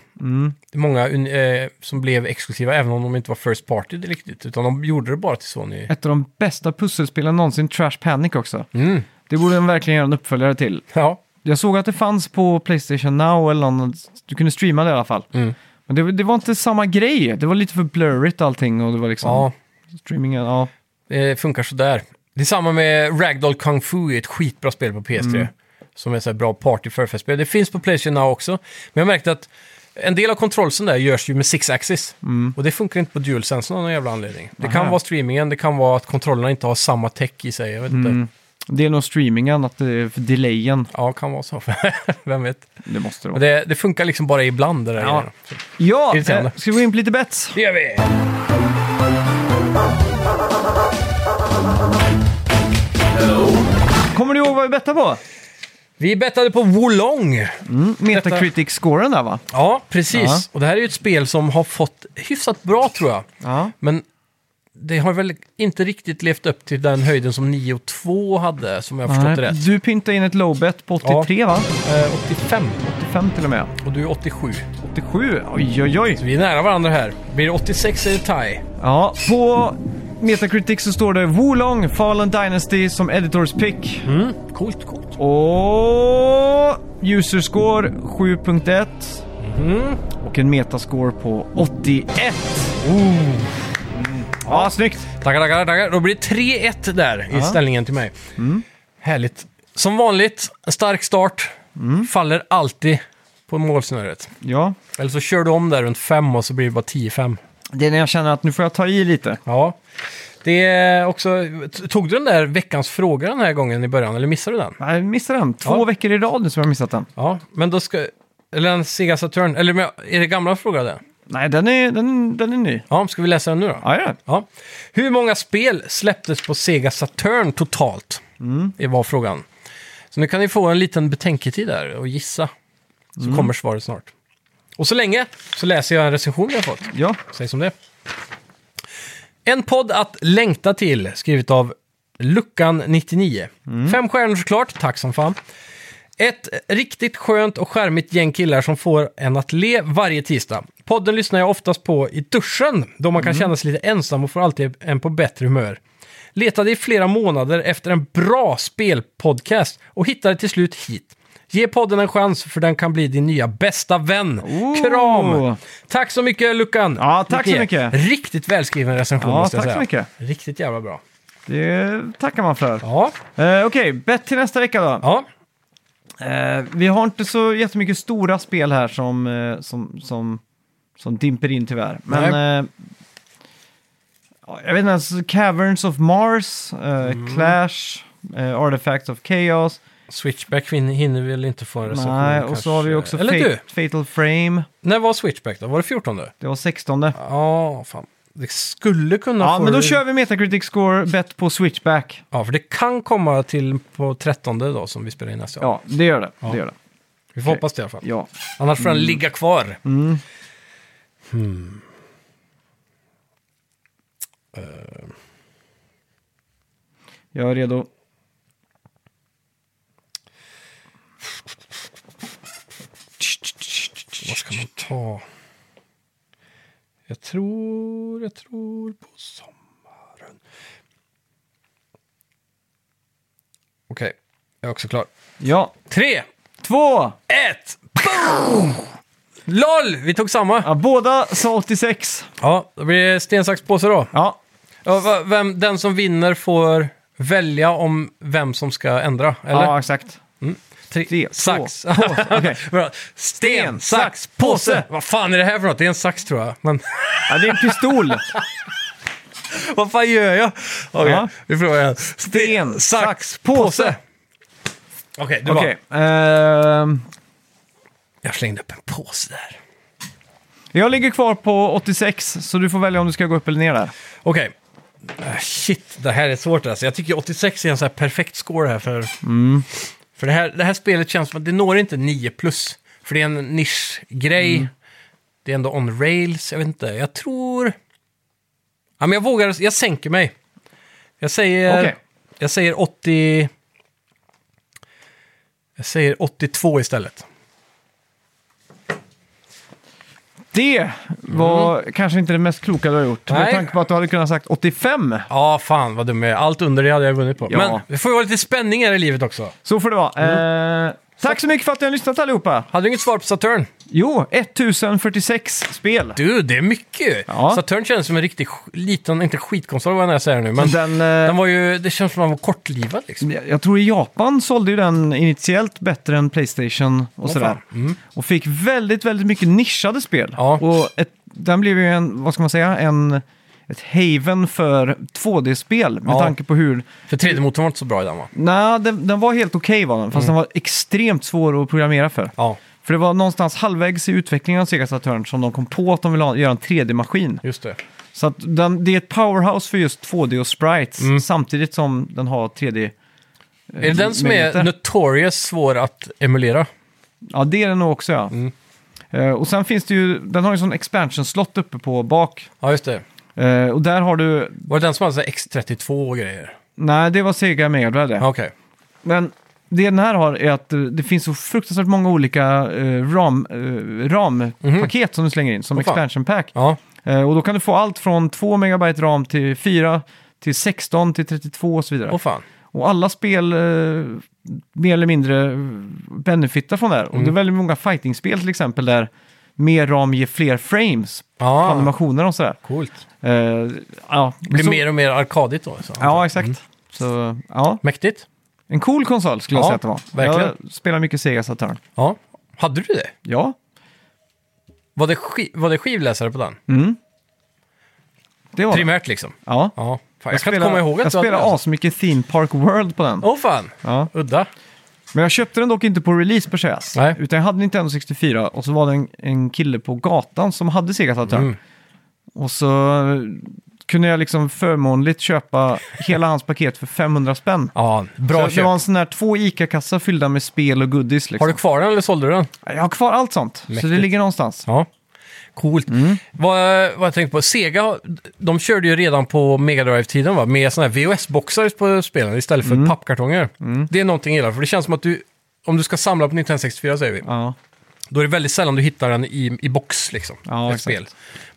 S2: Det är många un- eh, som blev exklusiva, även om de inte var First Party riktigt. Utan de gjorde det bara till Sony.
S1: Ett av de bästa pusselspelen någonsin, Trash Panic också.
S2: Mm.
S1: Det borde de verkligen göra en uppföljare till.
S2: Ja.
S1: Jag såg att det fanns på Playstation Now eller något, du kunde streama det i alla fall.
S2: Mm.
S1: Men det, det var inte samma grej, det var lite för blurrigt allting och det var liksom
S2: ja,
S1: streamingen, ja.
S2: det Eh, funkar sådär. Det är samma med Ragdoll Kung Fu, är ett skitbra spel på PS3.
S1: Mm.
S2: Som är ett så här bra party spel Det finns på Playstation Now också. Men jag märkte att en del av kontrollsen där görs ju med 6-axis. Och det funkar inte på DualSense av någon jävla anledning. Det kan
S1: Mm. Aha.
S2: vara streamingen, det kan vara att kontrollerna inte har samma tech i sig. Jag vet
S1: Mm.
S2: inte.
S1: Det är nog streamingen, att det är för delayen.
S2: Ja, kan vara så. [LAUGHS] Vem vet.
S1: Det måste det
S2: Men
S1: vara.
S2: det, det funkar liksom bara ibland. Det, där
S1: Ja.
S2: grejerna.
S1: Ja,
S2: Irriterande.
S1: eh, ska vi gå in på lite bets?
S2: det gör vi!
S1: Kommer du ihåg vad vi bettade på? Mm,
S2: Vi bettade på Wolong.
S1: Metacritic-scoren där va?
S2: Ja, precis.
S1: Ja.
S2: Och det här är ju ett spel som har fått hyfsat bra tror jag.
S1: Ja.
S2: Men det har väl inte riktigt levt upp till den höjden som 9.2 hade, som jag har förstått det rätt.
S1: Du pyntade in ett lowbet på 83 va?
S2: Eh, 85
S1: 85 till och med.
S2: och du är 87.
S1: 87, oj oj oj.
S2: Så vi är nära varandra här. Blir det 86 är det tie.
S1: Ja, på Metacritic så står det Wolong Fallen Dynasty som editors pick.
S2: Coolt, coolt.
S1: Och user score 7.1. Och en metascore på 81. Ja, snyggt.
S2: Tackar, tackar, tackar. Då blir det 3-1 där i ställningen till mig. Härligt. Som vanligt, en stark start. Faller alltid på målsnöret.
S1: Ja,
S2: Eller så kör du om där runt 5 och så blir det bara 10-5.
S1: det är när jag känner att nu får jag ta i lite.
S2: Ja. Det är också... Tog du den där veckans fråga den här gången i början, eller missade du den?
S1: Jag missade den. Två
S2: Ja.
S1: veckor i rad nu som jag missat den.
S2: Ja, men då ska... Eller en Sega Saturn. Eller men, är det gamla frågan det?
S1: Nej, den är, den, den är ny.
S2: Ja, ska vi läsa den nu då?
S1: Ja, ja.
S2: Ja. Hur många spel släpptes på Sega Saturn totalt? Det var frågan. Så nu kan ni få en liten betänketid där och gissa. Så kommer svaret snart. Och så länge så läser jag en recension jag har fått.
S1: ja.
S2: Säg som det. En podd att längta till, skrivet av Luckan99. Fem stjärnor såklart, tack som fan. Ett riktigt skönt och charmigt gäng killar som får en att le varje tisdag. Podden lyssnar jag oftast på i duschen, då man kan känna sig lite ensam och får alltid en på bättre humör. Letade i flera månader efter en bra spelpodcast och hittade till slut hit. Ge podden en chans för den kan bli din nya bästa vän.
S1: Ooh.
S2: Kram! Tack så mycket Luckan!
S1: Ja, tack så mycket.
S2: Riktigt välskriven recension
S1: Ja,
S2: måste jag
S1: tack
S2: säga.
S1: så mycket.
S2: Riktigt jävla bra.
S1: Det tackar man för.
S2: Ja,
S1: Eh, Okej, bett till nästa vecka då.
S2: ja.
S1: Eh, vi har inte så jättemycket stora spel här som, eh, som, som, som dimper in tyvärr. Men eh, ja, jag vet inte, alltså Caverns of Mars, eh, Clash, eh, Artifacts of Chaos.
S2: Switchback hin- hinner väl inte få en recension
S1: Nej, och
S2: kanske.
S1: så har vi också
S2: Eller du,
S1: Fate, Fatal Frame.
S2: när var Switchback då? Var det 14?
S1: Det var 16. Ja,
S2: Ja, fan. Det skulle kunna få...
S1: men då kör vi Metacritic Score, bet på Switchback.
S2: Ja, för det kan komma till på 13 då som vi spelar in nästa.
S1: Ja, det gör det.
S2: Ja.
S1: det, gör det.
S2: Vi får hoppas det i alla fall.
S1: Ja.
S2: Annars får den ligga kvar.
S1: Mm. Jag är redo.
S2: Vad ska man ta? Jag tror, jag tror på sommaren. Okej, jag är också klar.
S1: Ja,
S2: Tre,
S1: två!
S2: ett, boom! LOL! Vi tog samma.
S1: Ja, båda sa 86.
S2: Ja, då blir det sten, sax, påse då.
S1: Ja,
S2: Ja, va- vem, den som vinner får välja om vem som ska ändra, eller?
S1: ja exakt.
S2: Tre,
S1: tre, två,
S2: sax. [LAUGHS]
S1: påse. Okej.
S2: Bra. Sten, sax, påse! Vad fan är det här för något? Det är en sax tror jag. Men...
S1: Ja, det är en pistol.
S2: [LAUGHS] Vad fan gör jag? Okej,
S1: Ja.
S2: vi provar igen. Sten, sax, påse! Okej, du
S1: Okej.
S2: var.
S1: ehm,
S2: Jag slängde upp en påse där.
S1: jag ligger kvar på 86, så du får välja om du ska gå upp eller ner där.
S2: Okej, Ah, Shit, det här är svårt alltså. Jag tycker 86 är en så här perfekt score här för...
S1: Mm.
S2: För det här, det här spelet känns som att det når inte 9 plus. För det är en nischgrej.
S1: Mm.
S2: Det är ändå on rails, jag vet inte. Jag tror... Ja, men jag vågar, jag sänker mig. Jag säger...
S1: Okej.
S2: Jag säger 80... Jag säger 82 istället.
S1: Det var kanske inte det mest kloka du har gjort. Med
S2: Nej.
S1: tanke på att du hade kunnat sagt 85.
S2: Ja, fan vad dum jag är. Allt under det hade jag vunnit på.
S1: Ja.
S2: Men det får ju vara lite spänning här i livet också.
S1: Så får det vara. Eh, tack så mycket för att ni har lyssnat allihopa.
S2: Hade du inget svar på Saturn?
S1: Jo, 1046 spel.
S2: Du, det är mycket ju.
S1: Ja.
S2: Saturn känns som en riktig sk- liten, inte skitkonsol vad jag säger nu, men den,
S1: Den, eh,
S2: var ju, det känns som att den var kortlivad liksom.
S1: Jag- Jag tror i Japan sålde ju den initiellt bättre än Playstation och sådär. Och fick väldigt, väldigt mycket nischade spel.
S2: Mm. Ja.
S1: Och ett, den blev ju en, vad ska man säga, en, ett haven för 2D-spel. Med
S2: Ja.
S1: tanke på hur...
S2: För 3D-motorn var inte så bra i den va?
S1: Nej, den, den var helt okej var den, fast
S2: Mm.
S1: den var extremt svår att programmera för.
S2: Ja,
S1: För det var någonstans halvvägs i utvecklingen av Sega Saturn som de kom på att de ville ha, göra en 3D-maskin.
S2: just det.
S1: Så att den, det är ett powerhouse för just 2D och sprites,
S2: Mm.
S1: samtidigt som den har 3D.
S2: Är det den som
S1: möjligheter.
S2: är notorious svår att emulera?
S1: Ja, det är den nog också ja.
S2: Mm.
S1: Eh, och sen finns det ju, den har ju sån expansion-slott uppe på bak.
S2: Ja, just det.
S1: Eh, och där har du,
S2: Var det den som hade så här X32 och grejer?
S1: nej det var Sega Mega Drive det.
S2: Ja, Okej.
S1: Men det den här har är att eh, det finns så fruktansvärt många olika eh, ram, eh, rampaket som du slänger in som
S2: Åh, Mhm. fan.
S1: expansion pack.
S2: Ja,
S1: Eh, och då kan du få allt från 2 megabyte ram till 4, till 16, till 32 och så vidare.
S2: åh fan.
S1: Och alla spel eh, mer eller mindre eh, benefitar från det här.
S2: Mm.
S1: Och det är väldigt många fightingspel till exempel där mer ram ger fler frames på
S2: Ja,
S1: animationer och sådär.
S2: coolt.
S1: Eh, ja,
S2: Ah. Det blir
S1: så,
S2: mer Mm. och mer arkadigt då. Så.
S1: Ja, exakt. Så, ja.
S2: Mäktigt.
S1: En cool konsol skulle jag
S2: Ja,
S1: säga att det var.
S2: verkligen.
S1: Jag spelar mycket Sega Saturn.
S2: Ja. Hade du det?
S1: Ja,
S2: Var det, ski- var det skivläsare på den?
S1: det var det.
S2: Primärt liksom?
S1: Ja.
S2: Ja. Fan, jag, kan inte komma ihåg att
S1: jag
S2: du hade
S1: spelade
S2: den.
S1: asmycket Theme Park World på den.
S2: Åh fan,
S1: Ja.
S2: udda.
S1: Men jag köpte den dock inte på release per se. alltså.
S2: Nej.
S1: Utan jag hade Nintendo 64 och så var det en, en kille på gatan som hade Sega Saturn.
S2: Mm.
S1: Och så kunde jag liksom förmånligt köpa hela hans paket för 500 spänn.
S2: Ja, bra
S1: så det
S2: köp.
S1: var en sån här två ICA-kassar fyllda med spel och goodies. Liksom.
S2: Har du kvar den eller sålde du den?
S1: Jag har kvar allt sånt, så det
S2: Mäktigt.
S1: ligger någonstans.
S2: Ja. Coolt.
S1: Mm.
S2: Vad, vad jag tänkte på, Sega, de körde ju redan på Mega Drive-tiden va? Med såna här VHS-boxar på spelen istället för
S1: Mm.
S2: pappkartonger. Det är någonting jag gillar, för det känns som att du, om du ska samla på 1964 säger vi,
S1: Ja.
S2: då är det väldigt sällan du hittar den i, i box liksom.
S1: Ja,
S2: ett
S1: exakt.
S2: spel.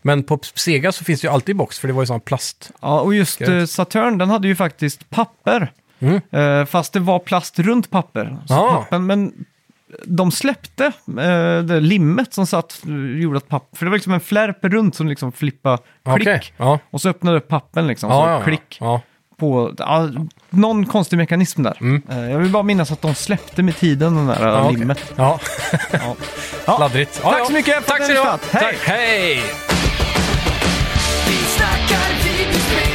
S2: Men på Sega så finns det ju alltid i box, för det var ju sån plast.
S1: ja, och just
S2: Grymt.
S1: eh, Saturn, den hade ju faktiskt papper.
S2: Mm. Ah.
S1: Eh, Fast det var plast runt papper. Så
S2: Ja.
S1: pappen, men de släppte eh, det limmet som satt, eh, gjorde att papper... För det var liksom en flärp runt som liksom flippade klick.
S2: Okej, Ja.
S1: Och så öppnade upp pappen liksom, så
S2: Ja, ja, ja.
S1: klick.
S2: Ja.
S1: på ja, någon konstig mekanism där. Eh, Jag vill bara minnas att de släppte med tiden den där
S2: Ja,
S1: ja,
S2: Mm. Ah, okej. Ah,
S1: limmet.
S2: ja. [LAUGHS]
S1: Ja. Ja.
S2: Laddrigt.
S1: Tack så mycket för att
S2: Tack
S1: ni
S2: så
S1: har lyssnat. Hej!
S2: Hej!
S3: Vi snackar videospel,